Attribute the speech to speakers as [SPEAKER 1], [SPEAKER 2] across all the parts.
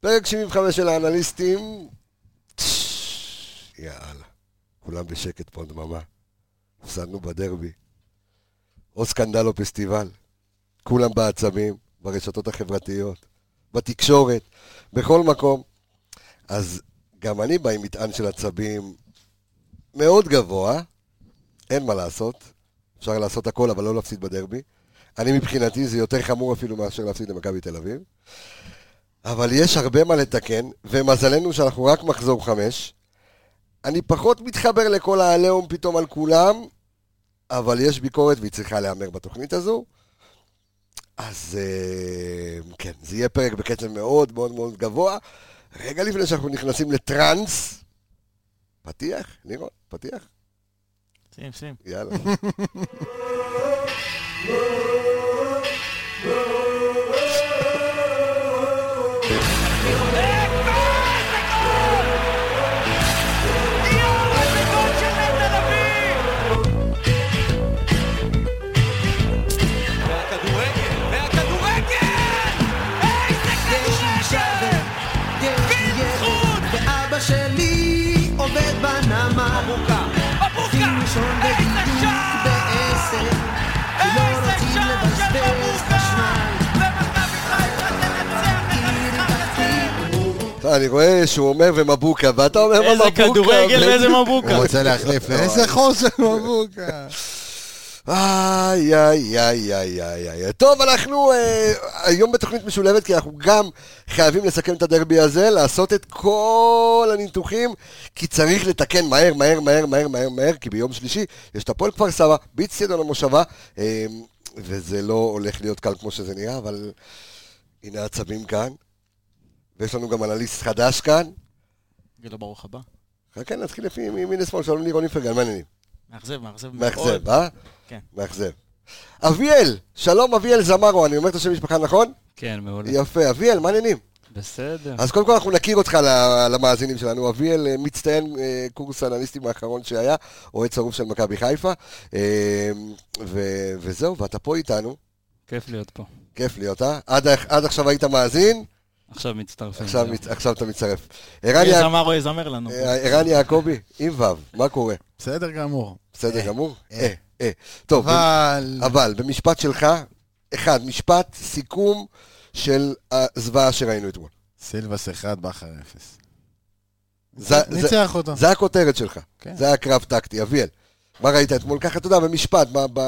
[SPEAKER 1] פרק 75 של האנליסטים. יאללה. כולם בשקט פה, דממה. הפסדנו בדרבי. או סקנדל או פסטיבל. כולם בעצבים, ברשתות החברתיות, בתקשורת, בכל מקום. אז גם אני בא עם מטען של עצבים מאוד גבוה, אין מה לעשות, אפשר לעשות הכל, אבל לא להפסיד בדרבי. אני מבחינתי זה יותר חמור אפילו מאשר להפסיד למכבי תל אביב. אבל יש הרבה מה לתקן, ומזלנו שאנחנו רק מחזור חמש. אני פחות מתחבר לכל העליהום פתאום על כולם, אבל יש ביקורת והיא צריכה להיאמר בתוכנית הזו. אז אה, כן, זה יהיה פרק בקצב מאוד מאוד מאוד גבוה. רגע לפני שאנחנו נכנסים לטראנס, פתיח, לירון, פתיח,
[SPEAKER 2] שים, שים.
[SPEAKER 1] יאללה.
[SPEAKER 3] והכדורגל, והכדורגל! איזה
[SPEAKER 4] יש לי
[SPEAKER 3] כדורגל!
[SPEAKER 4] שבר, יש לי
[SPEAKER 3] בזכות!
[SPEAKER 4] ילד, ואבא שלי עובד בנמל.
[SPEAKER 3] אבוקה, אבוקה!
[SPEAKER 4] צריכים לישון
[SPEAKER 3] איזה
[SPEAKER 4] בדיוק
[SPEAKER 3] שער!
[SPEAKER 4] בעשר, כי לא
[SPEAKER 3] איזה
[SPEAKER 4] רוצים
[SPEAKER 3] שער של
[SPEAKER 4] לבזבז
[SPEAKER 3] אבוקה!
[SPEAKER 4] חשמל.
[SPEAKER 3] ומכבי חיפה תנצח את המשחק
[SPEAKER 4] כאילו
[SPEAKER 3] הזה!
[SPEAKER 1] טוב, אה, אני רואה שהוא אומר ומבוקה, לא. ואתה אומר
[SPEAKER 2] איזה
[SPEAKER 1] מבוקה.
[SPEAKER 2] כדורגל ואיזה מבוקה.
[SPEAKER 5] הוא רוצה להחליף, איזה חוסר מבוקה.
[SPEAKER 1] איי, איי, איי, איי, איי, איי. טוב, אנחנו אה, היום בתוכנית משולבת, כי אנחנו גם חייבים לסכם את הדרבי הזה, לעשות את כל הניתוחים, כי צריך לתקן מהר, מהר, מהר, מהר, מהר, מהר, כי ביום שלישי יש את הפועל כפר סבא, באיצטדיון המושבה, אה, וזה לא הולך להיות קל כמו שזה נראה, אבל הנה העצבים כאן, ויש לנו גם אנליסט חדש כאן.
[SPEAKER 2] גילו ברוך הבא.
[SPEAKER 1] חכה, נתחיל לפי ימין לשמאל, שלום לירון איפרגן, מה העניינים?
[SPEAKER 2] מאכזב, מאכזב מאוד.
[SPEAKER 1] מאכזב, אה?
[SPEAKER 2] נכון. כן.
[SPEAKER 1] מאכזב. אביאל, שלום אביאל זמרו, אני אומר את השם משפחה נכון?
[SPEAKER 6] כן, מעולה.
[SPEAKER 1] יפה, אביאל, מה העניינים?
[SPEAKER 6] בסדר.
[SPEAKER 1] אז קודם כל אנחנו נכיר אותך ל- למאזינים שלנו. אביאל אה, מצטיין אה, קורס אנליסטים האחרון שהיה, אוהד שרוף של מכבי חיפה. אה, ו- וזהו, ואתה פה איתנו,
[SPEAKER 6] כיף להיות פה.
[SPEAKER 1] כיף להיות, אה? עד ה- עד עכשיו היית מאזין,
[SPEAKER 6] עכשיו מצטרפים. אה,
[SPEAKER 1] עכשיו
[SPEAKER 6] זהו.
[SPEAKER 1] מצ- עכשיו אתה מצטרף. ערן יע-
[SPEAKER 2] יזמר או יזמר לנו.
[SPEAKER 1] אה, ערן יעקבי, עם ו', מה קורה?
[SPEAKER 5] בסדר גמור.
[SPEAKER 1] בסדר
[SPEAKER 5] אה,
[SPEAKER 1] גמור?
[SPEAKER 5] אה.
[SPEAKER 1] אה, אה. טוב,
[SPEAKER 5] אבל...
[SPEAKER 1] אבל במשפט שלך, אחד, משפט סיכום של הזוועה שראינו אתמול.
[SPEAKER 5] סילבס אחד, בכר אפס. אה,
[SPEAKER 1] זה- זה-
[SPEAKER 5] ניצח אותו.
[SPEAKER 1] זה הכותרת שלך,
[SPEAKER 5] כן.
[SPEAKER 1] זה הקרב טקטי. אביאל, מה ראית אתמול? ככה, אתה יודע, במשפט, ב-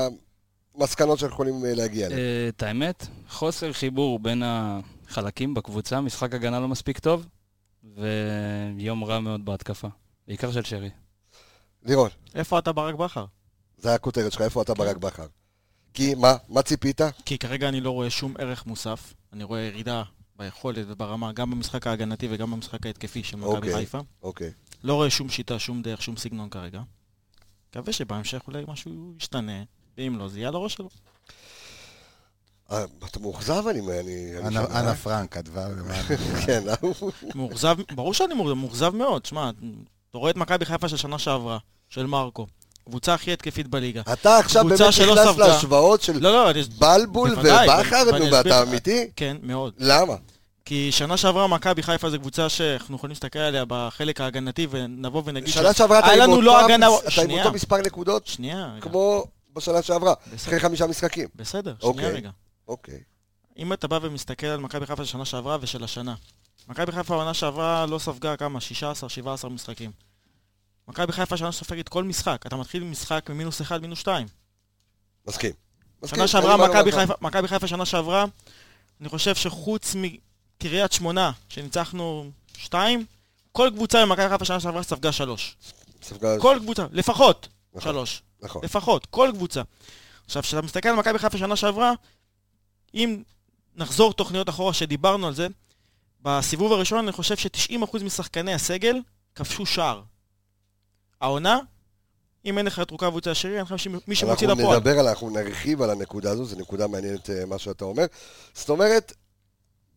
[SPEAKER 1] במסקנות שאנחנו יכולים אה, להגיע אליהן.
[SPEAKER 6] אה, את האמת, חוסר חיבור בין החלקים בקבוצה, משחק הגנה לא מספיק טוב, ויום רע מאוד בהתקפה. בעיקר של שרי.
[SPEAKER 1] לירון,
[SPEAKER 2] איפה אתה ברק בכר?
[SPEAKER 1] זה הכותרת שלך, איפה אתה ברק בכר? כי מה, מה ציפית?
[SPEAKER 2] כי כרגע אני לא רואה שום ערך מוסף. אני רואה ירידה ביכולת וברמה, גם במשחק ההגנתי וגם במשחק ההתקפי של מכבי
[SPEAKER 1] אוקיי.
[SPEAKER 2] חיפה.
[SPEAKER 1] אוקיי.
[SPEAKER 2] לא רואה שום שיטה, שום דרך, שום סגנון כרגע. מקווה שבהמשך אולי משהו ישתנה, ואם לא, זה יהיה על הראש שלו.
[SPEAKER 1] אה, אתה מאוכזב, אני... אני- אני-
[SPEAKER 5] אנה- אנה פרנק כתבה למען...
[SPEAKER 1] כן,
[SPEAKER 2] מאוכזב, ברור שאני מאוכזב- מאוכזב מאוד. שמע, אתה רואה את מכבי חיפה של שנה שעברה, של מרקו. קבוצה הכי התקפית בליגה.
[SPEAKER 1] אתה עכשיו
[SPEAKER 2] קבוצה
[SPEAKER 1] באמת
[SPEAKER 2] שלא
[SPEAKER 1] נכנס
[SPEAKER 2] ספגה.
[SPEAKER 1] להשוואות של
[SPEAKER 2] לא, לא, אני...
[SPEAKER 1] בלבול
[SPEAKER 2] בוודאי,
[SPEAKER 1] ובכר,
[SPEAKER 2] ואני
[SPEAKER 1] נו,
[SPEAKER 2] אסביר
[SPEAKER 1] ואתה
[SPEAKER 2] לך.
[SPEAKER 1] אמיתי?
[SPEAKER 2] כן, מאוד.
[SPEAKER 1] למה?
[SPEAKER 2] כי שנה שעברה מכבי חיפה זו קבוצה שאנחנו יכולים להסתכל עליה בחלק ההגנתי ונבוא ונגיד...
[SPEAKER 1] שנה
[SPEAKER 2] ש-
[SPEAKER 1] שעברה אתה
[SPEAKER 2] היה
[SPEAKER 1] עם
[SPEAKER 2] לנו לא
[SPEAKER 1] אותם-
[SPEAKER 2] הגנה-
[SPEAKER 1] אתה עם
[SPEAKER 2] שנייה.
[SPEAKER 1] אותו מספר נקודות
[SPEAKER 2] שנייה, רגע.
[SPEAKER 1] כמו בשנה שעברה, אחרי
[SPEAKER 2] בסדר,
[SPEAKER 1] חמישה משחקים.
[SPEAKER 2] בסדר,
[SPEAKER 1] אוקיי.
[SPEAKER 2] שנייה רגע.
[SPEAKER 1] אוקיי.
[SPEAKER 2] אם אתה בא ומסתכל על מכבי חיפה של שנה שעברה ושל השנה, מכבי חיפה העונה שעברה לא ספגה כמה? 16-17 משחקים. מכבי חיפה שנה סופגת כל משחק, אתה מתחיל משחק ממינוס 1, מינוס 2.
[SPEAKER 1] מסכים. מסכים,
[SPEAKER 2] שנה שעברה,
[SPEAKER 1] אין לי מה
[SPEAKER 2] מכבי
[SPEAKER 1] לומר לך.
[SPEAKER 2] חיפה, מכבי חיפה שנה שעברה, אני חושב שחוץ מקריית שמונה, שניצחנו 2, כל קבוצה במכבי חיפה שנה שעברה ספגה 3.
[SPEAKER 1] ספגה-
[SPEAKER 2] כל קבוצה, לפחות
[SPEAKER 1] נכון,
[SPEAKER 2] 3.
[SPEAKER 1] נכון.
[SPEAKER 2] לפחות, כל קבוצה. עכשיו, כשאתה מסתכל על מכבי חיפה שנה שעברה, אם נחזור תוכניות אחורה שדיברנו על זה, בסיבוב הראשון אני חושב ש-90% משחקני הסגל כבשו שער. העונה, אם אין לך את רוקאב וצייה שרי, אין לך מישהו- מישהו מוציא
[SPEAKER 1] אנחנו
[SPEAKER 2] לפועל.
[SPEAKER 1] נדבר על, אנחנו נרחיב על הנקודה הזו, זו נקודה מעניינת אה, מה שאתה אומר. זאת אומרת,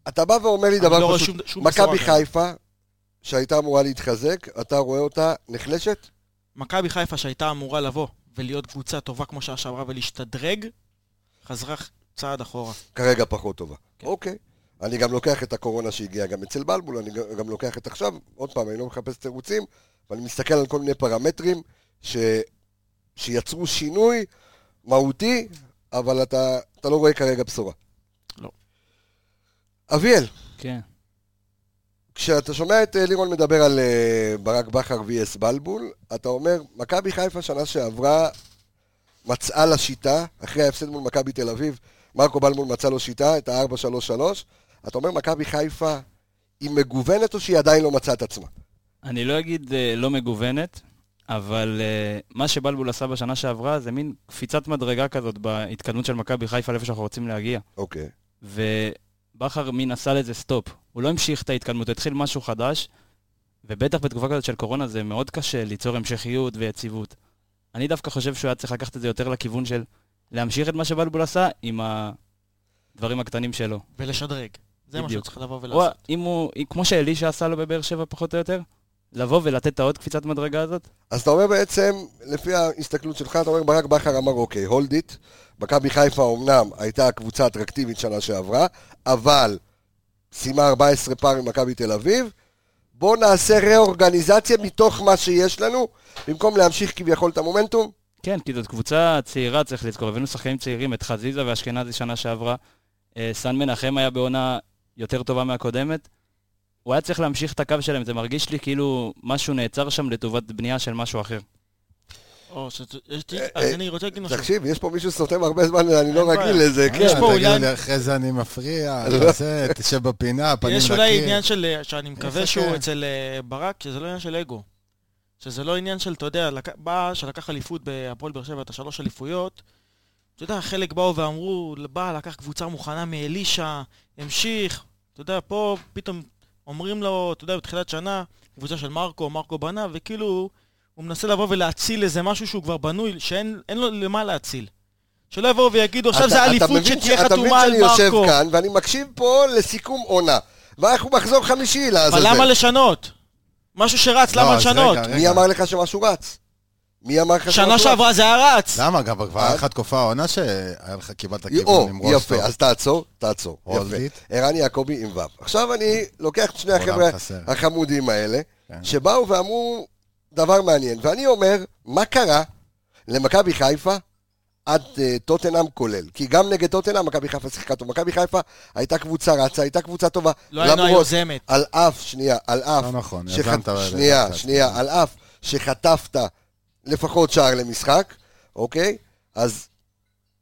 [SPEAKER 1] אתה בא ואומר לי
[SPEAKER 2] אני לא
[SPEAKER 1] דבר
[SPEAKER 2] רואה
[SPEAKER 1] פשוט,
[SPEAKER 2] שום- שום בשורה
[SPEAKER 1] מכבי
[SPEAKER 2] כאן.
[SPEAKER 1] חיפה, שהייתה אמורה להתחזק, אתה רואה אותה נחלשת?
[SPEAKER 2] מכבי חיפה שהייתה אמורה לבוא ולהיות קבוצה טובה כמו שעה שעברה ולהשתדרג, חזרה צעד אחורה.
[SPEAKER 1] כרגע פחות טובה. אוקיי. אני גם לוקח את הקורונה שהגיעה גם אצל בלבול, אני גם- גם לוקח את עכשיו, עוד פעם, אני לא מחפש תירוצים, אבל אני מסתכל על כל מיני פרמטרים ש... שיצרו שינוי מהותי, אבל אתה, אתה לא רואה כרגע בשורה.
[SPEAKER 2] לא.
[SPEAKER 1] אביאל,
[SPEAKER 6] כן.
[SPEAKER 1] כשאתה שומע את אה, לירון מדבר על אה, ברק בכר vs בלבול, אתה אומר, מכבי חיפה שנה שעברה מצאה לה שיטה, אחרי ההפסד מול מכבי תל אביב, מרקו בלבול מצא לו שיטה, את ה-4-3-3, אתה אומר, מכבי חיפה היא מגוונת או שהיא עדיין לא מצאה את עצמה?
[SPEAKER 6] אני לא אגיד אה, לא מגוונת, אבל אה, מה שבלבול עשה בשנה שעברה זה מין קפיצת מדרגה כזאת בהתקדמות של מכבי חיפה לאיפה שאנחנו רוצים להגיע.
[SPEAKER 1] אוקיי.
[SPEAKER 6] ובכר מין עשה לזה סטופ. הוא לא המשיך את ההתקדמות, הוא התחיל משהו חדש, ובטח בתקופה כזאת של קורונה זה מאוד קשה ליצור המשכיות ויציבות. אני דווקא חושב שהוא היה צריך לקחת את זה יותר לכיוון של להמשיך את מה שבלבול עשה עם הדברים הקטנים שלו.
[SPEAKER 2] ולשדרג. זה מה שהוא
[SPEAKER 6] בדיוק.
[SPEAKER 2] צריך לבוא
[SPEAKER 6] או
[SPEAKER 2] ולעשות.
[SPEAKER 6] אם הוא, כמו שאלישע עשה לו בבאר שבע פחות או יותר, לבוא ולתת את העוד קפיצת מדרגה הזאת,
[SPEAKER 1] אז אתה אומר בעצם, לפי ההסתכלות שלך, אתה אומר ברק בכר אמר אוקיי, הולד איט, מכבי חיפה אמנם הייתה הקבוצה האטרקטיבית שנה שעברה, אבל סיימה 14 פער עם מכבי תל אביב, בואו נעשה רה-אורגניזציה מתוך מה שיש לנו, במקום להמשיך כביכול את המומנטום.
[SPEAKER 6] כן, כי זאת קבוצה צעירה, צריך לזכור. הבאנו שחקנים צעירים, את חזיזה ואשכנזי שנה שעברה. אה, סן מנחם היה בעונה יותר טובה מהקודמת. הוא היה צריך להמשיך את הקו שלהם, זה מרגיש לי כאילו משהו נעצר שם לטובת בנייה של משהו אחר.
[SPEAKER 2] או ש- יש לי-
[SPEAKER 1] אה,
[SPEAKER 2] אז
[SPEAKER 1] אה,
[SPEAKER 2] אני רוצה להגיד משהו.
[SPEAKER 1] תקשיב, יש פה מישהו שסותם הרבה זמן, אני לא
[SPEAKER 2] נכון. אין
[SPEAKER 1] רגיל
[SPEAKER 2] בעיה.
[SPEAKER 1] לזה,
[SPEAKER 2] יש
[SPEAKER 1] כן.
[SPEAKER 5] אה,
[SPEAKER 2] פה
[SPEAKER 5] תגידו
[SPEAKER 2] אולי-
[SPEAKER 5] לי, אחרי זה אני מפריע,
[SPEAKER 1] לא.
[SPEAKER 5] זה, תשב בפינה, פנים
[SPEAKER 2] יש אולי
[SPEAKER 5] לקיר.
[SPEAKER 2] עניין של, אה, שאני
[SPEAKER 1] כן.
[SPEAKER 2] מקווה
[SPEAKER 5] יחכה.
[SPEAKER 2] שהוא אצל אה, ברק, שזה לא עניין של אגו. שזה לא עניין של, אתה יודע, לק- בא שלקח אליפות בהפועל באר שבע, את השלוש אליפויות. אתה יודע, חלק באו ואמרו, בא, לקח קבוצה מוכנה מאלישע, המשיך. אתה יודע, פה פתאום אומרים לו, אתה יודע, בתחילת שנה, קבוצה של מרקו, מרקו בנה, וכאילו, הוא מנסה לבוא ולהציל איזה משהו שהוא כבר בנוי, שאין אין לו למה להציל. שלא יבואו ויגידו, עכשיו
[SPEAKER 1] אתה-
[SPEAKER 2] זה
[SPEAKER 1] אתה
[SPEAKER 2] אליפות
[SPEAKER 1] מבין ש-
[SPEAKER 2] שתהיה חתומה על
[SPEAKER 1] אתה מבין שאני
[SPEAKER 2] מרקו.
[SPEAKER 1] יושב כאן, ואני מקשיב פה לסיכום עונה, ואנחנו מחזור חמישי
[SPEAKER 2] אבל
[SPEAKER 1] לעזאזל.
[SPEAKER 2] למה לשנות? משהו שרץ,
[SPEAKER 5] לא,
[SPEAKER 2] למה
[SPEAKER 5] אז
[SPEAKER 2] לשנות?
[SPEAKER 5] רגע,
[SPEAKER 1] מי אמר לך שמשהו רץ? מי אמר לך
[SPEAKER 2] שנה
[SPEAKER 1] שמשהו רץ?
[SPEAKER 2] שעברה זה היה רץ.
[SPEAKER 5] למה? גם כבר היה לך תקופה העונה שהיה לך, קיבלת
[SPEAKER 1] אה? או,
[SPEAKER 5] כיוון עם רוסטוב.
[SPEAKER 1] יפה, אז תעצור, תעצור.
[SPEAKER 5] רולדית.
[SPEAKER 1] יפה. אה, ערן יעקבי עם ו'. עכשיו אני לוקח את שני
[SPEAKER 5] עולם
[SPEAKER 1] החבר'ה
[SPEAKER 5] חסר.
[SPEAKER 1] החמודים האלה,
[SPEAKER 5] כן.
[SPEAKER 1] שבאו ואמרו דבר מעניין, ואני אומר, מה קרה למכבי חיפה עד אה, טוטנאם כולל? כי גם נגד טוטנאם מכבי חיפה שיחקה טוב. מכבי חיפה הייתה קבוצה רצה, הייתה קבוצה טובה.
[SPEAKER 2] לא היינו
[SPEAKER 1] למרות-
[SPEAKER 2] היוזמת.
[SPEAKER 1] על אף, שנייה, על אף,
[SPEAKER 5] לא נכון,
[SPEAKER 1] שח-
[SPEAKER 5] יזמת
[SPEAKER 1] אה, שנייה,
[SPEAKER 5] קצת.
[SPEAKER 1] שנייה, על אף שחטפת לפחות שער למשחק, אוקיי? אז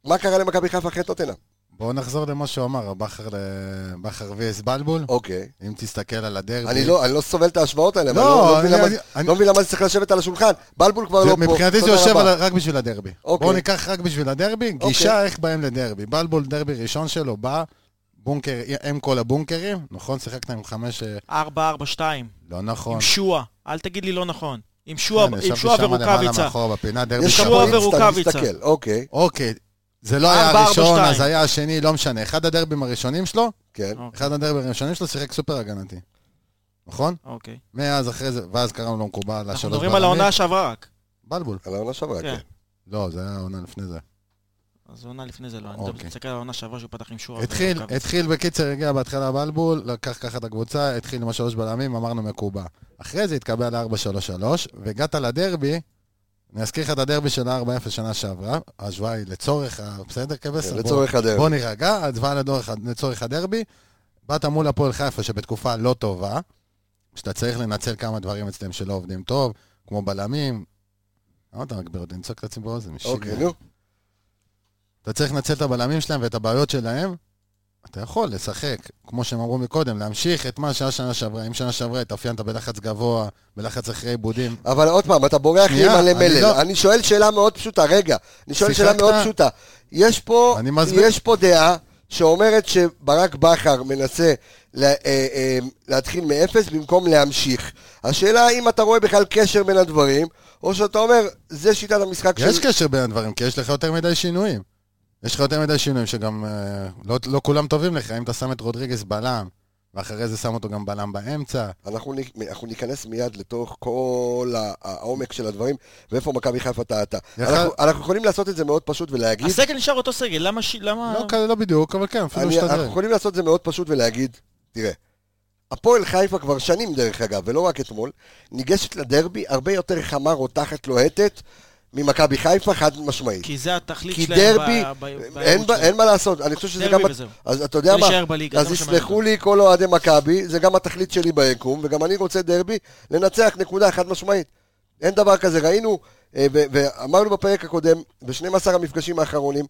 [SPEAKER 1] מה קרה למכבי חיפה אחרי טוטנאם?
[SPEAKER 5] בואו נחזור למה שהוא אמר, הבכר ל- בכר ויאס בלבול.
[SPEAKER 1] אוקיי.
[SPEAKER 5] אם תסתכל על הדרבי.
[SPEAKER 1] אני לא, אני לא סובל את ההשוואות האלה, אבל
[SPEAKER 5] לא,
[SPEAKER 1] אני לא, לא,
[SPEAKER 5] אני-
[SPEAKER 1] מבין למה,
[SPEAKER 5] אני- אני-
[SPEAKER 1] לא מבין למה זה צריך לשבת על השולחן. בלבול כבר לא
[SPEAKER 5] זה-
[SPEAKER 1] פה.
[SPEAKER 5] מבחינתי זה
[SPEAKER 1] תודה
[SPEAKER 5] יושב
[SPEAKER 1] רבה.
[SPEAKER 5] על- רק בשביל הדרבי.
[SPEAKER 1] אוקיי.
[SPEAKER 5] בואו ניקח רק בשביל הדרבי,
[SPEAKER 1] אוקיי.
[SPEAKER 5] גישה איך באים לדרבי. בלבול דרבי ראשון שלו, בא, בונקר, הם כל הבונקרים, נכון? שיחקת עם חמש... אה,
[SPEAKER 2] 4-4-2,
[SPEAKER 5] לא נכון.
[SPEAKER 2] עם שועה. אל תגיד לי לא נכון. עם שועה
[SPEAKER 5] כן,
[SPEAKER 2] עם
[SPEAKER 5] ישבתי
[SPEAKER 2] שועה
[SPEAKER 5] שם למעלה
[SPEAKER 2] ורוקאביצה.
[SPEAKER 5] מאחורה בפינה, דרבי
[SPEAKER 1] יש לך
[SPEAKER 2] שועה
[SPEAKER 1] פה
[SPEAKER 5] שבוע.
[SPEAKER 1] אינסטנט,
[SPEAKER 2] ורוקאביצה.
[SPEAKER 1] תסתכל, אוקיי,
[SPEAKER 5] אוקיי, זה לא היה
[SPEAKER 2] ארבע, ארבע,
[SPEAKER 5] הראשון,
[SPEAKER 2] שתיים.
[SPEAKER 5] אז היה השני, לא משנה. אחד הדרבים הראשונים שלו,
[SPEAKER 1] כן.
[SPEAKER 2] אה.
[SPEAKER 5] אחד הדרבים הראשונים שלו שיחק סופר הגנתי. נכון?
[SPEAKER 2] אוקיי.
[SPEAKER 5] מאז אחרי זה, ואז קראנו לו מקובל, השלוש
[SPEAKER 2] אנחנו מדברים על העונה שעברה רק.
[SPEAKER 5] בלבול.
[SPEAKER 1] על העונה שעברה,
[SPEAKER 2] כן.
[SPEAKER 1] כן.
[SPEAKER 5] לא, זה היה העונה לפני זה.
[SPEAKER 2] אז העונה לפני זה לא. אני
[SPEAKER 5] אוקיי.
[SPEAKER 2] אתה מסתכל על העונה שעברה שהוא פתח עם שועה.
[SPEAKER 5] התחיל,
[SPEAKER 2] ורוקאביצה.
[SPEAKER 5] התחיל בקיצר, הגיע בהתחלה בלבול, לקח ככה את הקבוצה, התחיל עם השלוש בלמים, אמרנו מקובע. אחרי זה התקבע ל-4-3-3, והגעת לדרבי, אני אזכיר לך את הדרבי של ה-4-0 שנה שעברה, ההשוואה היא לצורך, ה- בסדר כבש?
[SPEAKER 1] כן, לצורך הדרך.
[SPEAKER 5] בוא נירגע, ההצבעה לדורך, לצורך הדרבי. באת מול הפועל חיפה שבתקופה לא טובה, שאתה צריך לנצל כמה דברים אצלם שלא עובדים טוב, כמו בלמים. למה אתה מגביר אותי? אני צועק את עצמי באוזן.
[SPEAKER 1] אוקיי,
[SPEAKER 5] שיט.
[SPEAKER 1] נו.
[SPEAKER 5] אתה צריך לנצל את הבלמים שלהם ואת הבעיות שלהם. אתה יכול לשחק, כמו שהם אמרו מקודם, להמשיך את מה שהיה שנה שעברה. אם שנה שעברה התאפיינת בלחץ גבוה, בלחץ אחרי עיבודים,
[SPEAKER 1] אבל עוד פעם, אתה בורח לי
[SPEAKER 5] שנייה,
[SPEAKER 1] מלא
[SPEAKER 5] אני
[SPEAKER 1] מלל.
[SPEAKER 5] לא-
[SPEAKER 1] אני שואל שאלה מאוד פשוטה, רגע. אני שואל שאלה
[SPEAKER 5] שיחקת?
[SPEAKER 1] מאוד פשוטה. יש פה,
[SPEAKER 5] אני מסביר.
[SPEAKER 1] יש פה דעה שאומרת שברק בכר מנסה ל- אה, אה, להתחיל מאפס במקום להמשיך. השאלה האם אתה רואה בכלל קשר בין הדברים, או שאתה אומר, זה שיטת המשחק של...
[SPEAKER 5] יש קשר בין הדברים, כי יש לך יותר מדי שינויים. יש לך יותר מדי שינויים שגם אה, לא, לא כולם טובים לך. אם אתה שם את רודריגז בלם, ואחרי זה שם אותו גם בלם באמצע.
[SPEAKER 1] אנחנו, נ- אנחנו ניכנס מיד לתוך כל ה- העומק של הדברים, ואיפה מכבי חיפה טעתה.
[SPEAKER 5] יכל-
[SPEAKER 1] אנחנו, אנחנו יכולים לעשות את זה מאוד פשוט ולהגיד...
[SPEAKER 2] הסגל נשאר אותו סגל, למה... ש- למה...
[SPEAKER 5] לא, כאלה לא בדיוק, אבל כן, אפילו
[SPEAKER 1] אני, אנחנו
[SPEAKER 5] השתדרג.
[SPEAKER 1] יכולים לעשות את זה מאוד פשוט ולהגיד, תראה, הפועל חיפה כבר שנים דרך אגב, ולא רק אתמול, ניגשת לדרבי הרבה יותר חמה, רותחת, לוהטת, ממכבי חיפה, חד משמעית.
[SPEAKER 2] כי זה התכלית
[SPEAKER 1] כי
[SPEAKER 2] שלהם.
[SPEAKER 1] דרבי,
[SPEAKER 2] ב- ב-
[SPEAKER 1] אין,
[SPEAKER 2] בערוץ
[SPEAKER 1] ב- אין מה לעשות, אני חושב שזה
[SPEAKER 2] דרבי
[SPEAKER 1] גם...
[SPEAKER 2] וזהו.
[SPEAKER 1] אז אתה יודע מה,
[SPEAKER 2] ולהישאר בליגה,
[SPEAKER 1] אז
[SPEAKER 2] זה מה שמעניין
[SPEAKER 1] יסלחו לי כל אוהדי מכבי, זה גם התכלית שלי ביקום, וגם אני רוצה דרבי, לנצח, נקודה, חד משמעית. אין דבר כזה, ראינו, אה, ו- ואמרנו בפרק הקודם, ב-12 המפגשים האחרונים,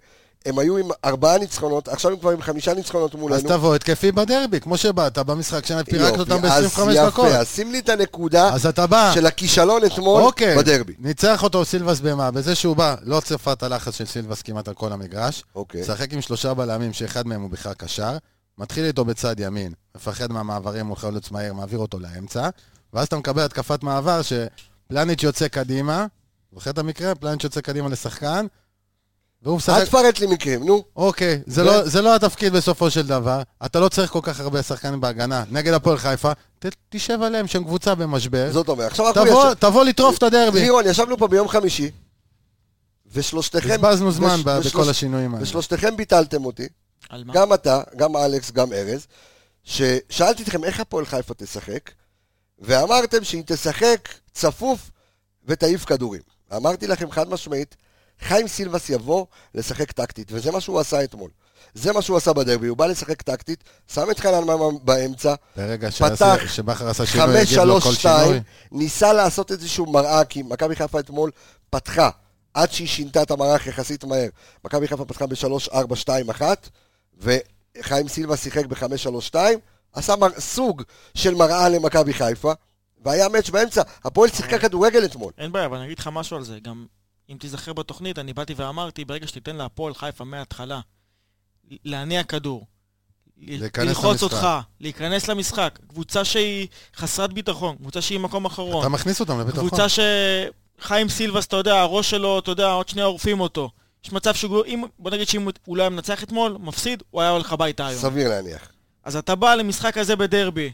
[SPEAKER 1] הם היו עם ארבעה ניצחונות, עכשיו הם כבר עם חמישה ניצחונות
[SPEAKER 5] אז
[SPEAKER 1] מולנו.
[SPEAKER 5] תבוא התקפי בדרבי, כמו שבאת במשחק שאני פירקת אותם
[SPEAKER 1] אז
[SPEAKER 5] ב-25 דקות.
[SPEAKER 1] יפה, אז שים לי את הנקודה
[SPEAKER 5] אז אתה בא,
[SPEAKER 1] של הכישלון אתמול
[SPEAKER 5] אוקיי,
[SPEAKER 1] בדרבי.
[SPEAKER 5] ניצח אותו סילבס במה, בזה שהוא בא, לא צפה את הלחץ של סילבס כמעט על כל המגרש,
[SPEAKER 1] אוקיי.
[SPEAKER 5] משחק עם שלושה בלמים שאחד מהם הוא בכלל קשר, מתחיל איתו בצד ימין, מפחד מהמעברים מול חלוץ מהיר, מעביר אותו לאמצע, ואז אתה מקבל התקפת מעבר שפלניץ' יוצא קדימה, זוכר את המקרה? פלניץ' יוצא קדימה לשחקן, והוא
[SPEAKER 1] אל
[SPEAKER 5] משחק...
[SPEAKER 1] תפרט לי מקרים, נו.
[SPEAKER 5] אוקיי, זה,
[SPEAKER 1] ו-
[SPEAKER 5] לא, זה לא התפקיד בסופו של דבר. אתה לא צריך כל כך הרבה שחקנים בהגנה. נגד הפועל חיפה, ת, תשב עליהם שהם קבוצה במשבר.
[SPEAKER 1] זאת אומרת, עכשיו אנחנו
[SPEAKER 5] אה. תבוא,
[SPEAKER 1] ישר...
[SPEAKER 5] תבוא לטרוף את הדרבי.
[SPEAKER 1] לירון, ישבנו פה ביום חמישי, ושלושתכם...
[SPEAKER 5] בזבזנו זמן
[SPEAKER 1] וש-
[SPEAKER 5] ב-
[SPEAKER 1] ושלוש-
[SPEAKER 5] בכל השינויים האלה.
[SPEAKER 1] ושלושתכם ביטלתם אותי,
[SPEAKER 2] על מה?
[SPEAKER 1] גם אתה, גם אלכס, גם ארז, ששאלתי אתכם איך הפועל חיפה תשחק, ואמרתם שהיא תשחק צפוף ותעיף כדורים. אמרתי לכם חד משמעית, חיים סילבס יבוא לשחק טקטית, וזה מה שהוא עשה אתמול. זה מה שהוא עשה בדרבי, הוא בא לשחק טקטית, שם את חנן ממן באמצע,
[SPEAKER 5] ברגע
[SPEAKER 1] פתח,
[SPEAKER 5] שעשה- אה, שבכר עשה שינוי, הגיב לו כל
[SPEAKER 1] 5-3-2,
[SPEAKER 5] שינוי.
[SPEAKER 1] ניסה לעשות איזשהו מראה, כי מכבי חיפה אתמול פתחה, עד שהיא שינתה את המערך יחסית מהר. מכבי חיפה פתחה ב-3-4-2-1, וחיים סילבה שיחק ב-5-3-2, עשה מר... סוג של מראה למכבי חיפה, והיה מאץ' באמצע. הפועל שיחקה
[SPEAKER 5] אה.
[SPEAKER 1] כדורגל אתמול.
[SPEAKER 2] אין בעיה, אבל אני אגיד לך משהו על זה. גם אם תיזכר בתוכנית, אני באתי ואמרתי, ברגע שתיתן להפועל חיפה מההתחלה להניע כדור, ל-
[SPEAKER 5] להיכנס
[SPEAKER 2] ללחוץ
[SPEAKER 5] למשחק.
[SPEAKER 2] אותך, להיכנס למשחק, קבוצה שהיא חסרת ביטחון, קבוצה שהיא מקום אחרון,
[SPEAKER 5] אתה מכניס אותם לביטחון.
[SPEAKER 2] קבוצה שחיים סילבס, אתה יודע, הראש שלו, אתה יודע, עוד שנייה עורפים אותו. יש מצב שהוא, אם- בוא נגיד שאם הוא לא היה מנצח אתמול, מפסיד, הוא היה הולך הביתה
[SPEAKER 5] אה,
[SPEAKER 2] היום.
[SPEAKER 1] סביר להניח.
[SPEAKER 2] אז אתה בא למשחק הזה בדרבי,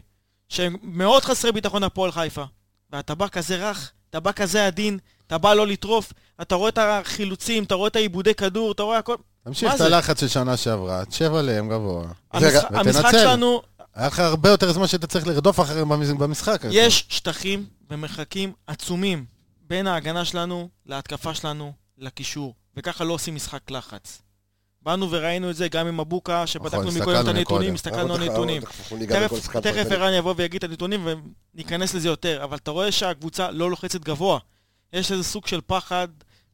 [SPEAKER 2] שהם מאוד חסרי ביטחון הפועל חיפה, ואתה בא כזה רך, אתה בא כזה עדין, אתה בא לא לטרוף, אתה רואה את החילוצים, אתה רואה את העיבודי כדור, אתה רואה הכל...
[SPEAKER 5] תמשיך
[SPEAKER 2] מה
[SPEAKER 5] את
[SPEAKER 2] זה?
[SPEAKER 5] הלחץ של שנה שעברה, תשב עליהם גבוה.
[SPEAKER 2] המשחק-
[SPEAKER 5] ותנצל.
[SPEAKER 2] המשחק שלנו,
[SPEAKER 5] היה לך הרבה יותר זמן שאתה צריך לרדוף אחריהם במש- במשחק. הזה.
[SPEAKER 2] יש שטחים ומרחקים עצומים בין ההגנה שלנו להתקפה שלנו לקישור, וככה לא עושים משחק לחץ. באנו וראינו את זה גם עם מבוקה, שפתחנו
[SPEAKER 5] נכון,
[SPEAKER 2] מקודם את
[SPEAKER 5] הסתכלנו
[SPEAKER 2] הנתונים,
[SPEAKER 5] מקודם.
[SPEAKER 2] הסתכלנו על
[SPEAKER 1] אנחנו-
[SPEAKER 2] הנתונים.
[SPEAKER 1] אנחנו- אנחנו ניגע בכל
[SPEAKER 2] תכף
[SPEAKER 1] שחקן
[SPEAKER 2] תכף
[SPEAKER 1] פרטני.
[SPEAKER 2] ערן יבוא ויגיד את הנתונים וניכנס לזה יותר, אבל אתה רואה שהקבוצה לא לוחצת גבוה. יש איזה סוג של פחד,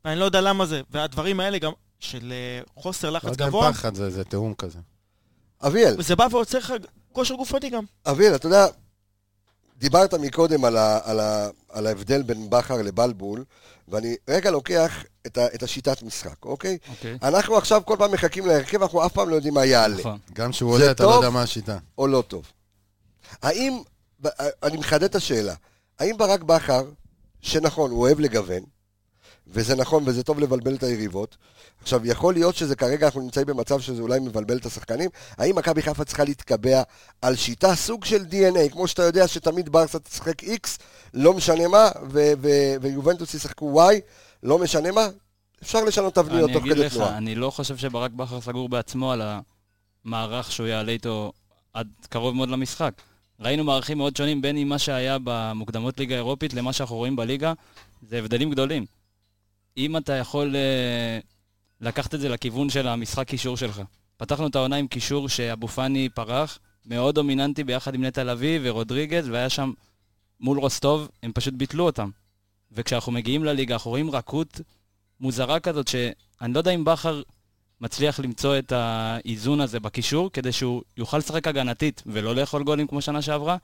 [SPEAKER 2] ואני לא יודע למה זה. והדברים האלה גם של אה, חוסר
[SPEAKER 5] לא
[SPEAKER 2] לחץ
[SPEAKER 5] יודע אם
[SPEAKER 2] גבוה,
[SPEAKER 5] פחד, זה זה תיאום כזה.
[SPEAKER 1] אביאל,
[SPEAKER 2] זה בא ועוצר לך כושר גופני גם.
[SPEAKER 1] אביאל, אתה יודע, דיברת מקודם על, ה, על, ה, על ההבדל בין בכר לבלבול, ואני רגע לוקח את, ה, את השיטת משחק, אוקיי?
[SPEAKER 6] אוקיי.
[SPEAKER 1] אנחנו עכשיו כל פעם מחכים להרכב, אנחנו אף פעם לא יודעים מה יעלה,
[SPEAKER 6] נכון.
[SPEAKER 5] גם כשהוא
[SPEAKER 1] זה
[SPEAKER 5] עולה, אתה לא
[SPEAKER 1] טוב.
[SPEAKER 5] יודע מה השיטה.
[SPEAKER 1] או לא טוב. האם, אה, אני מחדד את השאלה, האם ברק בכר, שנכון, הוא אוהב לגוון, וזה נכון וזה טוב לבלבל את היריבות, עכשיו, יכול להיות שזה כרגע, אנחנו נמצאים במצב שזה אולי מבלבל את השחקנים, האם מכבי חיפה צריכה להתקבע על שיטה, סוג של DNA, כמו שאתה יודע שתמיד ברסה תשחק X, לא משנה מה, ו- ו- ויובנטוס ישחקו Y, לא משנה מה, אפשר לשנות תבניות
[SPEAKER 6] אני
[SPEAKER 1] תוך
[SPEAKER 6] אגיד
[SPEAKER 1] כדי
[SPEAKER 6] לך,
[SPEAKER 1] תנועה.
[SPEAKER 6] אני לא חושב שברק בכר סגור בעצמו על המערך שהוא יעלה איתו עד קרוב מאוד למשחק. ראינו מערכים מאוד שונים בין אם מה שהיה במוקדמות ליגה האירופית למה שאנחנו רואים בליגה, זה הבדלים גדולים. אם אתה יכול אה, לקחת את זה לכיוון של המשחק קישור שלך. פתחנו את העונה עם קישור שאבו פאני פרח, מאוד דומיננטי ביחד עם נטע לביא ורודריגז, והיה שם מול רוסטוב, הם פשוט ביטלו אותם. וכשאנחנו מגיעים לליגה, אנחנו רואים רכות מוזרה כזאת, שאני לא יודע אם בכר מצליח למצוא את האיזון הזה בקישור, כדי שהוא יוכל לשחק הגנתית ולא לאכול גולים כמו שנה שעברה,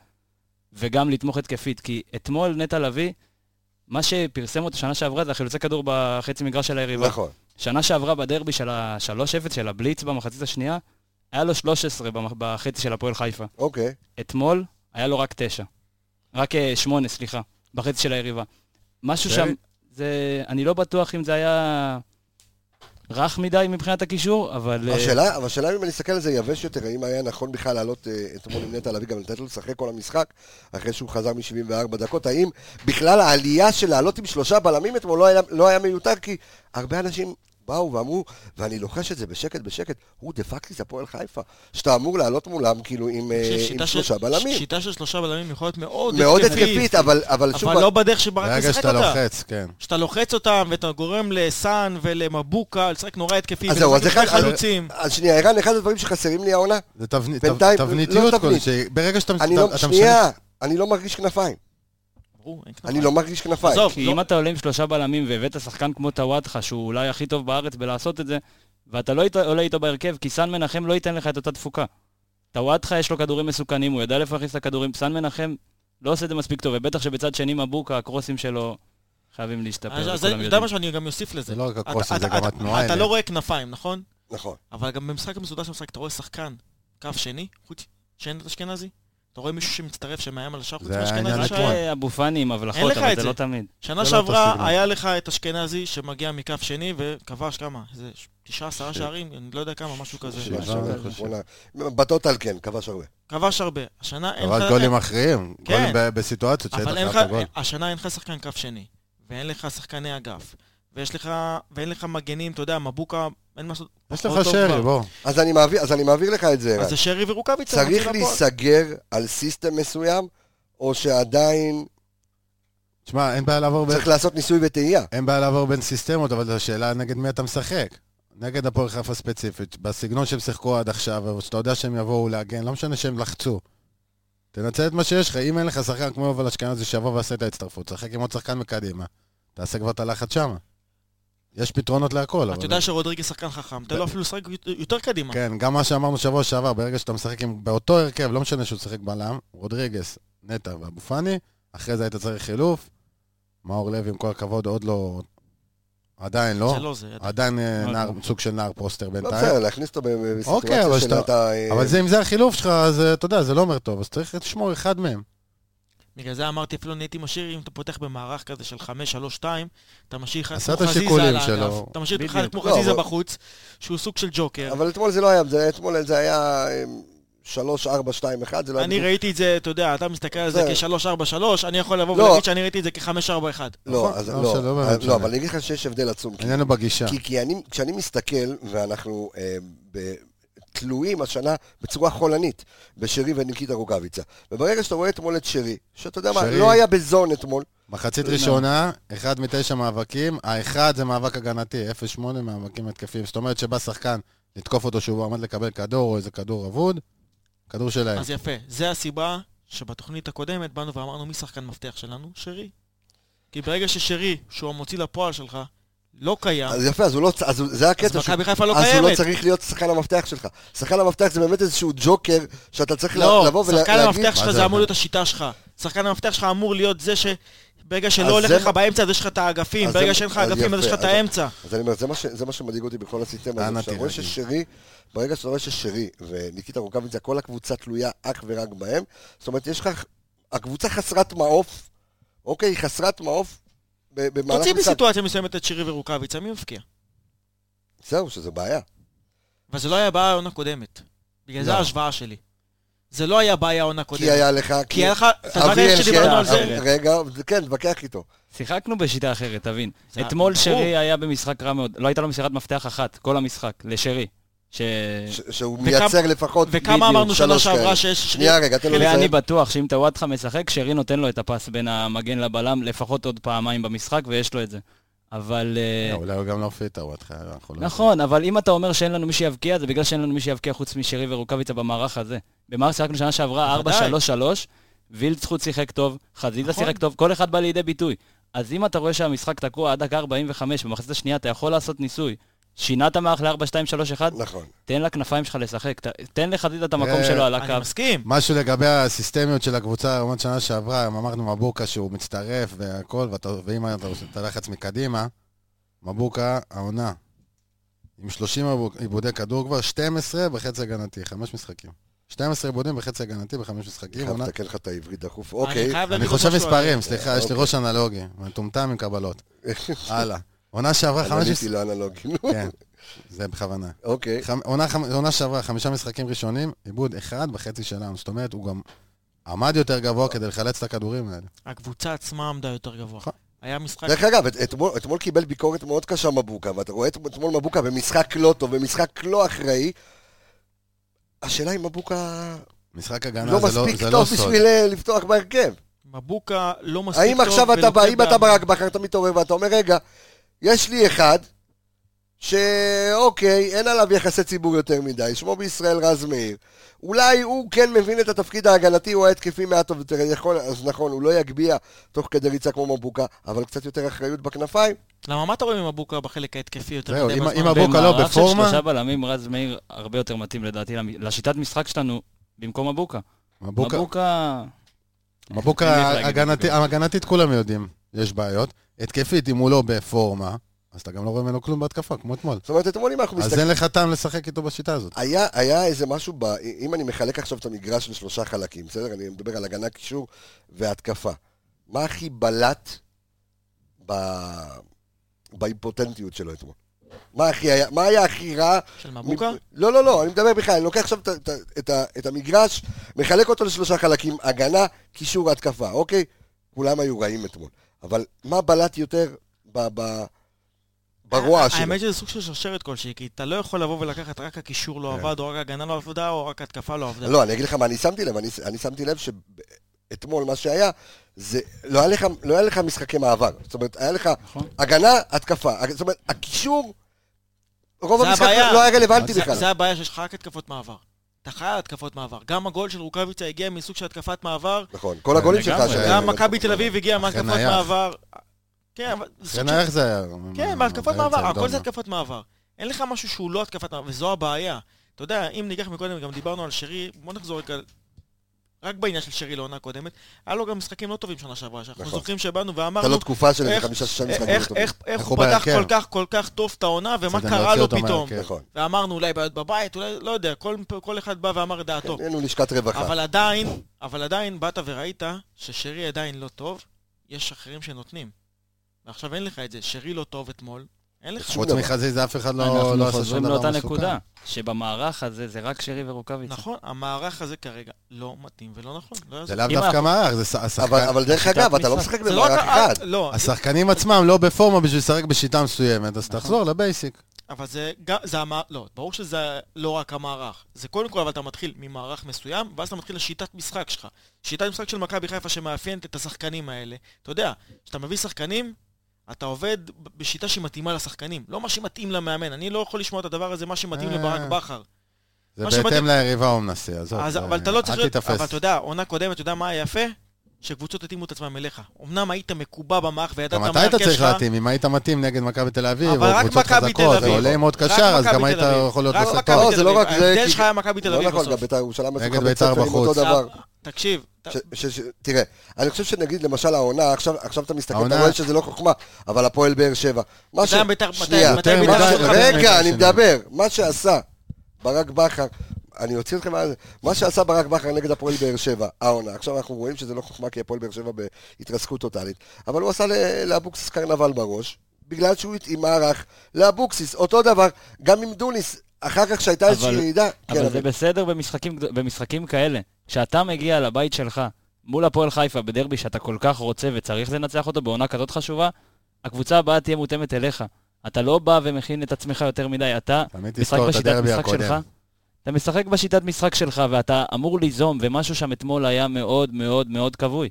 [SPEAKER 6] וגם לתמוך התקפית. כי אתמול נטע לביא, מה שפרסם אותו שנה שעברה זה החילוצי כדור בחצי מגרש של היריבה.
[SPEAKER 1] נכון.
[SPEAKER 6] שנה שעברה בדרבי של ה-3-0 של הבליץ במחצית השנייה, היה לו 13 במח- בחצי של הפועל חיפה.
[SPEAKER 1] אוקיי.
[SPEAKER 6] אתמול היה לו רק 9. רק 8, סליחה, בחצי של היריבה. משהו
[SPEAKER 5] זה-
[SPEAKER 6] שם, זה, אני לא בטוח אם זה היה רך מדי מבחינת הקישור, אבל... אה,
[SPEAKER 1] השאלה, אבל השאלה אם אני אסתכל על זה יבש יותר, האם היה נכון בכלל לעלות אה, אתמול עם נטע לביא, גם לתת לו לשחק כל המשחק, אחרי שהוא חזר מ-74 דקות, האם בכלל העלייה של לעלות עם שלושה בלמים אתמול לא היה, לא היה מיותר, כי הרבה אנשים באו ואמרו, ואני לוחש את זה בשקט בשקט, הוא דה פקטי זה הפועל חיפה, שאתה אמור לעלות מולם כאילו עם, אה, עם
[SPEAKER 2] ששיטה של-
[SPEAKER 1] שלושה בלמים.
[SPEAKER 2] שיטה של שלושה בלמים יכולה להיות מאוד
[SPEAKER 1] מאוד התקפית, אבל, אבל שוב,
[SPEAKER 2] אבל לא בדרך שברק
[SPEAKER 5] ברגע
[SPEAKER 2] משחק
[SPEAKER 5] שאתה
[SPEAKER 2] אותה.
[SPEAKER 5] לוחץ, כן.
[SPEAKER 2] שאתה לוחץ אותם ואתה גורם לסאן ולמבוקה לשחק נורא התקפי.
[SPEAKER 1] אז זהו, אז
[SPEAKER 2] ולשחק
[SPEAKER 1] אחד,
[SPEAKER 2] עם שני חלוצים.
[SPEAKER 1] אז שנייה, ערן, אחד הדברים שחסרים לי העונה,
[SPEAKER 5] זה תבנית-
[SPEAKER 1] בינתיים, לא
[SPEAKER 5] תבניתיות
[SPEAKER 1] תבנית.
[SPEAKER 5] כלשהי. ברגע שאתה...
[SPEAKER 1] אני
[SPEAKER 5] אתה-
[SPEAKER 1] לא,
[SPEAKER 5] אתה
[SPEAKER 1] שנייה, אני לא מרגיש כנפיים,
[SPEAKER 2] ברור, אין כנפיים.
[SPEAKER 1] אני לא מרגיש כנפיים.
[SPEAKER 2] עזוב,
[SPEAKER 6] כי
[SPEAKER 2] לא-
[SPEAKER 6] אם אתה עולה עם שלושה בלמים והבאת שחקן כמו טוואטחה, שהוא אולי הכי טוב בארץ בלעשות את זה, ואתה לא היית- עולה איתו בהרכב, כי סאן מנחם לא ייתן לך את אותה תפוקה. טוואטחה יש לו כדורים מסוכנים, הוא יודע להכניס את הכדורים, סאן מנחם לא עושה את זה מספיק טוב, ובטח שבצד שני מבוקה, הקרוסים שלו חייבים
[SPEAKER 2] אז
[SPEAKER 6] להשתפר,
[SPEAKER 2] אז
[SPEAKER 6] וכולם
[SPEAKER 2] זה- אתה יודע
[SPEAKER 6] יודעים.
[SPEAKER 2] מה שאני גם אוסיף לזה.
[SPEAKER 5] זה לא רק
[SPEAKER 2] אתה-
[SPEAKER 5] הקרוסים,
[SPEAKER 2] אתה-
[SPEAKER 5] זה גם
[SPEAKER 2] אתה-
[SPEAKER 5] התנועה
[SPEAKER 2] אתה
[SPEAKER 5] אליה.
[SPEAKER 2] לא רואה כנפיים, נכון?
[SPEAKER 1] נכון.
[SPEAKER 2] אבל גם במשחק המסודר של המשחק אתה רואה שחקן, קו שני, חוץ, שאין את אשכנזי? אתה רואה מישהו שמצטרף שמאיים על השאר חוץ
[SPEAKER 5] זה העניין
[SPEAKER 2] מאשכנזי?
[SPEAKER 6] רק
[SPEAKER 5] אתמול.
[SPEAKER 2] שהיה-
[SPEAKER 6] אה, אבו פאני עם הבלחות,
[SPEAKER 2] אין לך
[SPEAKER 6] אבל
[SPEAKER 2] את
[SPEAKER 6] זה
[SPEAKER 2] זה.
[SPEAKER 6] לא תמיד.
[SPEAKER 2] שנה
[SPEAKER 5] זה לא אותו סגנון.
[SPEAKER 2] שעברה היה לך את אשכנזי שמגיע מקו שני וכבש כמה? איזה תשעה, עשרה שערים? אני לא יודע כמה, משהו כזה.
[SPEAKER 5] שבעה.
[SPEAKER 2] משהו כזה.
[SPEAKER 1] בטוטל כן, כבש הרבה.
[SPEAKER 2] כבש הרבה. השנה אין לך...
[SPEAKER 5] אבל גולים מכריעים.
[SPEAKER 2] כן.
[SPEAKER 5] גולים ב- בסיטואציות שאין
[SPEAKER 2] אבל אין
[SPEAKER 5] לך
[SPEAKER 2] לך,
[SPEAKER 5] אף גול.
[SPEAKER 2] השנה אין לך שחקן כף שני, ואין לך שחקני אגף, ויש לך, ואין לך מגנים, אתה יודע, מבוקה, אין מה לעשות.
[SPEAKER 5] יש
[SPEAKER 2] פחות
[SPEAKER 5] לך
[SPEAKER 2] טוב
[SPEAKER 5] שרי,
[SPEAKER 2] כבר.
[SPEAKER 5] בוא.
[SPEAKER 1] אז אני מעביר, אז אני מעביר לך את זה,
[SPEAKER 2] אז
[SPEAKER 1] ערן.
[SPEAKER 2] זה שרי ורוקאביצה.
[SPEAKER 1] צריך
[SPEAKER 2] מוציא לפועל.
[SPEAKER 1] להיסגר על סיסטם מסוים, או שעדיין
[SPEAKER 5] תשמע, אין בעיה לעבור בין-
[SPEAKER 1] צריך לעשות ניסוי וטעייה?
[SPEAKER 5] אין בעיה לעבור בין סיסטמות, אבל זו השאלה נגד מי אתה משחק. נגד הפועל חיפה ספציפית, בסגנון שהם שיחקו עד עכשיו, אבל שאתה יודע שהם יבואו להגן, לא משנה שהם לחצו. תנצל את מה שיש לך, אם אין לך שחקן כמו יובל אשכנזי שיבוא ויעשה את ההצטרפות, תשחק עם עוד שחקן מקדימה, תעשה כבר את הלחץ שמה. יש פתרונות להכל,
[SPEAKER 2] אתה
[SPEAKER 5] אבל...
[SPEAKER 2] יודע שרודריגז שחקן חכם, תן לו אפילו לשחק יותר קדימה.
[SPEAKER 5] כן, גם מה שאמרנו שבוע שעבר, ברגע שאתה משחק עם... באותו הרכב, לא משנה שהוא שיחק בלם, רודריגס, נטע ואבו פאני, אחרי זה היית צריך חילוף, מאור לוי, עם כל הכבוד, עוד לא... עדיין לא.
[SPEAKER 2] זה לא זה. אתה-
[SPEAKER 5] עדיין אה,
[SPEAKER 6] אוקיי.
[SPEAKER 5] נער, סוג של נער פוסטר
[SPEAKER 1] לא
[SPEAKER 5] בינתיים.
[SPEAKER 1] בסדר, להכניס אותו ב-
[SPEAKER 5] אוקיי, אבל
[SPEAKER 1] בסיטואציה
[SPEAKER 5] שאתה-
[SPEAKER 1] שאתה... אה,
[SPEAKER 5] אבל זה, אם זה החילוף שלך, אז אה, אתה יודע, זה לא אומר טוב, אז צריך לשמור אחד מהם.
[SPEAKER 2] בגלל זה אמרתי, אפילו נהייתי משאיר, אם אתה פותח במערך כזה של 5-3-2, אתה משאיר אחד
[SPEAKER 5] עשה
[SPEAKER 2] כמו
[SPEAKER 5] את השיקולים
[SPEAKER 2] חזיזה על
[SPEAKER 5] שלו.
[SPEAKER 2] האגף, אתה משאיר אחד
[SPEAKER 6] בדיוק.
[SPEAKER 2] כמו
[SPEAKER 1] לא,
[SPEAKER 2] חזיזה
[SPEAKER 1] אבל-
[SPEAKER 2] בחוץ, שהוא סוג של ג'וקר.
[SPEAKER 1] אבל אתמול זה לא היה, זה- אתמול זה היה אה, 3, 4, 2, 1, זה לא היה...
[SPEAKER 2] אני
[SPEAKER 1] בדיוק-
[SPEAKER 2] ראיתי את זה, אתה יודע, אתה מסתכל על זה
[SPEAKER 1] בסדר.
[SPEAKER 2] כ-3-4-3, אני יכול לבוא
[SPEAKER 1] לא.
[SPEAKER 2] ולהגיד שאני ראיתי את זה כ-5-4-1.
[SPEAKER 1] לא, אז
[SPEAKER 5] לא,
[SPEAKER 1] לא,
[SPEAKER 5] שלא באמת
[SPEAKER 1] אה,
[SPEAKER 5] משנה.
[SPEAKER 1] לא, אבל אני אגיד לך שיש הבדל עצום. כי-
[SPEAKER 5] העניין הוא בגישה.
[SPEAKER 2] כן.
[SPEAKER 1] כי, כי אני, כשאני מסתכל, ואנחנו אה, ב, תלויים השנה בצורה חולנית בשרי וניקיטה רוקאביצה, וברגע שאתה רואה אתמול את שרי, שאתה יודע מה,
[SPEAKER 5] שרי.
[SPEAKER 1] לא היה בזון אתמול,
[SPEAKER 2] אה.
[SPEAKER 5] מחצית
[SPEAKER 1] לא.
[SPEAKER 5] ראשונה, אחד מתשע מאבקים, האחד זה מאבק הגנתי, 0-8 מאבקים התקפיים. זאת אומרת שבא שחקן לתקוף אותו שהוא עומד לקבל כדור או איזה כדור אבוד, כדור שלהם.
[SPEAKER 2] אז יפה, זה הסיבה שבתוכנית הקודמת באנו ואמרנו מי שחקן מפתח שלנו? שרי. כי ברגע ששרי, שהוא המוציא לפועל שלך, לא קיים,
[SPEAKER 1] אז יפה, אז, הוא לא, צ- אז הוא- זה
[SPEAKER 2] אז
[SPEAKER 1] הקטע, שהוא-
[SPEAKER 2] מכבי חיפה לא
[SPEAKER 1] אז הוא לא
[SPEAKER 2] קיימת.
[SPEAKER 1] צריך להיות שחקן המפתח שלך. שחקן המפתח זה באמת איזשהו ג'וקר, שאתה צריך ל-
[SPEAKER 2] לא,
[SPEAKER 1] לבוא ולהגיד...
[SPEAKER 2] שחקן המפתח
[SPEAKER 5] מה
[SPEAKER 2] שלך
[SPEAKER 5] זה
[SPEAKER 2] זה אמור
[SPEAKER 5] אבל?
[SPEAKER 2] להיות השיטה שלך. שחקן המפתח שלך אמור להיות זה שברגע
[SPEAKER 1] אז
[SPEAKER 2] שלא הולך
[SPEAKER 1] זה
[SPEAKER 2] לך
[SPEAKER 1] מה-
[SPEAKER 2] באמצע, אז יש לך את האגפים.
[SPEAKER 1] אז
[SPEAKER 2] ברגע
[SPEAKER 1] זה-
[SPEAKER 2] שאין לך
[SPEAKER 1] אז
[SPEAKER 2] אגפים, אז
[SPEAKER 1] יפה,
[SPEAKER 2] יש לך
[SPEAKER 1] אז-
[SPEAKER 2] את האמצע.
[SPEAKER 1] אז אני אומר, זה מה, ש, זה מה שמדאיג אותי בכל הסיסטמה
[SPEAKER 5] אנא
[SPEAKER 1] הזאת. כשאתה רואה
[SPEAKER 5] תירגעי.
[SPEAKER 1] ששרי, ברגע שאתה רואה ששרי וניקיטה רוקאביצה, כל הקבוצה תלויה אך ורק בהם, זאת אומרת, יש לך... הקבוצה חסרת מעוף, אוקיי? היא חסרת מעוף ב- במהלך
[SPEAKER 2] תוציא בסיטואציה מסוימת את שרי ורוקאביצה, מי מבקיע?
[SPEAKER 1] זהו, שזה בעיה.
[SPEAKER 2] אבל זה לא היה בעיה העונה הקודמת. בגלל זה
[SPEAKER 5] לא.
[SPEAKER 2] ההשוואה שלי. זה לא היה בעיה העונה
[SPEAKER 1] כי
[SPEAKER 2] קודמת.
[SPEAKER 1] היה לך...
[SPEAKER 2] כי היה לך... אתה יודע איך שדיברנו
[SPEAKER 1] שנייה,
[SPEAKER 2] על זה?
[SPEAKER 1] אבל- רגע, כן, תתווכח איתו.
[SPEAKER 6] שיחקנו בשיטה אחרת, תבין.
[SPEAKER 2] זה-
[SPEAKER 6] אתמול
[SPEAKER 2] ברור.
[SPEAKER 6] שרי היה במשחק רע מאוד, לא הייתה לו מסירת מפתח אחת, כל המשחק, לשרי. ש...
[SPEAKER 1] ש- שהוא
[SPEAKER 2] וכמה-
[SPEAKER 1] מייצר לפחות...
[SPEAKER 2] וכמה אמרנו שנה
[SPEAKER 1] שלוש כאלה.
[SPEAKER 2] שעברה שיש...
[SPEAKER 1] שנייה, רגע, תן לו
[SPEAKER 6] ואני
[SPEAKER 1] לסיים.
[SPEAKER 6] בטוח שאם טוואטחה משחק, שרי נותן לו את הפס בין המגן לבלם לפחות עוד פעמיים במשחק, ויש לו את זה. אבל... אה,
[SPEAKER 5] אה, אולי הוא גם לא פיטר, הוא התחילה, אנחנו לא...
[SPEAKER 6] נכון, אבל אם אתה אומר שאין לנו מי שיבקיע, זה בגלל שאין לנו מי שיבקיע חוץ משרי ורוקאביצה במערך הזה. במערך שיחקנו שנה שעברה
[SPEAKER 2] בוודאי.
[SPEAKER 6] 4-3-3, וילד זכות שיחק טוב, חזיזה
[SPEAKER 2] נכון.
[SPEAKER 6] שיחק טוב, כל אחד בא לידי ביטוי. אז אם אתה רואה שהמשחק תקוע עד דקה 45 במחצית השנייה, אתה יכול לעשות ניסוי. שינה את המערך ל-4-2-3-1,
[SPEAKER 1] נכון.
[SPEAKER 6] תן לכנפיים שלך לשחק, ת- תן לחזיזה את המקום
[SPEAKER 5] אה,
[SPEAKER 6] שלו על הקו.
[SPEAKER 2] אני מסכים.
[SPEAKER 5] משהו לגבי הסיסטמיות של הקבוצה, לעומת שנה שעברה, אמרנו מבוקה שהוא מצטרף והכל, ואתה- ואם אתה עושה את הלחץ מקדימה, מבוקה העונה. עם 30 עיבוד- עיבודי כדור כבר, 12 בחצי הגנתי, חמש משחקים. 12 עיבודים בחצי הגנתי בחמש
[SPEAKER 1] אני
[SPEAKER 5] משחקים.
[SPEAKER 1] חייב
[SPEAKER 5] עונה-
[SPEAKER 1] לתקן לך את העברית דחוף. אוקיי.
[SPEAKER 2] חייב
[SPEAKER 5] אני
[SPEAKER 2] להגיד
[SPEAKER 5] חושב
[SPEAKER 2] עוד משהו על אוקיי. זה.
[SPEAKER 5] מספרים, סליחה, יש לי ראש אנלוגי, מטומטם עם קבלות. הלאה. עונה שעברה חמש...
[SPEAKER 1] אנליטי לא אנלוגי. נו.
[SPEAKER 5] כן. זה בכוונה.
[SPEAKER 1] אוקיי.
[SPEAKER 5] חמ- עונה חמ- עונה שעברה, חמישה משחקים ראשונים, עיבוד אחד בחצי שלנו. זאת אומרת, הוא גם עמד יותר גבוה כדי לחלץ את הכדורים האלה.
[SPEAKER 2] הקבוצה עצמה עמדה יותר גבוה.
[SPEAKER 5] נכון.
[SPEAKER 2] היה משחק...
[SPEAKER 1] דרך אגב, את- אתמול, אתמול קיבל ביקורת מאוד קשה מבוקה, ואתה רואה את- אתמול מבוקה במשחק לא טוב, במשחק לא אחראי. השאלה אם מבוקה
[SPEAKER 5] משחק
[SPEAKER 1] לא
[SPEAKER 5] הגנה זה לא-
[SPEAKER 1] מספיק
[SPEAKER 5] זה לא
[SPEAKER 1] טוב
[SPEAKER 5] סוד.
[SPEAKER 1] בשביל אה, לפתוח בהרכב.
[SPEAKER 2] מבוקה לא מספיק טוב.
[SPEAKER 1] האם עכשיו אתה
[SPEAKER 2] ולוקה
[SPEAKER 1] בא, אם
[SPEAKER 2] בעם.
[SPEAKER 1] אתה ברק בכר, אתה מתעורר ואתה אומר, רגע, יש לי אחד, שאוקיי, אין עליו יחסי ציבור יותר מדי, שמו בישראל רז מאיר. אולי הוא כן מבין את התפקיד ההגנתי או ההתקפי מעט טוב יותר, יכול, אז נכון, הוא לא יגביה תוך כדי ריצה כמו מבוקה, אבל קצת יותר אחריות בכנפיים.
[SPEAKER 2] למה מה אתה רואה ממבוקה בחלק ההתקפי יותר
[SPEAKER 5] זהו,
[SPEAKER 2] מדי
[SPEAKER 5] אם-
[SPEAKER 2] בזמן?
[SPEAKER 5] אם מבוקה לא
[SPEAKER 6] במערך של
[SPEAKER 5] בפורמה-
[SPEAKER 6] שלושה בלמים, רז מאיר הרבה יותר מתאים לדעתי למ- לשיטת משחק שלנו במקום מבוקה.
[SPEAKER 5] מבוקה-
[SPEAKER 6] מבוקה... אני הולך
[SPEAKER 5] מבוקה
[SPEAKER 6] להגיד
[SPEAKER 5] הגנתי-
[SPEAKER 6] מבוקה.
[SPEAKER 5] הגנתית כולם יודעים, יש בעיות. התקפית, אם הוא לא בפורמה, אז אתה גם לא רואה ממנו כלום בהתקפה, כמו אתמול.
[SPEAKER 1] זאת אומרת, אתמול אם אנחנו
[SPEAKER 5] אז אין לך טעם לשחק איתו בשיטה הזאת.
[SPEAKER 1] היה, היה איזה משהו, ב, אם אני מחלק עכשיו את המגרש לשלושה חלקים, בסדר? אני מדבר על הגנה, קישור והתקפה. מה הכי בלט ב, באימפוטנטיות שלו אתמול? מה, הכי היה, מה היה הכי רע?
[SPEAKER 2] של מבוקה?
[SPEAKER 1] מ- לא, לא, לא, אני מדבר בכלל, אני לוקח עכשיו את, את, את, ה- את המגרש, מחלק אותו לשלושה חלקים, הגנה, קישור, התקפה, אוקיי? כולם היו רעים אתמול. אבל מה בלט יותר ב, ב, ברוע שלו?
[SPEAKER 2] אה, האמת שזה סוג של שרשרת כלשהי, כי אתה לא יכול לבוא ולקחת רק הקישור לא
[SPEAKER 1] כן.
[SPEAKER 2] עבד, או רק ההגנה לא עבדה, או רק ההתקפה לא עבדה.
[SPEAKER 1] לא, אני אגיד לך מה אני שמתי לב, אני, אני שמתי לב שאתמול מה שהיה, זה, לא היה, לך, לא היה לך משחקי מעבר. זאת אומרת, היה לך
[SPEAKER 6] נכון.
[SPEAKER 1] הגנה, התקפה. זאת אומרת, הקישור, רוב
[SPEAKER 2] זה
[SPEAKER 1] המשחק
[SPEAKER 2] הבעיה.
[SPEAKER 1] לא- לא היה רלוונטי
[SPEAKER 2] זה-
[SPEAKER 1] בכלל.
[SPEAKER 2] זה הבעיה שיש לך רק התקפות מעבר. אתה חייב התקפות מעבר. גם הגול של רוקאביצה הגיע מסוג של התקפת מעבר,
[SPEAKER 1] נכון, כל הגולים שלך.
[SPEAKER 6] לגמרי.
[SPEAKER 5] כן,
[SPEAKER 1] שהיו-
[SPEAKER 2] גם מכבי תל אביב הגיעה מהתקפות
[SPEAKER 5] נייח.
[SPEAKER 2] מעבר. כן, אבל... זה סוג
[SPEAKER 5] כן,
[SPEAKER 2] של-
[SPEAKER 5] איך זה היה? אה,
[SPEAKER 2] כן, בהתקפות
[SPEAKER 5] באמצע
[SPEAKER 2] מעבר, הכל
[SPEAKER 5] דומה.
[SPEAKER 2] זה התקפות מעבר. אין לך משהו שהוא לא התקפת מעבר, וזו הבעיה. אתה יודע, אם ניקח מקודם, גם דיברנו על שרי, בוא נחזור רגע, רק בעניין של שרי לעונה הקודמת, היה לו גם משחקים לא טובים שנה שעברה, שאנחנו
[SPEAKER 1] נכון.
[SPEAKER 2] זוכרים שבאנו
[SPEAKER 1] הייתה
[SPEAKER 2] ואמרנו,
[SPEAKER 1] לו תקופה של איזה
[SPEAKER 2] איך-
[SPEAKER 1] חמישה-שישה
[SPEAKER 2] איך-
[SPEAKER 1] משחקים. לא
[SPEAKER 2] איך-
[SPEAKER 1] טובים.
[SPEAKER 2] איך- איך
[SPEAKER 5] איך
[SPEAKER 2] הוא
[SPEAKER 5] הוא
[SPEAKER 2] פתח
[SPEAKER 5] בהרכב?
[SPEAKER 2] כל כך כל כך טוב את העונה, ומה
[SPEAKER 5] צריך גם
[SPEAKER 2] קרה
[SPEAKER 5] להוציא
[SPEAKER 2] לו
[SPEAKER 5] אותו
[SPEAKER 2] פתאום.
[SPEAKER 5] מההרכב.
[SPEAKER 1] נכון.
[SPEAKER 2] ואמרנו, אולי בעיות בבית, אולי, לא יודע, כל- כל אחד בא ואמר את דעתו.
[SPEAKER 1] אין לנו לשכת רווחה.
[SPEAKER 2] אבל עדיין, אבל עדיין באת וראית ששרי עדיין לא טוב, יש אחרים שנותנים. ועכשיו אין לך את זה, שרי לא טוב אתמול, אין לך.
[SPEAKER 1] שום
[SPEAKER 5] חוץ
[SPEAKER 1] דבר.
[SPEAKER 5] מחזיזה אף אחד לא לא
[SPEAKER 6] אנחנו
[SPEAKER 5] עשה שום
[SPEAKER 6] חוזרים
[SPEAKER 5] דבר
[SPEAKER 6] לאותה
[SPEAKER 5] מסוכן.
[SPEAKER 6] נקודה, שבמערך הזה זה רק שרי ורוקאביצה.
[SPEAKER 2] נכון, המערך הזה כרגע לא מתאים ולא נכון. לא
[SPEAKER 5] זה
[SPEAKER 2] יעזור.
[SPEAKER 5] לאו
[SPEAKER 6] אם
[SPEAKER 5] דווקא
[SPEAKER 6] אנחנו-
[SPEAKER 5] מערך, זה ש-
[SPEAKER 1] אבל
[SPEAKER 5] השחקן-
[SPEAKER 1] אבל דרך אגב, אתה לא
[SPEAKER 6] משחק.
[SPEAKER 1] משחק
[SPEAKER 2] זה לא
[SPEAKER 1] במערך אחד.
[SPEAKER 2] רק... לא,
[SPEAKER 5] השחקנים עצמם לא בפורמה בשביל לשחק בשיטה מסוימת, אז
[SPEAKER 2] נכון.
[SPEAKER 5] תחזור לבייסיק.
[SPEAKER 2] אבל זה גם... זה המע... לא, ברור שזה לא רק המערך. זה קודם כל, אבל אתה מתחיל ממערך מסוים, ואז אתה מתחיל לשיטת משחק שלך. שיטת משחק של מכבי חיפה שמאפיינת את השחקנים האלה. אתה יודע, כשאתה מביא שחקנים, אתה עובד ב- בשיטה שמתאימה לשחקנים, לא מה שמתאים למאמן. אני לא יכול לשמוע את הדבר הזה, מה שמתאים
[SPEAKER 5] אה.
[SPEAKER 2] לברק בכר.
[SPEAKER 5] זה
[SPEAKER 2] מה שמתאים-
[SPEAKER 5] בהתאם ליריבה הוא מנסה, עזוב.
[SPEAKER 2] אז,
[SPEAKER 5] זה-
[SPEAKER 2] אבל אתה לא צריך...
[SPEAKER 5] אל
[SPEAKER 2] להיות- אבל
[SPEAKER 5] תיתפס.
[SPEAKER 2] אתה יודע, עונה קודמת, אתה יודע מה היה יפה? שקבוצות התאימו את עצמם אליך. אמנם היית מקובע במערך וידעת
[SPEAKER 5] גם
[SPEAKER 2] מה
[SPEAKER 5] אתה היית
[SPEAKER 2] ההרכב
[SPEAKER 5] צריך
[SPEAKER 2] שלך,
[SPEAKER 5] להתאים, אם היית מתאים נגד מכבי תל אביב,
[SPEAKER 2] אבל
[SPEAKER 5] או
[SPEAKER 2] רק
[SPEAKER 5] קבוצות
[SPEAKER 2] מכבי תל
[SPEAKER 5] חזקות,
[SPEAKER 2] אביב.
[SPEAKER 5] ועולה עם עוד
[SPEAKER 2] רק
[SPEAKER 5] קשר, אז
[SPEAKER 2] מכבי
[SPEAKER 5] גם היית
[SPEAKER 2] תל אביב.
[SPEAKER 5] יכול להיות
[SPEAKER 2] רק
[SPEAKER 5] בסרטון.
[SPEAKER 2] מכבי
[SPEAKER 1] לא,
[SPEAKER 2] תל
[SPEAKER 1] זה לא
[SPEAKER 2] אביב.
[SPEAKER 1] רק זה,
[SPEAKER 2] ההבדל
[SPEAKER 1] כי-
[SPEAKER 2] שלך היה מכבי תל
[SPEAKER 1] לא
[SPEAKER 2] אביב
[SPEAKER 1] נכון, גם
[SPEAKER 2] בסוף.
[SPEAKER 1] בית"ר ירושלים עשו
[SPEAKER 5] נגד
[SPEAKER 1] לך
[SPEAKER 5] בית"ר
[SPEAKER 1] בית ספר עם אותו
[SPEAKER 5] בחוץ.
[SPEAKER 1] דבר.
[SPEAKER 2] תקשיב, אתה-
[SPEAKER 1] ש- ש- ש- תראה, אני חושב שנגיד למשל העונה, עכשיו עכשיו אתה מסתכל, אתה
[SPEAKER 5] העונה-
[SPEAKER 1] רואה שזה לא חוכמה, אבל הפועל באר שבע. מה ש-
[SPEAKER 2] מתי בית"ר- מתי-
[SPEAKER 1] שנייה,
[SPEAKER 2] מתי
[SPEAKER 5] יותר
[SPEAKER 1] מה
[SPEAKER 2] בית"ר
[SPEAKER 5] מדי-
[SPEAKER 1] ש-
[SPEAKER 2] שלך-
[SPEAKER 5] רגע,
[SPEAKER 1] רגע, אני
[SPEAKER 5] שנייה.
[SPEAKER 1] מדבר. מה שעשה ברק בכר, אני אוציא אתכם מה זה, מה שעשה ברק בכר נגד הפועל באר שבע, העונה. עכשיו אנחנו רואים שזה לא חוכמה, כי הפועל באר שבע בהתרסקות טוטאלית, אבל הוא עשה ל- לאבוקסיס קרנבל בראש, בגלל שהוא התאים מערך לאבוקסיס. אותו דבר, גם עם דוניס, אחר כך שהייתה
[SPEAKER 6] אבל-
[SPEAKER 1] איזושהי ירידה, כן,
[SPEAKER 6] אבל זה בסדר במשחקים גד- במשחקים כאלה. כשאתה מגיע לבית שלך מול הפועל חיפה בדרבי שאתה כל כך רוצה וצריך לנצח אותו בעונה כזאת חשובה, הקבוצה הבאה תהיה מותאמת אליך. אתה לא בא ומכין את עצמך יותר מדי, אתה
[SPEAKER 5] תמיד
[SPEAKER 6] משחק
[SPEAKER 5] תזכור את
[SPEAKER 6] בשיטת
[SPEAKER 5] הדרבי
[SPEAKER 6] משחק שלך.
[SPEAKER 5] הקודם.
[SPEAKER 6] אתה משחק בשיטת משחק שלך ואתה אמור ליזום, ומשהו שם אתמול היה מאוד מאוד מאוד כבוי.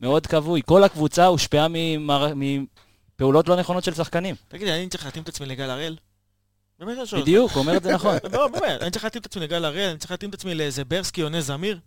[SPEAKER 6] מאוד כבוי. כל הקבוצה הושפעה ממער- מפעולות לא נכונות של שחקנים.
[SPEAKER 2] תגיד, אני צריך להתאים את עצמי לגל הראל? באמת אני שואל אותך.
[SPEAKER 6] בדיוק, הוא אומר את זה נכון.
[SPEAKER 2] לא, באמת, אני צריך להתאים את עצמי לגל הראל, אני צריך להתאים את עצמי לאיזה ברסקי או נס זמיר?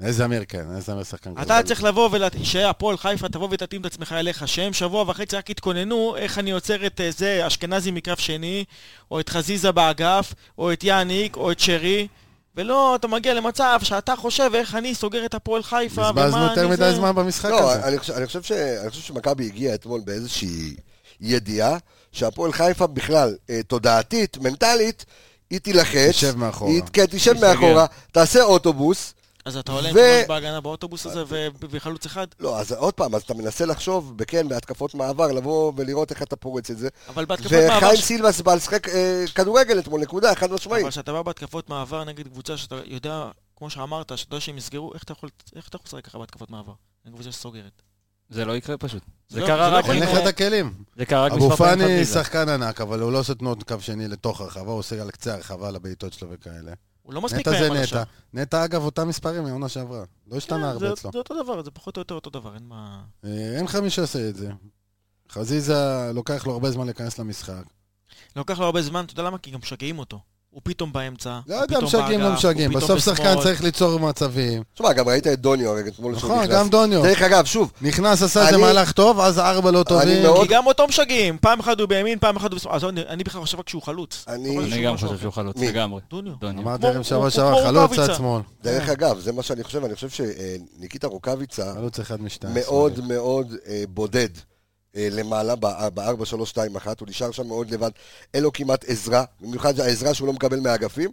[SPEAKER 5] נס זמיר, כן, נס זמיר שחקן כזה.
[SPEAKER 2] אתה צריך לבוא ול... שהפועל חיפה תבוא ותתאים את עצמך אליך, שהם שבוע וחצי רק יתכוננו איך אני עוצר את אה, זה, אשכנזי מקרב שני, או את חזיזה באגף, או את יאניק, או את שרי, ולא, אתה מגיע למצב שאתה חושב איך אני סוגר את הפועל חיפה,
[SPEAKER 5] בזבזנו יותר
[SPEAKER 2] אני
[SPEAKER 5] מדי
[SPEAKER 2] זה.
[SPEAKER 5] זמן במשחק
[SPEAKER 1] לא,
[SPEAKER 5] הזה.
[SPEAKER 1] אני חושב, אני, חושב ש, אני חושב שמכבי הגיעה אתמול באיזושהי ידיעה שהפועל חיפה בכלל, אה, תודעתית, מנטלית, היא תילחץ.
[SPEAKER 5] תשב מאחורה.
[SPEAKER 1] היא, כן, תשב
[SPEAKER 6] תסתגר.
[SPEAKER 1] מאחורה, תעשה אוטובוס,
[SPEAKER 2] אז אתה עולה עם
[SPEAKER 1] ו-
[SPEAKER 2] חלוץ בהגנה באוטובוס הזה ו- וחלוץ אחד,
[SPEAKER 1] לא, אז עוד פעם, אז אתה מנסה לחשוב, וכן, בהתקפות מעבר, לבוא ולראות איך אתה פורץ את זה.
[SPEAKER 2] אבל בהתקפות מעבר...
[SPEAKER 1] וחיים
[SPEAKER 2] ש- נכון.
[SPEAKER 1] סילבס בא לשחק אה, כדורגל אתמול, נקודה, חד משמעית.
[SPEAKER 2] אבל כשאתה בא בהתקפות מעבר נגד קבוצה שאתה יודע, כמו שאמרת, שאתה יודע שהם יסגרו, איך אתה יכול איך אתה יכול לשחק ככה בהתקפות מעבר? נגד קבוצה שסוגרת.
[SPEAKER 6] זה לא יקרה פשוט. זה
[SPEAKER 2] לא-
[SPEAKER 6] קרה
[SPEAKER 2] זה לא
[SPEAKER 6] רק...
[SPEAKER 2] יכול
[SPEAKER 5] אין
[SPEAKER 2] אם
[SPEAKER 5] לך
[SPEAKER 2] הוא-
[SPEAKER 5] את הכלים.
[SPEAKER 6] זה קרה רק
[SPEAKER 5] אבו
[SPEAKER 6] מספר פעמים.
[SPEAKER 5] פאני
[SPEAKER 6] בליגה.
[SPEAKER 5] שחקן ענק, אבל הוא לא עושה תנועות קו שני לתוך הרחבה, הוא עושה על קצה הרחבה לבעיטות שלו וכאלה.
[SPEAKER 2] הוא לא מספיק
[SPEAKER 5] נטע
[SPEAKER 2] מהם
[SPEAKER 5] זה
[SPEAKER 2] עד עכשיו.
[SPEAKER 5] נטע. נטע, אגב, אותם מספרים מהעונה שעברה. לא השתנה
[SPEAKER 2] כן,
[SPEAKER 5] הרבה
[SPEAKER 2] זה-
[SPEAKER 5] אצלו.
[SPEAKER 2] זה אותו דבר, זה פחות או יותר אותו דבר, אין מה...
[SPEAKER 5] אה, אין לך מי שעושה את זה. חזיזה, לוקח לו הרבה זמן להיכנס למשחק.
[SPEAKER 2] לוקח לו הרבה זמן, אתה יודע למה? כי גם משגעים אותו. הוא פתאום באמצע,
[SPEAKER 5] לא
[SPEAKER 2] הוא
[SPEAKER 5] יודע,
[SPEAKER 2] פתאום
[SPEAKER 5] משגעים, לא
[SPEAKER 2] באגף,
[SPEAKER 5] משגעים.
[SPEAKER 2] הוא פתאום
[SPEAKER 5] בסוף שחקן
[SPEAKER 2] בשמאל.
[SPEAKER 5] צריך ליצור מצבים.
[SPEAKER 1] תשמע, גם ראית את דוניו הרגע אתמול שהוא
[SPEAKER 5] נכון,
[SPEAKER 1] נכנס.
[SPEAKER 5] גם דוניו.
[SPEAKER 1] דרך אגב, שוב,
[SPEAKER 5] נכנס, עשה איזה
[SPEAKER 1] אני-
[SPEAKER 5] מהלך טוב, אז ארבע לא טובים.
[SPEAKER 1] מאוד-
[SPEAKER 2] כי גם אותו משגעים, פעם אחת הוא בימין, פעם אחת הוא בשמאל. עזוב, אני- אני בכלל חושב רק שהוא חלוץ.
[SPEAKER 5] אה,
[SPEAKER 1] אני-
[SPEAKER 2] אבל
[SPEAKER 6] אני
[SPEAKER 2] שהוא
[SPEAKER 6] גם
[SPEAKER 2] משהו
[SPEAKER 6] חושב
[SPEAKER 2] אחר.
[SPEAKER 6] שהוא חלוץ
[SPEAKER 1] מי?
[SPEAKER 6] לגמרי.
[SPEAKER 2] דוניו.
[SPEAKER 6] דוניו.
[SPEAKER 5] אמרתי
[SPEAKER 2] כמו-
[SPEAKER 5] לכם
[SPEAKER 2] הוא-
[SPEAKER 5] שבוע
[SPEAKER 2] הוא
[SPEAKER 5] שעבר,
[SPEAKER 2] כמו
[SPEAKER 5] חלוץ
[SPEAKER 2] רוקאביצה.
[SPEAKER 5] צד שמאל.
[SPEAKER 1] דרך אגב, זה מה שאני חושב, אני חושב שניקיטה
[SPEAKER 2] נכון.
[SPEAKER 1] רוקאביצה
[SPEAKER 5] חלוץ אחד משתיים.
[SPEAKER 1] מאוד מאוד אה, בודד אה, למעלה ב-4-3-2-1, הוא נשאר שם מאוד לבד, אין לו כמעט עזרה, במיוחד העזרה שהוא לא מקבל מהאגפים,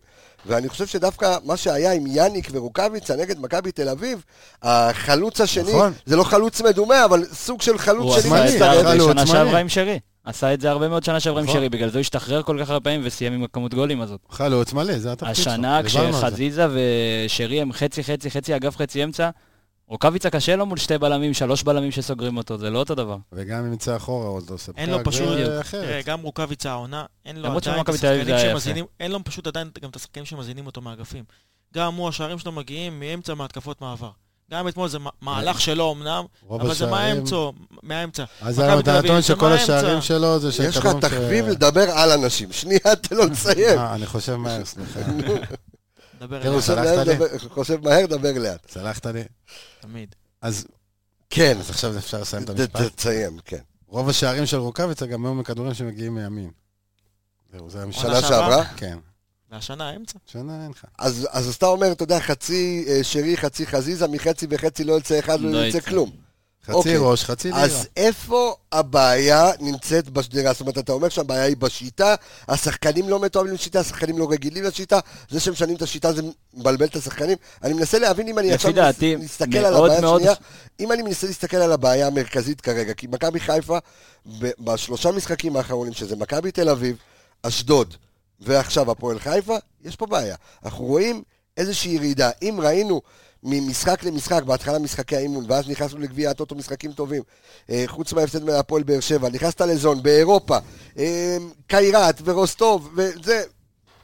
[SPEAKER 1] ואני חושב שדווקא מה שהיה עם יאניק ורוקאביצה נגד מכבי תל אביב, החלוץ השני,
[SPEAKER 5] נכון.
[SPEAKER 1] זה לא חלוץ מדומה, אבל סוג של
[SPEAKER 6] הוא
[SPEAKER 1] חלוץ שני
[SPEAKER 6] עשה את
[SPEAKER 5] מצטרף.
[SPEAKER 6] זה הרבה
[SPEAKER 5] חלוץ,
[SPEAKER 6] שנה
[SPEAKER 5] זמני.
[SPEAKER 6] שעברה עם שרי. עשה את זה הרבה מאוד שנה שעברה עם
[SPEAKER 5] נכון.
[SPEAKER 6] שרי, בגלל זה הוא השתחרר כל כך הרבה פעמים וסיים עם הכמות גולים הזאת.
[SPEAKER 5] חלוץ מלא, זה התפקיד שלו.
[SPEAKER 6] השנה
[SPEAKER 5] דיברנו על זה.
[SPEAKER 6] כשחזיזה ושרי הם חצי חצי חצי אגף חצי אמצע, רוקאביצה קשה לו מול שתי בלמים, שלוש בלמים שסוגרים אותו, זה לא אותו דבר.
[SPEAKER 5] וגם אם יצא אחורה, עוד לא עושה
[SPEAKER 2] אין לו
[SPEAKER 5] פקק,
[SPEAKER 2] פשוט-
[SPEAKER 5] זה
[SPEAKER 2] תראה,
[SPEAKER 5] אחרת.
[SPEAKER 2] גם רוקאביצה העונה, אין לו
[SPEAKER 6] למרות
[SPEAKER 2] עדיין את
[SPEAKER 6] שבמכבי תל אביב זה
[SPEAKER 2] השחקנים
[SPEAKER 6] היה
[SPEAKER 2] שמזינים, אין לו פשוט עדיין גם את השחקנים שמזינים אותו מאגפים. גם הוא, השערים שלו מגיעים מאמצע מהתקפות מעבר. גם אתמול זה מה-
[SPEAKER 5] אה,
[SPEAKER 2] מהלך שלו אמנם,
[SPEAKER 5] רוב
[SPEAKER 2] אבל זה
[SPEAKER 5] השערים-
[SPEAKER 2] מהאמצע, מהאמצע.
[SPEAKER 5] אז היה לו את
[SPEAKER 2] מכבי תל אביב,
[SPEAKER 5] הנתון
[SPEAKER 2] זה
[SPEAKER 5] שכל
[SPEAKER 2] מהאמצע.
[SPEAKER 5] השערים שלו זה של
[SPEAKER 1] יש לך
[SPEAKER 5] כדורים ש-
[SPEAKER 1] תחביב לדבר על אנשים, שנייה תן לו לסיים.
[SPEAKER 5] אה, אני חושב מהר, סליחה.
[SPEAKER 2] דבר
[SPEAKER 5] תראו,
[SPEAKER 1] חושב
[SPEAKER 2] אליו,
[SPEAKER 1] מהר,
[SPEAKER 5] סלחת לי.
[SPEAKER 1] דבר- חושב מהר, דבר לאט.
[SPEAKER 5] סלחת לי.
[SPEAKER 2] תמיד.
[SPEAKER 5] אז
[SPEAKER 1] כן,
[SPEAKER 5] אז עכשיו אפשר לסיים את
[SPEAKER 1] ת-
[SPEAKER 5] המשפט.
[SPEAKER 1] ת- תסיים, כן.
[SPEAKER 5] רוב השערים של רוקאביצה גם היו מכדורים שמגיעים מימין. זהו, זה המשל.
[SPEAKER 1] שנה שעברה?
[SPEAKER 5] כן.
[SPEAKER 2] והשנה האמצע.
[SPEAKER 5] שנה אין לך.
[SPEAKER 1] אז, אז אתה אומר, אתה יודע, חצי אה, שרי, חצי חזיזה, מחצי וחצי לא יוצא אחד, לא
[SPEAKER 6] לא
[SPEAKER 1] יוצא
[SPEAKER 6] יצא.
[SPEAKER 1] כלום.
[SPEAKER 5] חצי
[SPEAKER 1] אוקיי.
[SPEAKER 5] ראש, חצי לירה.
[SPEAKER 1] אז איפה הבעיה נמצאת בשדרה? זאת אומרת, אתה אומר שהבעיה היא בשיטה, השחקנים לא מתואמים לשיטה, השחקנים לא רגילים לשיטה, זה שהם משנים את השיטה זה מבלבל את השחקנים. אני מנסה להבין אם אני
[SPEAKER 6] לפי
[SPEAKER 1] עכשיו
[SPEAKER 6] דעתי,
[SPEAKER 1] מס- מסתכל על
[SPEAKER 6] מאוד
[SPEAKER 1] הבעיה
[SPEAKER 6] מאוד-
[SPEAKER 1] השנייה, אם אני מנסה להסתכל על הבעיה המרכזית כרגע, כי מכבי חיפה, ב- בשלושה משחקים האחרונים, שזה מכבי תל אביב, אשדוד, ועכשיו הפועל חיפה, יש פה בעיה. אנחנו רואים איזושהי ירידה. אם ראינו ממשחק למשחק, בהתחלה משחקי האימון, ואז נכנסנו לגביע הטוטו משחקים טובים, אה, חוץ מההפסד מהפועל באר שבע, נכנסת לזון באירופה, אה, קיירת ורוסטוב וזה,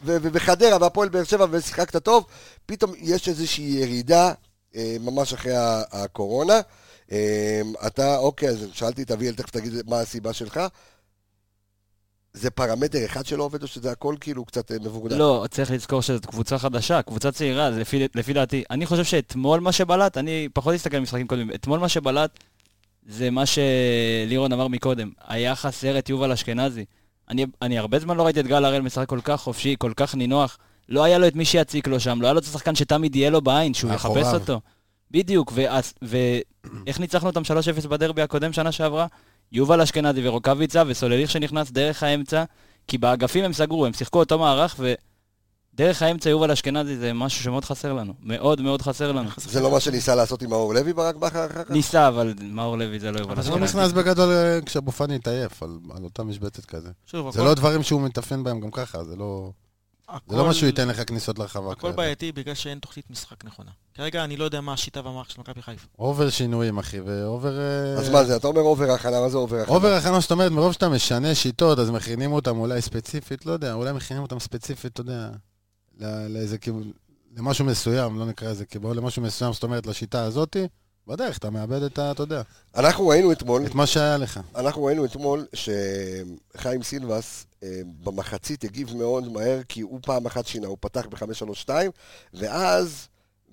[SPEAKER 1] ו- ו- וחדרה והפועל באר שבע ושיחקת טוב, פתאום יש איזושהי ירידה אה, ממש אחרי ה- הקורונה. אה, אתה, אוקיי, אז שאלתי את אביאל, תכף תגיד מה הסיבה שלך. זה פרמטר אחד שלא עובד או שזה הכל כאילו קצת אה, מבוגר?
[SPEAKER 6] לא, צריך לזכור שזאת קבוצה חדשה, קבוצה צעירה, אז לפי, לפי דעתי. אני חושב שאתמול מה שבלט, אני פחות אסתכל על משחקים קודמים, אתמול מה שבלט זה מה שלירון אמר מקודם, היה חסר את יובל אשכנזי. אני, אני הרבה זמן לא ראיתי את גל הראל משחק כל כך חופשי, כל כך נינוח. לא היה לו את מי שיציק לו שם, לא היה לו את השחקן שתמיד יהיה לו בעין, שהוא
[SPEAKER 5] מאחוריו.
[SPEAKER 6] יחפש אותו. בדיוק, ואז- ואיך ניצחנו אותם 3-0 בדרבי הקודם שנה שעברה? יובל אשכנזי ורוקאביצה וסולליך שנכנס דרך האמצע, כי באגפים הם סגרו, הם שיחקו אותו מערך, ודרך האמצע יובל אשכנזי זה משהו שמאוד חסר לנו. מאוד מאוד חסר לנו.
[SPEAKER 1] זה לא מה שניסה לעשות עם מאור לוי ברק בכר אחר כך?
[SPEAKER 6] ניסה, אבל מאור לוי זה לא יובל
[SPEAKER 2] אבל
[SPEAKER 5] זה לא
[SPEAKER 6] אשכנזי.
[SPEAKER 5] נכנס בגדול אה, כשאבו פאני התעייף על על אותה משבצת כזה.
[SPEAKER 2] שוב,
[SPEAKER 5] זה
[SPEAKER 2] הכל-
[SPEAKER 5] לא דברים שהוא מתאפיין בהם גם ככה, זה לא... זה
[SPEAKER 2] הכל-
[SPEAKER 5] לא מה שהוא ייתן לך כניסות לרחבה.
[SPEAKER 2] הכל
[SPEAKER 5] כאלה.
[SPEAKER 2] בעייתי בגלל שאין תוכנית משחק נכונה. כרגע אני לא יודע מה השיטה והמערך של מכבי חיפה.
[SPEAKER 5] אובר שינויים, אחי, ואובר... אה,
[SPEAKER 1] אז מה זה, אתה אומר אובר הכנה, מה זה אובר הכנה?
[SPEAKER 5] אובר הכנה, זאת אומרת, מרוב שאתה משנה שיטות, אז מכינים אותם אולי ספציפית, לא יודע, אולי מכינים אותם ספציפית, אתה יודע, לא- לאיזה כיוון, למשהו מסוים, לא נקרא לזה כיוון, למשהו מסוים, זאת אומרת, לשיטה הזאתי, בדרך אתה מאבד את ה... אתה יודע,
[SPEAKER 1] אנחנו ראינו אתמול,
[SPEAKER 5] את מה שהיה לך.
[SPEAKER 1] אנחנו ראינו אתמול שחיים סילבס אה, במחצית הגיב מאוד מהר, כי הוא פעם אחת שינה, הוא פתח ב-532, ואז...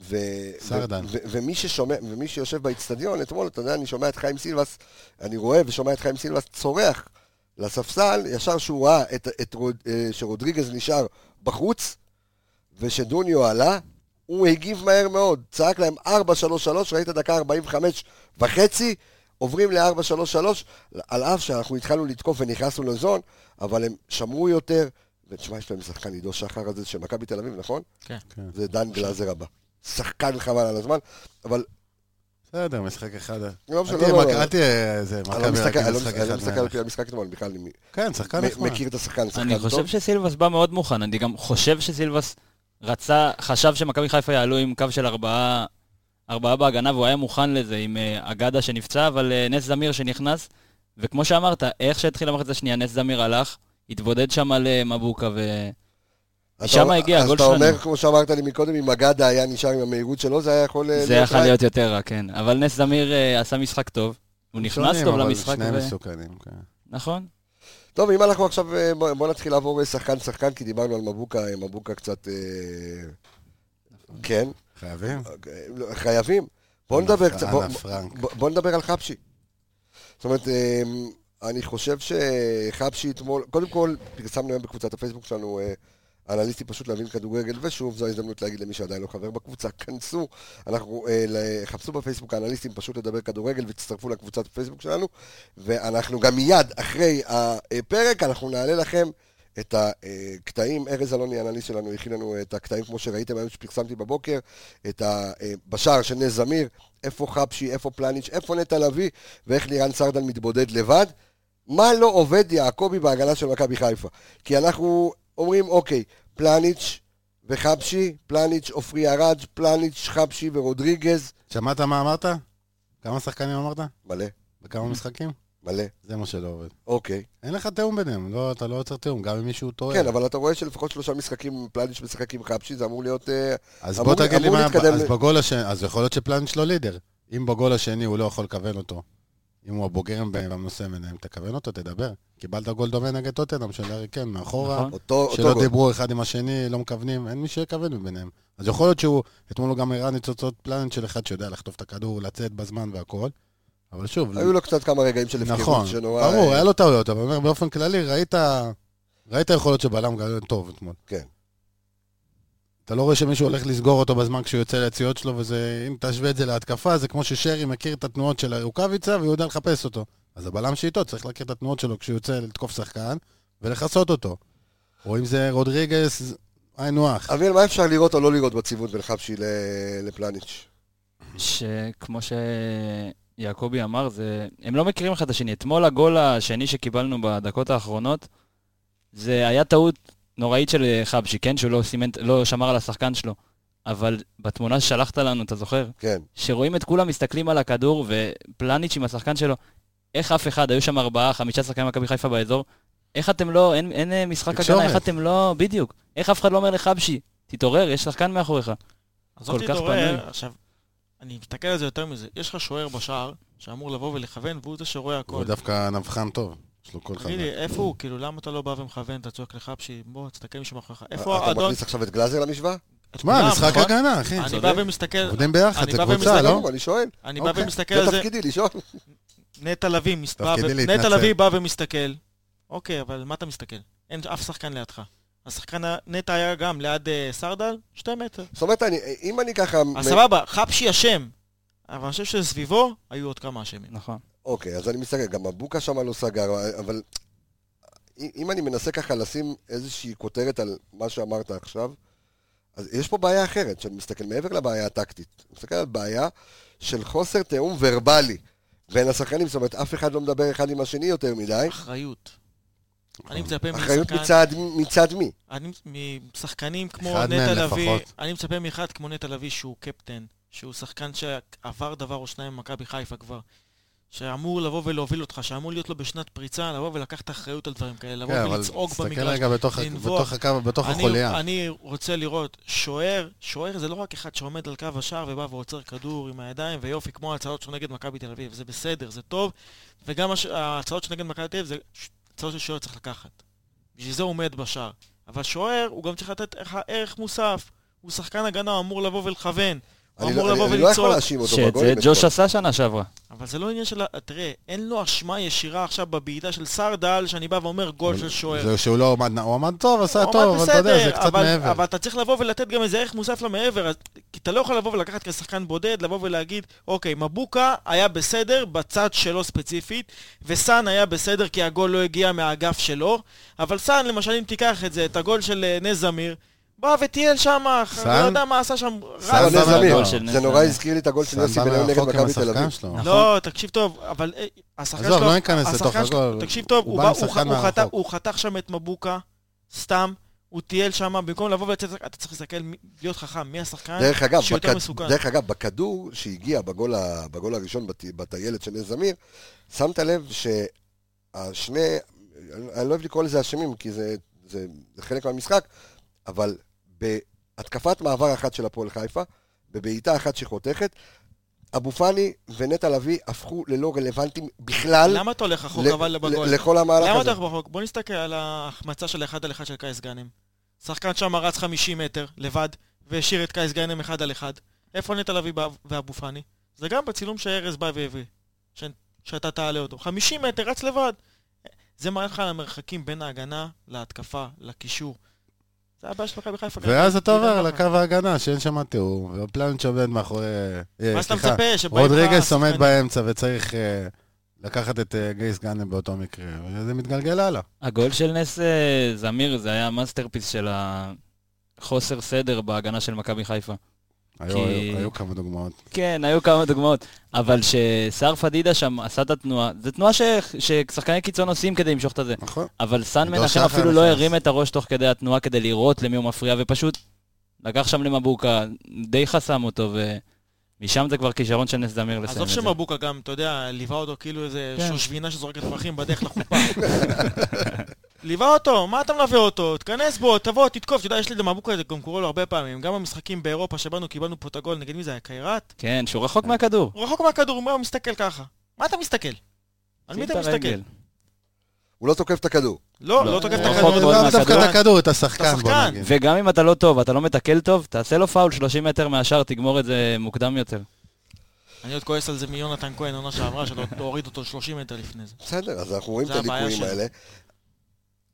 [SPEAKER 1] ו-
[SPEAKER 5] סרדן.
[SPEAKER 1] ו- ו- ומי ששומע, ומי שיושב באיצטדיון אתמול, אתה יודע, אני שומע את חיים סילבס, אני רואה ושומע את חיים סילבס צורח לספסל, ישר שהוא ראה את, את, רוד, אה, שרודריגז נשאר בחוץ, ושדוניו עלה, הוא הגיב מהר מאוד, צעק להם 4-3-3, ראית דקה 45 וחצי, עוברים ל-4-3-3, על אף שאנחנו התחלנו לתקוף ונכנסנו לזון, אבל הם שמרו יותר, ותשמע, יש להם שחקן עידו שחר הזה של מכבי תל אביב, נכון?
[SPEAKER 2] כן.
[SPEAKER 5] כן.
[SPEAKER 1] זה דן גלאזר הבא. שחקן חבל על הזמן, אבל
[SPEAKER 5] בסדר, משחק אחד.
[SPEAKER 1] לא משנה,
[SPEAKER 5] אל
[SPEAKER 1] לא,
[SPEAKER 5] תהיה
[SPEAKER 1] לא, לא.
[SPEAKER 5] מק- אל תהיה איזה
[SPEAKER 1] אני לא
[SPEAKER 5] מכבי רק
[SPEAKER 1] מסתכל-
[SPEAKER 5] עם
[SPEAKER 1] אני לא
[SPEAKER 5] משחק
[SPEAKER 1] מסתכל- אני לא
[SPEAKER 5] אחד.
[SPEAKER 1] מסתכל על פי המשחק אתמול, בכלל אני מ-
[SPEAKER 5] כן, שחקן
[SPEAKER 1] מ-
[SPEAKER 5] נחמד.
[SPEAKER 1] מכיר את השחקן,
[SPEAKER 6] נכון. אני
[SPEAKER 1] שחקן
[SPEAKER 6] חושב
[SPEAKER 1] טוב.
[SPEAKER 6] שסילבס בא מאוד מוכן, אני גם חושב שסילבס רצה, חשב שמכבי חיפה יעלו עם קו של ארבעה, ארבעה בהגנה, והוא היה מוכן לזה עם אה, אגדה שנפצע, אבל אה, נס זמיר שנכנס, וכמו שאמרת, איך שהתחיל המחצית השנייה, נס זמיר הלך, התבודד שם על אה, מבוקה, ו...
[SPEAKER 1] אתה-
[SPEAKER 6] משם הגיע הגול שלנו.
[SPEAKER 1] אז אתה אומר, כמו שאמרת לי מקודם, אם אגדה היה נשאר עם המהירות שלו, זה היה יכול... אה,
[SPEAKER 5] לא
[SPEAKER 6] זה יכול
[SPEAKER 1] רק-
[SPEAKER 6] להיות יותר רע, כן. אבל נס זמיר אה, עשה משחק טוב, הוא נכנס
[SPEAKER 5] שונים,
[SPEAKER 6] טוב
[SPEAKER 5] אבל
[SPEAKER 6] למשחק,
[SPEAKER 5] שניהם
[SPEAKER 6] ו-
[SPEAKER 5] מסוכנים, כן.
[SPEAKER 6] נכון?
[SPEAKER 1] טוב, אם אנחנו עכשיו, אה, בוא בוא נתחיל לעבור אה, שחקן-שחקן, כי דיברנו על מבוקה, אה, מבוקה קצת... אה, כן,
[SPEAKER 5] חייבים?
[SPEAKER 1] אה, לא, חייבים. בואו
[SPEAKER 5] אנה-
[SPEAKER 1] נדבר קצת,
[SPEAKER 5] אנה
[SPEAKER 1] בוא-
[SPEAKER 5] פרנק.
[SPEAKER 1] בוא- בוא נדבר על חבשי. זאת אומרת, אה, אני חושב שחבשי אתמול, קודם כל, פרסמנו היום בקבוצת הפייסבוק שלנו, אה, אנליסטים פשוט להבין כדורגל, ושוב, זו ההזדמנות להגיד למי שעדיין לא חבר בקבוצה, כנסו, אנחנו, אה, ל- חפשו בפייסבוק האנליסטים פשוט לדבר כדורגל, ותצטרפו לקבוצת הפייסבוק שלנו, ואנחנו גם מיד אחרי הפרק, אנחנו נעלה לכם את הקטעים, ארז אלוני, האנליסט שלנו, הכין לנו את הקטעים, כמו שראיתם היום שפרסמתי בבוקר, את ה- אה, בשער של נס זמיר, איפה חבשי, איפה פלניץ', איפה נטע לביא, ואיך לירן סרדל מתבודד לבד. מה לא עובד יעקבי בהגנה של מכבי חיפה? כי אנחנו אומרים, אוקיי, פלניץ' וחבשי, פלניץ', עופרי ארד, פלניץ', חבשי ורודריגז,
[SPEAKER 5] שמעת מה אמרת? כמה שחקנים אמרת?
[SPEAKER 1] מלא,
[SPEAKER 5] בכמה משחקים?
[SPEAKER 1] מלא,
[SPEAKER 5] זה מה שלא עובד.
[SPEAKER 1] אוקיי.
[SPEAKER 5] אין לך תיאום ביניהם, לא, אתה לא יוצר תיאום, גם אם מישהו טועה.
[SPEAKER 1] כן, אבל אתה רואה שלפחות שלושה משחקים, פלניץ' משחק עם חבשי, זה אמור להיות... אה,
[SPEAKER 5] אז
[SPEAKER 1] אמור-
[SPEAKER 5] בוא תגיד לי
[SPEAKER 1] אמור
[SPEAKER 5] מה,
[SPEAKER 1] להתקדם
[SPEAKER 5] אז
[SPEAKER 1] ל-
[SPEAKER 5] בגול השני, אז יכול להיות שפלניץ' לא לידר. אם בגול השני הוא לא יכול לכוון אותו, אם הוא הבוגר מבין והמנוסה מביניהם, תכוון אותו, תדבר. קיבלת גול דומה נגד טוטנאם של ארי קן, מאחורה,
[SPEAKER 6] נכון.
[SPEAKER 1] אותו אותו
[SPEAKER 5] שלא
[SPEAKER 1] גול.
[SPEAKER 5] דיברו אחד עם השני, לא מכוונים, אין מי שיכוון מביניהם. אז יכול להיות שהוא, אתמול הוא גם הראה ניצוצות פלנט של אחד שיודע לחטוף את הכדור, לצאת בזמן והכל, אבל שוב,
[SPEAKER 1] היו לו קצת כמה רגעים של הפקרות
[SPEAKER 5] נכון,
[SPEAKER 1] שנורא... אה,
[SPEAKER 5] ברור, היה לו טעויות, אבל אני אומר, באופן כללי, ראית, ראית יכולות של בלם גדול טוב אתמול.
[SPEAKER 1] כן.
[SPEAKER 5] אתה לא רואה שמישהו הולך לסגור אותו בזמן כשהוא יוצא ליציאות שלו, וזה, אם תשווה את זה להתקפה, זה כמו ששרי מכיר את התנועות של רוקאביצה והוא יודע לחפש אותו. אז הבלם שאיתו צריך להכיר את התנועות שלו כשהוא יוצא לתקוף שחקן ולכסות אותו. או אם זה רודריגס, היינו אח.
[SPEAKER 1] אביאל, מה אפשר לראות או לא לראות בציוות בין חבשי ל- לפלניץ'?
[SPEAKER 6] שכמו שיעקבי אמר, זה... הם לא מכירים אחד את השני. אתמול הגול השני שקיבלנו בדקות האחרונות, זה היה טעות נוראית של אה, חבשי, כן? שהוא לא, סימן, לא שמר על השחקן שלו. אבל בתמונה ששלחת לנו, אתה זוכר?
[SPEAKER 1] כן.
[SPEAKER 6] שרואים את כולם מסתכלים על הכדור, ופלניץ' עם השחקן שלו, איך אף אחד, היו שם ארבעה, חמישה שחקנים מכבי חיפה באזור, איך אתם לא, אין, אין אה, משחק הגנה,
[SPEAKER 5] תקשורת.
[SPEAKER 6] איך אתם לא, בדיוק. איך אף אחד לא אומר לחבשי, תתעורר, יש שחקן מאחוריך.
[SPEAKER 2] עזוב
[SPEAKER 6] כל כך
[SPEAKER 2] תתעורר,
[SPEAKER 6] פנוי.
[SPEAKER 2] עכשיו, אני מסתכל על זה יותר מזה. יש לך שוער בשער, שאמור לבוא ולכוון, והוא זה שרואה
[SPEAKER 5] הוא
[SPEAKER 2] הכל.
[SPEAKER 5] דווקא נבחן טוב, יש לו כל חבר.
[SPEAKER 2] תגיד לי, איפה הוא? כאילו, למה אתה לא בא ומכוון, אתה צועק לחפשי, בוא, תסתכל מישהו מאחוריך. איפה
[SPEAKER 1] אתה
[SPEAKER 2] האדון?
[SPEAKER 1] מכניס עכשיו את גלאזר למשוואה?
[SPEAKER 2] את כולם,
[SPEAKER 5] תשמע, משחק
[SPEAKER 2] נכון?
[SPEAKER 5] הגנה, אחי.
[SPEAKER 2] אני
[SPEAKER 5] צודק.
[SPEAKER 2] בא ומסתכל,
[SPEAKER 5] עובדים ביחד,
[SPEAKER 2] אני
[SPEAKER 5] זה
[SPEAKER 2] בא
[SPEAKER 5] קבוצה,
[SPEAKER 2] ומסתכל-
[SPEAKER 5] לא?
[SPEAKER 1] אני שואל.
[SPEAKER 2] אני בא
[SPEAKER 5] אוקיי.
[SPEAKER 2] ומסתכל
[SPEAKER 1] זה
[SPEAKER 2] על כן, זה,
[SPEAKER 1] תפקידי לשאול.
[SPEAKER 2] נטע לביא מס- בא
[SPEAKER 5] תפקידי
[SPEAKER 2] ו-
[SPEAKER 5] להתנצל.
[SPEAKER 2] נטע לביא בא ומסתכל. אוקיי, אבל מה אתה מסתכל? אין אף שחקן לידך. השחקן, ה- נטע היה גם ליד אה, סרדל, שתי מטר.
[SPEAKER 1] זאת אומרת, אני- אם אני ככה...
[SPEAKER 2] אז סבבה, חפשי אשם. אבל אני חושב שסביבו היו עוד כמה אשמים.
[SPEAKER 6] נכון.
[SPEAKER 1] אוקיי, אז אני מסתכל, גם מבוקה שם לא סגר, אבל אם אני מנסה ככה לשים איזושהי כותרת על מה שאמרת עכשיו, אז יש פה בעיה אחרת, שאני מסתכל מעבר לבעיה הטקטית. אני מסתכל על בעיה של חוסר תיאום ורבלי בין השחקנים, זאת אומרת, אף אחד לא מדבר אחד עם השני יותר מדי.
[SPEAKER 2] אחריות. אני
[SPEAKER 5] נכון.
[SPEAKER 2] מצפה
[SPEAKER 1] אחריות
[SPEAKER 2] משחקן...
[SPEAKER 1] מצד, מצד מי?
[SPEAKER 2] אני מצ- משחקנים כמו
[SPEAKER 5] אחד
[SPEAKER 2] נטע
[SPEAKER 5] מהם
[SPEAKER 2] לביא,
[SPEAKER 5] לפחות.
[SPEAKER 2] אני מצפה מאחד כמו נטע לביא שהוא קפטן, שהוא שחקן שעבר דבר או שניים במכבי חיפה כבר, שאמור לבוא ולהוביל אותך, שאמור להיות לו בשנת פריצה, לבוא ולקחת אחריות על דברים כאלה, לבוא
[SPEAKER 5] כן, אבל
[SPEAKER 2] ולצעוק
[SPEAKER 5] תסתכל
[SPEAKER 2] במגרש.
[SPEAKER 5] רגע בתוך ה-
[SPEAKER 2] לנבוח.
[SPEAKER 5] בתוך הקו, בתוך החוליה.
[SPEAKER 2] אני, אני רוצה לראות שוער, שוער זה לא רק אחד שעומד על קו השער ובא ועוצר כדור עם הידיים ויופי כמו ההצעות שלו נגד מכבי תל אביב, זה בסדר, זה טוב, וגם הש... ההצעות שלו נגד מכבי תל אביב זה ש- הצעות ששוער צריך לקחת. בשביל זה הוא עומד בשער. אבל שוער, הוא גם צריך לתת לך ערך מוסף, הוא שחקן הגנה, הוא אמור לבוא ולכוון, הוא
[SPEAKER 1] אני
[SPEAKER 2] אמור
[SPEAKER 1] לא-
[SPEAKER 2] לבוא
[SPEAKER 1] אני- אני לא יכול
[SPEAKER 2] ולצעוק. אה,
[SPEAKER 1] להאשים אותו
[SPEAKER 6] שאת זה
[SPEAKER 1] בגולים.
[SPEAKER 6] ג'וש עשה שנה שעברה.
[SPEAKER 2] אבל זה לא עניין של... ה- תראה, אין לו אשמה ישירה עכשיו בבעיטה של סרדל, שאני בא ואומר גול של שוער.
[SPEAKER 5] זה שהוא לא עמד, הוא עמד טוב, עשה
[SPEAKER 2] הוא
[SPEAKER 5] טוב,
[SPEAKER 2] עמד
[SPEAKER 5] אבל אתה יודע,
[SPEAKER 2] בסדר,
[SPEAKER 5] זה קצת
[SPEAKER 2] אבל-
[SPEAKER 5] מעבר.
[SPEAKER 2] אבל אתה צריך לבוא ולתת גם איזה ערך מוסף למעבר, אז- כי אתה לא יכול לבוא ולקחת כשחקן בודד, לבוא ולהגיד, אוקיי, מבוקה היה בסדר בצד שלו ספציפית, וסאן היה בסדר כי הגול לא הגיע מהאגף שלו, אבל סאן, למשל, אם תיקח את זה, את הגול של אה, נס זמיר, בא וטייל שם,
[SPEAKER 5] סן?
[SPEAKER 2] לא יודע מה עשה שם,
[SPEAKER 5] סן
[SPEAKER 1] אה,
[SPEAKER 2] רץ.
[SPEAKER 1] נס
[SPEAKER 5] זמיר,
[SPEAKER 1] זמיר,
[SPEAKER 6] הגול של נס
[SPEAKER 1] זה נורא
[SPEAKER 6] זמיר.
[SPEAKER 1] הזכיר לי את הגול של יוסי
[SPEAKER 5] סנדל
[SPEAKER 1] בניון נגד
[SPEAKER 5] רחוק עם
[SPEAKER 1] מכבי תל
[SPEAKER 5] השחקן
[SPEAKER 1] אביב.
[SPEAKER 5] שלו.
[SPEAKER 2] לא, תקשיב טוב, אבל אה, השחקן שלו...
[SPEAKER 5] נכון. עזוב, לא ניכנס
[SPEAKER 2] השחקן
[SPEAKER 5] לתוך
[SPEAKER 2] שלו-
[SPEAKER 5] הגול.
[SPEAKER 2] תקשיב טוב,
[SPEAKER 5] הוא
[SPEAKER 2] הוא
[SPEAKER 5] בא
[SPEAKER 2] בא-
[SPEAKER 5] עם
[SPEAKER 2] הוא
[SPEAKER 5] שחקן
[SPEAKER 2] ח- הוא חתך-
[SPEAKER 5] מהרחוק.
[SPEAKER 2] הוא חתך שם את מבוקה, סתם, הוא טייל שם, במקום לבוא ולצאת, אתה צריך להסתכל, מי- להיות חכם, מי השחקן
[SPEAKER 1] דרך אגב,
[SPEAKER 2] שיותר
[SPEAKER 1] בכד-
[SPEAKER 2] אה, מסוכן.
[SPEAKER 1] דרך אגב, בכדור שהגיע בגול, ה... בגול הראשון בת... בטיילת של נס זמיר, שמת לב שהשני, אני לא אוהב לקרוא לזה אשמים, כי זה, זה חלק מהמשחק, אבל בהתקפת מעבר אחת של הפועל חיפה, בבעיטה אחת שחותכת, אבו פאני ונטע לביא הפכו ללא רלוונטיים בכלל
[SPEAKER 2] למה אתה הולך רחוק
[SPEAKER 1] ל-
[SPEAKER 2] אבל לא בגול?
[SPEAKER 1] ל- לכל המהלך
[SPEAKER 2] למה אתה
[SPEAKER 1] הזה.
[SPEAKER 2] הולך רחוק? בוא נסתכל על ההחמצה של האחד על אחד של קייס גאנם. שחקן שם רץ 50 מטר, לבד, והשאיר את קייס גאנם אחד על אחד. איפה נטע לביא בא- ואבו פאני? זה גם בצילום שארז בא והביא, ש- שאתה תעלה אותו. 50 מטר, רץ לבד. זה מראה לך על המרחקים בין ההגנה להתקפה, לקישור. זה הבעיה של מכבי חיפה.
[SPEAKER 5] ואז אתה עובר
[SPEAKER 2] ככה.
[SPEAKER 5] לקו ההגנה, שאין שם תיאום, ופלנץ' עומד מאחורי... אה,
[SPEAKER 2] מה אתה
[SPEAKER 5] סליחה,
[SPEAKER 2] מצפה? שבאים לך
[SPEAKER 5] רודריגס עומד
[SPEAKER 2] שחקנים-
[SPEAKER 5] באמצע וצריך אה, לקחת את אה, גייס גאנם באותו מקרה, וזה מתגלגל הלאה.
[SPEAKER 6] הגול של נס אה, זמיר זה היה מאסטרפיס של החוסר סדר בהגנה של מכבי חיפה.
[SPEAKER 5] היו-
[SPEAKER 6] כי-
[SPEAKER 5] היו היו כמה דוגמאות.
[SPEAKER 6] כן, היו כמה דוגמאות, אבל שסער פדידה שם עשה את התנועה, זו תנועה ש- ששחקני קיצון עושים כדי למשוך את זה,
[SPEAKER 5] נכון.
[SPEAKER 6] אבל סאן
[SPEAKER 5] עידו
[SPEAKER 6] מנחם
[SPEAKER 5] שחר
[SPEAKER 6] אפילו לא
[SPEAKER 5] נכנס.
[SPEAKER 6] הרים את הראש תוך כדי התנועה כדי לראות למי הוא מפריע, ופשוט לקח שם למבוקה, די חסם אותו, ומשם זה כבר כישרון של נס זמיר לסיים
[SPEAKER 2] עזוב
[SPEAKER 6] את זה.
[SPEAKER 2] שמבוקה גם, אתה יודע, ליווה אותו כאילו איזה
[SPEAKER 6] כן.
[SPEAKER 2] שושבינה שזורקת פרחים בדרך לחופה. ליווה אותו, מה אתה מלווה אותו? תכנס בו, תבוא, תתקוף. אתה יודע, יש לי למבוקה, זה גם קורה לו הרבה פעמים. גם במשחקים באירופה שבאנו, קיבלנו פה את הגול, נגד מי זה היה? קיירת?
[SPEAKER 6] כן, שהוא רחוק מהכדור.
[SPEAKER 2] הוא רחוק מהכדור, הוא מסתכל ככה. מה אתה מסתכל? על מי
[SPEAKER 6] שים
[SPEAKER 2] אתה
[SPEAKER 6] את הרגל.
[SPEAKER 2] מסתכל?
[SPEAKER 1] הוא לא תוקף את הכדור.
[SPEAKER 2] לא,
[SPEAKER 6] לא,
[SPEAKER 2] לא תוקף את
[SPEAKER 6] הוא
[SPEAKER 1] נכון,
[SPEAKER 2] הכדור.
[SPEAKER 6] רחוק מאוד
[SPEAKER 5] לאו דווקא
[SPEAKER 6] מהכדור.
[SPEAKER 5] את הכדור, את השחקן, בוא
[SPEAKER 2] השחקן.
[SPEAKER 5] נגיד.
[SPEAKER 6] וגם אם אתה לא טוב, אתה לא מתקל טוב, תעשה לו פאול 30 מטר מהשאר, תגמור את זה מוקדם יותר.
[SPEAKER 2] אני עוד כועס על זה מיונתן כהן, עונה שעברה, שלא הוריד אותו 30 מטר לפני זה.
[SPEAKER 1] בסדר, אז אנחנו רואים את
[SPEAKER 2] זה הבעיה
[SPEAKER 1] הליקויים
[SPEAKER 2] שלו.
[SPEAKER 1] האלה.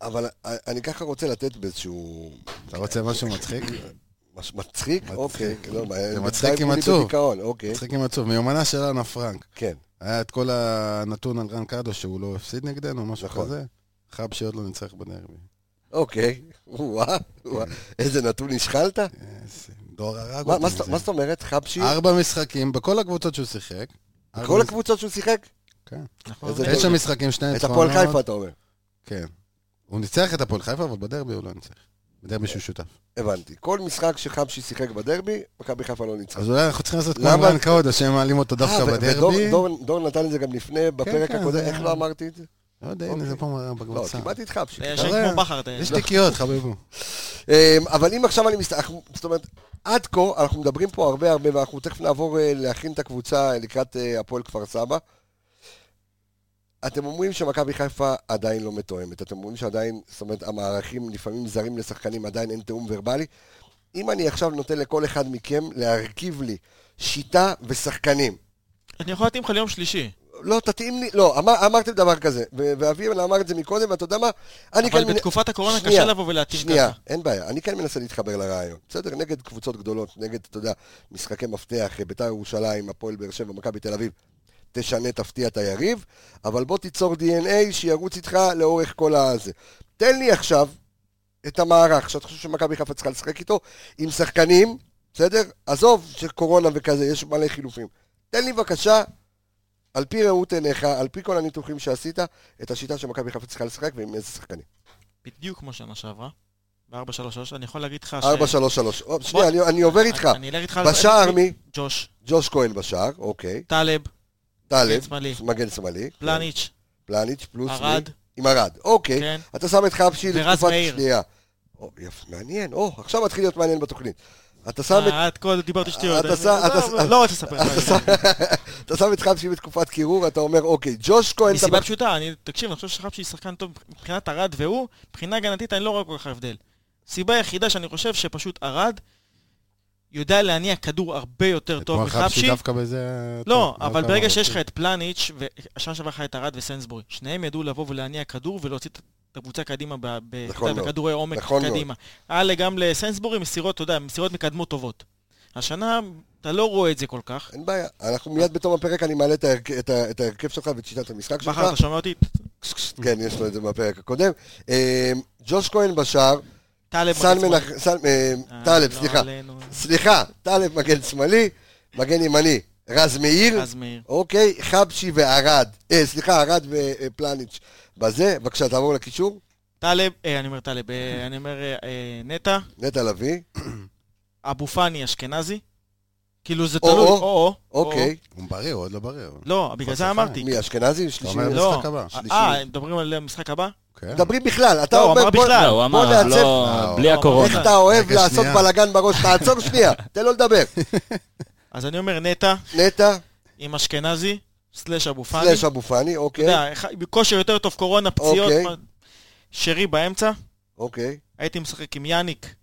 [SPEAKER 1] אבל אה, אני ככה רוצה לתת באיזשהו...
[SPEAKER 5] אתה רוצה משהו מצחיק?
[SPEAKER 1] מש- מצחיק? אוקיי. לא, מה,
[SPEAKER 5] זה
[SPEAKER 1] בינתיים
[SPEAKER 5] מצחיק עם
[SPEAKER 1] כולי
[SPEAKER 5] עצוב.
[SPEAKER 1] בדיכאון, אוקיי,
[SPEAKER 5] מצחיק עם עצוב. מיומנה של אנה פרנק.
[SPEAKER 1] כן.
[SPEAKER 5] היה את כל הנתון על רן קאדו שהוא לא הפסיד נגדנו, משהו
[SPEAKER 1] נכון.
[SPEAKER 5] כזה. חב שעוד לא נצטרך בדרבי.
[SPEAKER 1] אוקיי. וואה, וואה. איזה נתון השחלת?
[SPEAKER 5] כן. איזה דור הרג
[SPEAKER 1] מה-
[SPEAKER 5] אותי.
[SPEAKER 1] מה
[SPEAKER 5] עם
[SPEAKER 1] זאת-
[SPEAKER 5] זה. אה,
[SPEAKER 1] מה זאת אומרת? חבשי?
[SPEAKER 5] ארבע משחקים, בכל הקבוצות שהוא שיחק.
[SPEAKER 1] כל
[SPEAKER 5] ארבע מש-
[SPEAKER 1] הקבוצות שהוא שיחק?
[SPEAKER 5] כן.
[SPEAKER 2] נכון?
[SPEAKER 1] איזה-
[SPEAKER 5] תשע משחקים, שני
[SPEAKER 1] את הפועל
[SPEAKER 5] ניצחונות.
[SPEAKER 1] חיפה, אתה אומר.
[SPEAKER 5] כן. הוא ניצח את הפועל חיפה, אבל בדרבי הוא לא ניצח. בדרבי שהוא שותף.
[SPEAKER 1] אה, הבנתי. כל משחק שחבשי שיחק בדרבי, מכבי חיפה לא ניצחה.
[SPEAKER 5] אז אולי אנחנו צריכים לעשות כמו
[SPEAKER 1] למה-
[SPEAKER 5] רן קאודו, שהם מעלים אותו
[SPEAKER 1] אה,
[SPEAKER 5] דווקא
[SPEAKER 1] ו-
[SPEAKER 5] בדרבי.
[SPEAKER 1] ודור- דור- דור נתן את זה גם לפני, בפרק
[SPEAKER 5] כן,
[SPEAKER 1] הקודם,
[SPEAKER 5] זה
[SPEAKER 1] איך
[SPEAKER 5] היה-
[SPEAKER 1] לא אמרתי את זה?
[SPEAKER 5] לא יודע, הנה זה פה
[SPEAKER 1] לא,
[SPEAKER 5] בקבוצה.
[SPEAKER 1] קיבלתי את חבשי.
[SPEAKER 2] אתה ישן
[SPEAKER 5] תראה,
[SPEAKER 2] כמו בכר, אתה
[SPEAKER 5] יש
[SPEAKER 2] ישן.
[SPEAKER 5] תיקיות, חביבו.
[SPEAKER 1] אמ, אבל אם עכשיו אני מסתכל, זאת אומרת, עד כה, אנחנו מדברים פה הרבה הרבה, ואנחנו תכף נעבור אה, להכין את הקבוצה אה, לקראת אה, הפועל כפר סבא. אתם אומרים שמכבי חיפה עדיין לא מתואמת, אתם אומרים שעדיין, זאת אומרת, המערכים לפעמים זרים לשחקנים, עדיין אין תיאום ורבלי. אם אני עכשיו נותן לכל אחד מכם להרכיב לי שיטה ושחקנים,
[SPEAKER 2] אני יכול להתאים לך ליום שלישי.
[SPEAKER 1] לא, תתאים לי, לא, אמר, אמרתם דבר כזה, ו- ואביב אמר את זה מקודם, ואתה יודע מה, אני
[SPEAKER 2] אבל
[SPEAKER 1] כאן...
[SPEAKER 2] בתקופת הקורונה
[SPEAKER 1] שנייה,
[SPEAKER 2] קשה לבוא ולהתאים
[SPEAKER 1] שנייה,
[SPEAKER 2] ככה.
[SPEAKER 1] אין בעיה, אני כן מנסה להתחבר לרעיון. בסדר, נגד קבוצות גדולות, נגד, אתה יודע, משחקי מפתח, אה, בית"ר ירושלים, הפועל באר שבע, מכבי תל אביב, תשנה, תפתיע את היריב, אבל בוא תיצור DNA שירוץ איתך לאורך כל הזה. תן לי עכשיו את המערך שאתה חושב שמכבי חיפה צריכה לשחק איתו, עם שחקנים, בסדר? עזוב שקורונה וכזה, יש מלא חילופים. תן לי בבקשה, על פי ראות עיניך, על פי כל הניתוחים שעשית, את השיטה שמכבי חיפה צריכה לשחק ועם איזה שחקנים.
[SPEAKER 2] בדיוק כמו שנה שעברה. ב-4-3-3, אני יכול להגיד לך ש...
[SPEAKER 1] 4-3-3. או, שנייה, אני- אני עובר איתך.
[SPEAKER 2] אני אלך איתך על-
[SPEAKER 1] בשער מי?
[SPEAKER 2] ג'וש,
[SPEAKER 1] ג'וש כהן בשער, אוקיי.
[SPEAKER 2] טלב,
[SPEAKER 1] טלב,
[SPEAKER 2] שמאלי.
[SPEAKER 1] מגן שמאלי.
[SPEAKER 2] פלניץ',
[SPEAKER 1] פלניץ' פלוס מי?
[SPEAKER 2] ערד,
[SPEAKER 1] עם ארד, אוקיי.
[SPEAKER 2] כן.
[SPEAKER 1] אתה שם את חבשי
[SPEAKER 2] ורז
[SPEAKER 1] לתקופת
[SPEAKER 2] מאיר.
[SPEAKER 1] שנייה. או, יפה, מעניין. או, עכשיו מתחיל להיות מעניין בתוכנית. אתה שם את...
[SPEAKER 2] אה, את כל דיברת שטויות.
[SPEAKER 1] אתה
[SPEAKER 2] אני-
[SPEAKER 1] שם- אתה
[SPEAKER 2] לא,
[SPEAKER 1] שם-
[SPEAKER 2] לא רוצה לספר.
[SPEAKER 1] אתה שם- אתה שם את חבשי בתקופת קירור, אתה אומר, אוקיי, ג'וש כהן... אתה
[SPEAKER 2] מסיבה פשוטה, אני, תקשיב, אני חושב שחפשי שחקן טוב מבחינת ארד והוא, מבחינה הגנתית אני לא רואה כל כך הבדל. סיבה היחידה שאני חושב שפשוט ארד יודע להניע כדור הרבה יותר טוב
[SPEAKER 5] אתמול חבשי
[SPEAKER 2] מחפשי.
[SPEAKER 5] דווקא בזה...
[SPEAKER 2] לא,
[SPEAKER 5] טוב,
[SPEAKER 2] אבל
[SPEAKER 5] כמה
[SPEAKER 2] ברגע
[SPEAKER 5] הוא
[SPEAKER 2] שיש לך
[SPEAKER 5] רוצה.
[SPEAKER 2] את פלניץ', והשנה שעברה לך את ארד וסנסבורי, שניהם ידעו לבוא ולהניע כדור ולהוציא את הקבוצה קדימה ב- ב-
[SPEAKER 1] נכון
[SPEAKER 2] אתה יודע,
[SPEAKER 1] מאוד.
[SPEAKER 2] בכדורי עומק
[SPEAKER 1] נכון מאוד.
[SPEAKER 2] קדימה. היה לי גם לסנסבורי מסירות, אתה יודע, מסירות מקדמות טובות. השנה אתה לא רואה את זה כל כך.
[SPEAKER 1] אין בעיה, אנחנו מיד בתום הפרק אני מעלה את ההרכ- את ה- את ההרכב שלך ואת שיטת המשחק שלך.
[SPEAKER 2] בכר, אתה שומע אותי?
[SPEAKER 1] כן, יש לו את זה מהפרק הקודם. אה, ג'וש כהן בשער,
[SPEAKER 2] טלב
[SPEAKER 1] סל
[SPEAKER 2] מגן שמאלי.
[SPEAKER 1] מנחם, סל, אה,
[SPEAKER 2] אה,
[SPEAKER 1] טלב,
[SPEAKER 2] לא
[SPEAKER 1] סליחה.
[SPEAKER 2] עלינו.
[SPEAKER 1] סליחה, טלב מגן שמאלי, מגן ימני, רז מאיר,
[SPEAKER 2] רז מאיר.
[SPEAKER 1] אוקיי, חבשי וערד, אה, סליחה, ערד ופלניץ' בזה, בבקשה, תעבור לקישור,
[SPEAKER 2] טלב, אה, אני אומר טלב, אה, אני אומר אה, אה, נטע,
[SPEAKER 1] נטע לביא,
[SPEAKER 2] אבו פאני אשכנזי. כאילו זה
[SPEAKER 1] או-או.
[SPEAKER 2] תלוי, או-או. או-או.
[SPEAKER 1] אוקיי,
[SPEAKER 5] הוא בריא, הוא עוד לא בריא. אבל.
[SPEAKER 2] לא, בגלל זה
[SPEAKER 5] חוסר
[SPEAKER 2] אמרתי.
[SPEAKER 1] מי אשכנזי?
[SPEAKER 5] אתה
[SPEAKER 1] שלישי?
[SPEAKER 5] אומר
[SPEAKER 2] לא.
[SPEAKER 5] במשחק הבא.
[SPEAKER 1] שלישי.
[SPEAKER 2] אה, מדברים על המשחק הבא?
[SPEAKER 5] כן.
[SPEAKER 1] מדברים בכלל, אתה
[SPEAKER 2] לא, הוא
[SPEAKER 1] אומר,
[SPEAKER 2] אמר
[SPEAKER 1] בוא-
[SPEAKER 2] בכלל.
[SPEAKER 6] לא, הוא אמר,
[SPEAKER 1] בוא נעצב-
[SPEAKER 6] לא,
[SPEAKER 5] אה,
[SPEAKER 6] בלי
[SPEAKER 2] הוא אמר
[SPEAKER 6] הקורונה.
[SPEAKER 1] איך אתה אוהב
[SPEAKER 5] רגע,
[SPEAKER 1] לעשות
[SPEAKER 5] שנייה.
[SPEAKER 1] בלאגן בראש, תעצור שנייה, תן לו לדבר.
[SPEAKER 2] אז אני אומר נטע
[SPEAKER 1] נטע,
[SPEAKER 2] עם אשכנזי, סלאש אבו פאני.
[SPEAKER 1] סלאש אבו פאני,
[SPEAKER 2] אתה
[SPEAKER 1] אוקיי,
[SPEAKER 2] יודע, אחד- כושר יותר טוב, קורונה, פציעות.
[SPEAKER 1] אוקיי.
[SPEAKER 2] מה- שרי באמצע,
[SPEAKER 1] אוקיי.
[SPEAKER 2] הייתי משחק עם יאניק.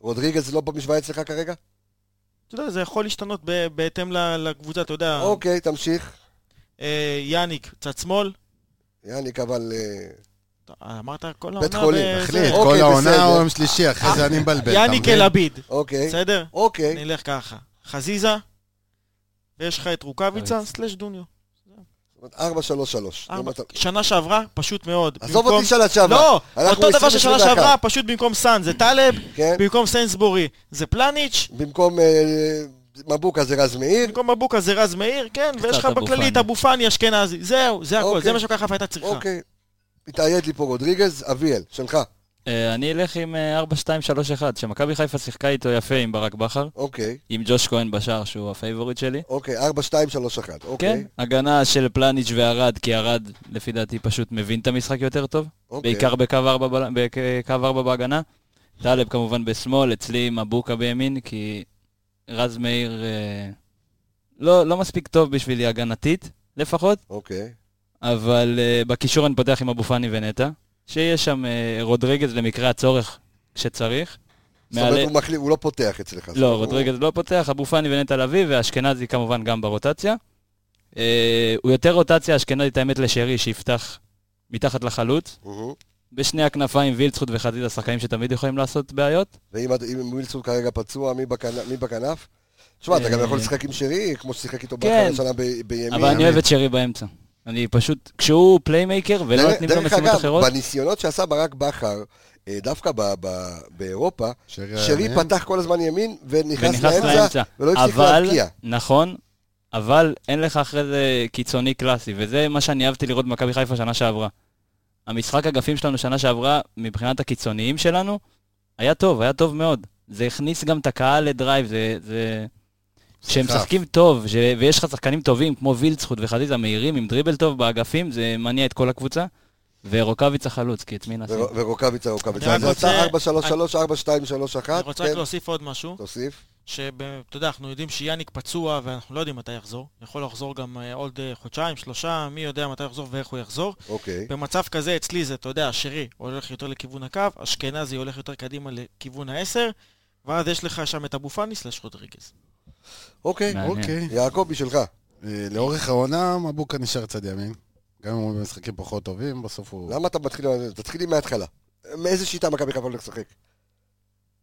[SPEAKER 1] רודריגז לא במשוואה אצלך כרגע?
[SPEAKER 2] אתה יודע, זה יכול להשתנות ב- בהתאם ל- לקבוצה, אתה יודע.
[SPEAKER 1] אוקיי, תמשיך.
[SPEAKER 2] אה, יאניק, צד שמאל.
[SPEAKER 1] יאניק, אבל... אה,
[SPEAKER 2] אתה- אמרת כל העונה.
[SPEAKER 1] בית חולים,
[SPEAKER 2] בזה.
[SPEAKER 5] תחליט,
[SPEAKER 1] אוקיי,
[SPEAKER 5] כל העונה
[SPEAKER 1] בסדר.
[SPEAKER 5] או יום שלישי, אחרי זה אני מבלבל. אתה
[SPEAKER 2] יאניק
[SPEAKER 5] מבין?
[SPEAKER 2] אל עביד,
[SPEAKER 1] אוקיי,
[SPEAKER 2] בסדר?
[SPEAKER 1] אוקיי.
[SPEAKER 2] נלך ככה. חזיזה, ויש לך את רוקאביצה, סלאש דוניו.
[SPEAKER 1] זאת אומרת, 4-3-3.
[SPEAKER 2] ארבע.
[SPEAKER 1] אם אתה-
[SPEAKER 2] שנה שעברה, פשוט מאוד.
[SPEAKER 1] עזוב
[SPEAKER 2] במקום-
[SPEAKER 1] אותי שנה שעברה.
[SPEAKER 2] לא,
[SPEAKER 1] אנחנו
[SPEAKER 2] אותו דבר
[SPEAKER 1] 20,
[SPEAKER 2] ששנה
[SPEAKER 1] 21.
[SPEAKER 2] שעברה, פשוט במקום סאן זה טלב,
[SPEAKER 1] כן?
[SPEAKER 2] במקום סיינסבורי זה פלניץ',
[SPEAKER 1] במקום אה, מבוקה זה רז מאיר.
[SPEAKER 2] במקום מבוקה זה רז מאיר, כן, ויש לך
[SPEAKER 6] אבו
[SPEAKER 2] בכללי את
[SPEAKER 6] פאני.
[SPEAKER 2] אבו פאני אשכנזי, זהו, זה הכל,
[SPEAKER 1] אוקיי.
[SPEAKER 2] זה מה שככה הייתה צריכה.
[SPEAKER 1] אוקיי. התאייד לי פה רודריגז, אביאל, שלך.
[SPEAKER 6] אה, אני אלך עם אה, 4-2-3-1, שמכבי חיפה שיחקה איתו יפה עם ברק בכר,
[SPEAKER 1] אוקיי,
[SPEAKER 6] עם ג'וש כהן בשער, שהוא הפייבוריט שלי.
[SPEAKER 1] אוקיי, 4-2-3-1.
[SPEAKER 6] כן,
[SPEAKER 1] אוקיי,
[SPEAKER 6] הגנה של פלניץ' וערד, כי ערד, לפי דעתי, פשוט מבין את המשחק יותר טוב.
[SPEAKER 1] אוקיי.
[SPEAKER 6] בעיקר בקו 4, בקו 4 אה, בהגנה. טלב כמובן בשמאל, אצלי עם מבוקה בימין, כי רז מאיר אה, לא, לא מספיק טוב בשבילי הגנתית, לפחות,
[SPEAKER 1] אוקיי.
[SPEAKER 6] אבל אה, בקישור אני פותח עם אבו פאני ונטע. שיהיה שם אה, רודריגז למקרה הצורך, כשצריך.
[SPEAKER 1] זאת אומרת,
[SPEAKER 6] מעלה-
[SPEAKER 1] הוא מחליף, הוא לא פותח אצלך. זאת
[SPEAKER 6] לא,
[SPEAKER 1] אומרת,
[SPEAKER 6] רודריגז לא פותח, אבו פאני ונטע לביא, ואשכנזי כמובן גם ברוטציה. אה, הוא יותר רוטציה אשכנזית, האמת, לשרי, שיפתח מתחת לחלוץ.
[SPEAKER 1] הוא- הוא-
[SPEAKER 6] בשני הכנפיים וילצחוט וחזיזה, שחקנים שתמיד יכולים לעשות בעיות.
[SPEAKER 1] ואם אם וילסון כרגע פצוע, מי בכנ- מי בכנף? תשמע, אתה גם
[SPEAKER 6] אה,
[SPEAKER 1] יכול לשחק עם שרי, כמו ששיחק איתו
[SPEAKER 6] כן.
[SPEAKER 1] בהתחלה שנה ב- בימין.
[SPEAKER 6] אבל אני אוהב את שרי באמצע. אני פשוט, כשהוא פליימייקר ולא
[SPEAKER 1] דרך-
[SPEAKER 6] נותנים לו
[SPEAKER 1] דרך
[SPEAKER 6] משימות
[SPEAKER 1] אגב,
[SPEAKER 6] אחרות,
[SPEAKER 1] בניסיונות שעשה ברק בכר, אה, דווקא ב- ב- באירופה, שרי
[SPEAKER 5] הימין?
[SPEAKER 1] פתח כל הזמן ימין ונכנס
[SPEAKER 6] ונכנס
[SPEAKER 1] לאמצע,
[SPEAKER 6] לאמצע.
[SPEAKER 1] ולא הפסיק
[SPEAKER 6] אבל,
[SPEAKER 1] להבקיע.
[SPEAKER 6] נכון, אבל אין לך אחרי זה קיצוני קלאסי, וזה מה שאני אהבתי לראות במכבי חיפה שנה שעברה. המשחק אגפים שלנו שנה שעברה, מבחינת הקיצוניים שלנו, היה טוב, היה טוב מאוד. זה הכניס גם את הקהל לדרייב, זה... זה... שהם
[SPEAKER 5] סחף.
[SPEAKER 6] משחקים טוב, ש... ויש לך שחקנים טובים כמו וילצחוט וחזיזה מהירים עם דריבל טוב באגפים, זה מניע את כל הקבוצה. ורוקאביץ' החלוץ, כי את מי נשים?
[SPEAKER 1] ו- ורוקאביצה, רוקאביצה.
[SPEAKER 2] אני
[SPEAKER 1] אז
[SPEAKER 2] רק
[SPEAKER 1] אתה 4-3-3,
[SPEAKER 2] רוצה-
[SPEAKER 1] 4-2-3-1.
[SPEAKER 2] אני רוצה רק
[SPEAKER 1] כן,
[SPEAKER 2] להוסיף עוד משהו,
[SPEAKER 1] תוסיף.
[SPEAKER 2] שאתה יודע, אנחנו יודעים שיאניק פצוע ואנחנו לא יודעים מתי יחזור, יכול לחזור גם אה, עוד אה, חודשיים, שלושה, מי יודע מתי יחזור ואיך הוא יחזור.
[SPEAKER 1] אוקיי.
[SPEAKER 2] במצב כזה אצלי זה, אתה יודע, שרי הולך יותר לכיוון הקו, אשכנזי הולך יותר קדימה לכיוון העשר, ואז יש לך שם את אבו פאני סלש רודריגז.
[SPEAKER 1] אוקיי.
[SPEAKER 6] מעניין.
[SPEAKER 5] אוקיי.
[SPEAKER 1] יעקב, בשבילך.
[SPEAKER 5] אה, לאורך העונה, מבוקה נשאר צד ימין. גם אם הוא במשחקים פחות טובים, בסוף הוא...
[SPEAKER 1] למה אתה מתחיל... תתחילי מההתחלה. מאיזה שיטה מכבי חיפה הולך לשחק?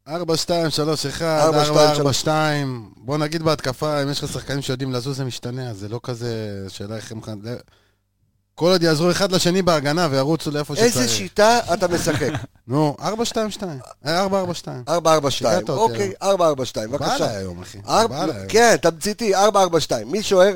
[SPEAKER 5] 4, 2, 3, 1,
[SPEAKER 1] ארבע,
[SPEAKER 5] 4,
[SPEAKER 1] שתיים,
[SPEAKER 5] 4,
[SPEAKER 1] שלוש.
[SPEAKER 5] 2. בוא נגיד בהתקפה, אם יש לך שחקנים שיודעים לזוז, זה משתנה, אז זה לא כזה שאלה איך הם... ח- לא- כל עוד יעזרו אחד לשני בהגנה וירוצו לאיפה שצריך.
[SPEAKER 1] איזה שיטה אתה משחק?
[SPEAKER 5] נו, 4, 2, 2. 4, 4, 2.
[SPEAKER 1] 4-4-2.
[SPEAKER 5] שיגעת אותי
[SPEAKER 1] אוקיי, 4-4-2,
[SPEAKER 5] בא עליי
[SPEAKER 1] בבקשה.
[SPEAKER 5] היום, אחי.
[SPEAKER 1] ארבע-
[SPEAKER 5] בא עליי היום.
[SPEAKER 1] כן, תמציתי, 4-4-2. מי שוער?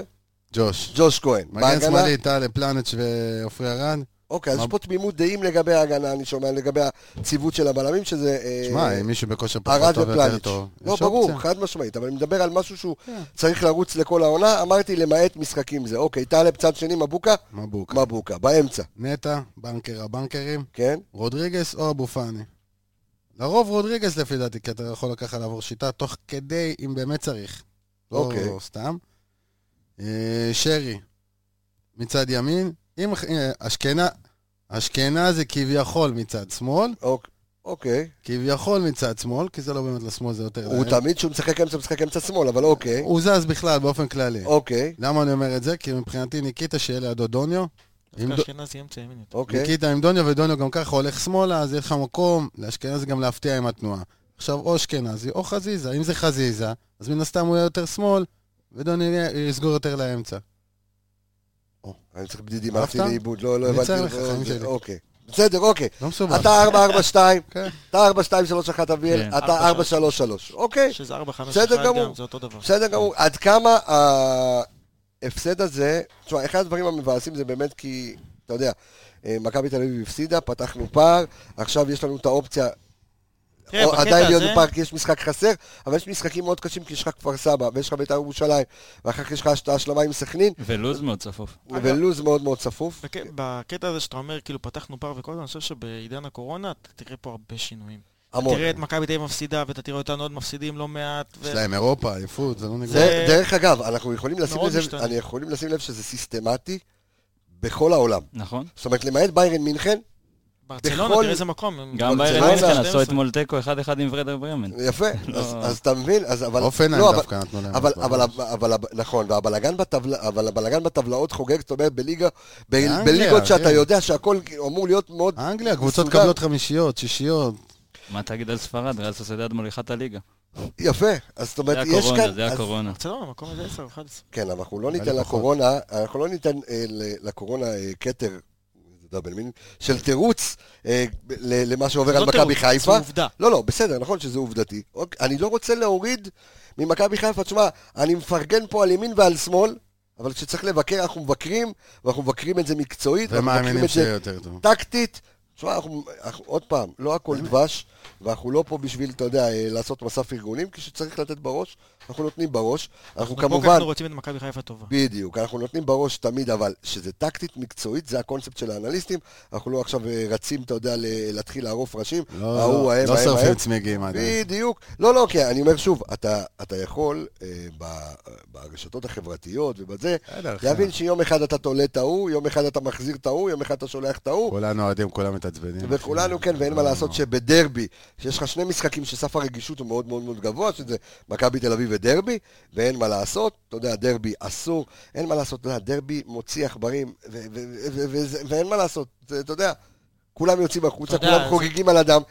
[SPEAKER 5] ג'וש.
[SPEAKER 1] ג'וש כהן.
[SPEAKER 5] מגן
[SPEAKER 1] בהגנה?
[SPEAKER 5] שמאלי, טלב פלנץ' ועופרי ארד.
[SPEAKER 1] אוקיי, אז
[SPEAKER 5] מה-
[SPEAKER 1] יש פה תמימות דעים לגבי ההגנה, אני שומע, לגבי הציוות של הבלמים, שזה... אה,
[SPEAKER 5] שמע, אם מישהו בכושר פחות
[SPEAKER 1] ארד
[SPEAKER 5] טוב יותר
[SPEAKER 1] ופלניץ'.
[SPEAKER 5] טוב.
[SPEAKER 1] לא,
[SPEAKER 5] יש
[SPEAKER 1] ברור,
[SPEAKER 5] אופציה.
[SPEAKER 1] חד משמעית, אבל אני מדבר על משהו שהוא
[SPEAKER 5] כן.
[SPEAKER 1] צריך לרוץ לכל העונה, אמרתי למעט משחקים זה. אוקיי, טלב צד שני, מבוקה,
[SPEAKER 5] מבוקה.
[SPEAKER 1] מבוקה, באמצע,
[SPEAKER 5] נטע, בנקר הבנקרים,
[SPEAKER 1] כן?
[SPEAKER 5] רודריגס או אבו פאני. לרוב רודריגס לפי דעתי, כי אתה יכול ככה לעבור שיטה תוך כדי, אם באמת צריך.
[SPEAKER 1] אוקיי.
[SPEAKER 5] לא סתם. אה, שרי, מצד ימין. אם אה, אשכנה... אשכנזי כביכול מצד שמאל,
[SPEAKER 1] אוק- אוקיי.
[SPEAKER 5] כביכול מצד שמאל, כי זה לא באמת לשמאל, זה יותר...
[SPEAKER 1] הוא
[SPEAKER 5] לאמצע.
[SPEAKER 1] תמיד, כשהוא משחק אמצע, משחק אמצע שמאל, אבל אוקיי.
[SPEAKER 5] הוא זז בכלל, באופן כללי.
[SPEAKER 1] אוקיי,
[SPEAKER 5] למה אני אומר את זה? כי מבחינתי ניקיטה שיהיה לידו דוניו. אם
[SPEAKER 1] לא-
[SPEAKER 2] דווקא
[SPEAKER 5] דו-
[SPEAKER 2] אשכנזי אמצע ימין. יותר.
[SPEAKER 1] אוקיי.
[SPEAKER 5] ניקיטה עם דוניו, ודוניו גם ככה הולך שמאלה, אז יש לך מקום לאשכנזי גם להפתיע עם התנועה. עכשיו, או אשכנזי או חזיזה. אם זה חזיזה, אז מן הסתם הוא יהיה יותר שמאל, ודוניו יהיה- יסגור יותר לאמצע.
[SPEAKER 1] אני צריך בדידים,
[SPEAKER 5] אהבת?
[SPEAKER 1] הלכתי לאיבוד, לא לא
[SPEAKER 5] אני
[SPEAKER 1] הבנתי.
[SPEAKER 5] צריך לך,
[SPEAKER 1] לא,
[SPEAKER 5] חיים
[SPEAKER 1] זה-
[SPEAKER 5] שלי.
[SPEAKER 1] אוקיי. בסדר, אוקיי.
[SPEAKER 5] לא מסובך.
[SPEAKER 1] אתה 442,
[SPEAKER 5] כן.
[SPEAKER 1] אתה 4231 אביאל,
[SPEAKER 6] כן,
[SPEAKER 1] אתה 433, אוקיי.
[SPEAKER 2] שזה 4-5-1
[SPEAKER 1] בסדר גמור.
[SPEAKER 2] גם, זה אותו דבר.
[SPEAKER 1] בסדר גמור. עד כמה ההפסד הזה, תשמע, אחד הדברים המבאסים זה באמת כי, אתה יודע, אה, מכבי תל אביב הפסידה, פתחנו פער, עכשיו יש לנו את האופציה,
[SPEAKER 2] תראה,
[SPEAKER 1] או-
[SPEAKER 2] כן, בקטע
[SPEAKER 1] עדיין להיות
[SPEAKER 2] הזה-
[SPEAKER 1] בפער כי יש משחק חסר, אבל יש משחקים מאוד קשים כי יש לך כפר סבא, ויש לך בית"ר ירושלים, ואחר כך יש לך את ההשלמה עם סכנין,
[SPEAKER 6] ולוז מאוד צפוף.
[SPEAKER 1] ולוז מאוד מאוד צפוף.
[SPEAKER 2] בק... בקטע הזה שאתה אומר, כאילו, פתחנו פער וכל זה, אני חושב שבעידן הקורונה, אתה תראה פה הרבה שינויים.
[SPEAKER 1] המון.
[SPEAKER 2] תראה את מכבי תל אביב מפסידה, ואתה תראה אותנו עוד מפסידים לא מעט. ו...
[SPEAKER 5] יש להם אירופה, עייפות, זה לא נגמר.
[SPEAKER 1] זה, דרך אגב, אנחנו יכולים לשים,
[SPEAKER 2] מאוד
[SPEAKER 1] לזה,
[SPEAKER 2] משתנה.
[SPEAKER 1] אני יכולים לשים לב שזה סיסטמטי בכל העולם.
[SPEAKER 6] נכון?
[SPEAKER 1] זאת אומרת, למעט ביירן מינכן,
[SPEAKER 2] ברצלונה,
[SPEAKER 1] בכל-
[SPEAKER 2] תראה איזה מקום. הם-
[SPEAKER 6] גם
[SPEAKER 1] ברצלונה-
[SPEAKER 6] ביירן
[SPEAKER 1] ברצלונה-
[SPEAKER 6] מינכן עשו אתמול תיקו 1-1 עם ורדר ברמן.
[SPEAKER 1] יפה,
[SPEAKER 6] לא.
[SPEAKER 1] אז, אז אתה מבין, אז אבל...
[SPEAKER 5] אופנהיים
[SPEAKER 1] לא, אבל-
[SPEAKER 5] דווקא נתנו להם.
[SPEAKER 1] אבל,
[SPEAKER 5] את
[SPEAKER 1] אבל,
[SPEAKER 5] בראש.
[SPEAKER 1] אבל, אבל, נכון, והבלגן בטבלה, אבל הבלגן בטבלאות חוגג, זאת אומרת, בליגה, ב,
[SPEAKER 5] באנגליה,
[SPEAKER 1] בליגות שאתה
[SPEAKER 5] כן.
[SPEAKER 1] יודע שהכל אמור להיות מאוד...
[SPEAKER 5] אנגליה, קבוצות
[SPEAKER 1] מסודר.
[SPEAKER 5] מקבלות חמישיות, שישיות.
[SPEAKER 6] מה תגיד על ספרד? ריאל סוסיידד מוליכת הליגה.
[SPEAKER 1] יפה, אז זאת
[SPEAKER 6] זה
[SPEAKER 1] אומרת, יש
[SPEAKER 6] הקורונה,
[SPEAKER 1] כאן...
[SPEAKER 6] זה
[SPEAKER 1] אז-
[SPEAKER 6] הקורונה.
[SPEAKER 2] ברצלונה, מקום איזה 10 או 11.
[SPEAKER 1] כן, אבל אנחנו לא
[SPEAKER 5] אבל
[SPEAKER 1] ניתן
[SPEAKER 5] לפחות.
[SPEAKER 1] לקורונה, אנחנו לא ניתן אה, ל- לקורונה אה, כתר, זה דאבל מינינג, של תירוץ אה, ב- ל- למה שעובר
[SPEAKER 2] זה
[SPEAKER 1] על
[SPEAKER 2] לא
[SPEAKER 1] מכבי
[SPEAKER 2] תירוץ,
[SPEAKER 1] חיפה.
[SPEAKER 2] זה עובדה.
[SPEAKER 1] לא, לא, בסדר, נכון שזה עובדתי. אוק, אני לא רוצה להוריד ממכבי חיפה, תשמע, אני מפרגן פה על ימין ועל שמאל, אבל כשצריך לבקר אנחנו מבקרים, ואנחנו מבקרים את זה מקצועית, ואנחנו מבקרים
[SPEAKER 5] ומאמינים
[SPEAKER 1] את
[SPEAKER 5] שיהיה
[SPEAKER 1] זה
[SPEAKER 5] יותר טוב.
[SPEAKER 1] טקטית. תשמע, אנחנו, אנחנו, עוד פעם, לא הכל דבש, ואנחנו לא פה בשביל, אתה יודע, אה, לעשות מסע פרגונים, כשצריך לתת בראש, אנחנו נותנים בראש. אנחנו
[SPEAKER 2] כמו כי
[SPEAKER 1] כמובן...
[SPEAKER 2] אנחנו רוצים את מכבי חיפה טובה.
[SPEAKER 1] בדיוק, אנחנו נותנים בראש תמיד, אבל שזה טקטית מקצועית, זה הקונספט של האנליסטים. אנחנו לא עכשיו אה, רצים, אתה יודע, ל- להתחיל לערוף ראשים.
[SPEAKER 5] לא,
[SPEAKER 1] ההוא,
[SPEAKER 5] לא,
[SPEAKER 1] ההם,
[SPEAKER 5] לא
[SPEAKER 1] ההם,
[SPEAKER 5] שורפים
[SPEAKER 1] ההם.
[SPEAKER 5] צמיגים עדיין.
[SPEAKER 1] בדיוק. לא, לא, כי אני אומר שוב, אתה, אתה יכול אה, ב- ברשתות החברתיות ובזה,
[SPEAKER 5] בסדר, אחי.
[SPEAKER 1] להבין שיום אחד אתה תולה את ההוא, יום אחד אתה מחזיר את ההוא, יום אחד אתה שולח את ההוא.
[SPEAKER 5] כולנו אוהדים, כולם מתעצבנים.
[SPEAKER 1] וכולנו, כן, ואין מה
[SPEAKER 5] לא
[SPEAKER 1] לעשות שבדרבי, שיש לך שני משחקים שסף הרגישות הוא מאוד מאוד מאוד גבוה, שזה מכבי תל אביב ודרבי, ואין מה לעשות, אתה יודע, דרבי אסור, אין מה לעשות, אתה יודע, דרבי מוציא עכברים, ו- ו- ו- ו- וזה- ואין מה לעשות, זה- אתה יודע, כולם יוצאים החוצה,
[SPEAKER 2] אתה יודע,
[SPEAKER 1] כולם חוגגים על אדם.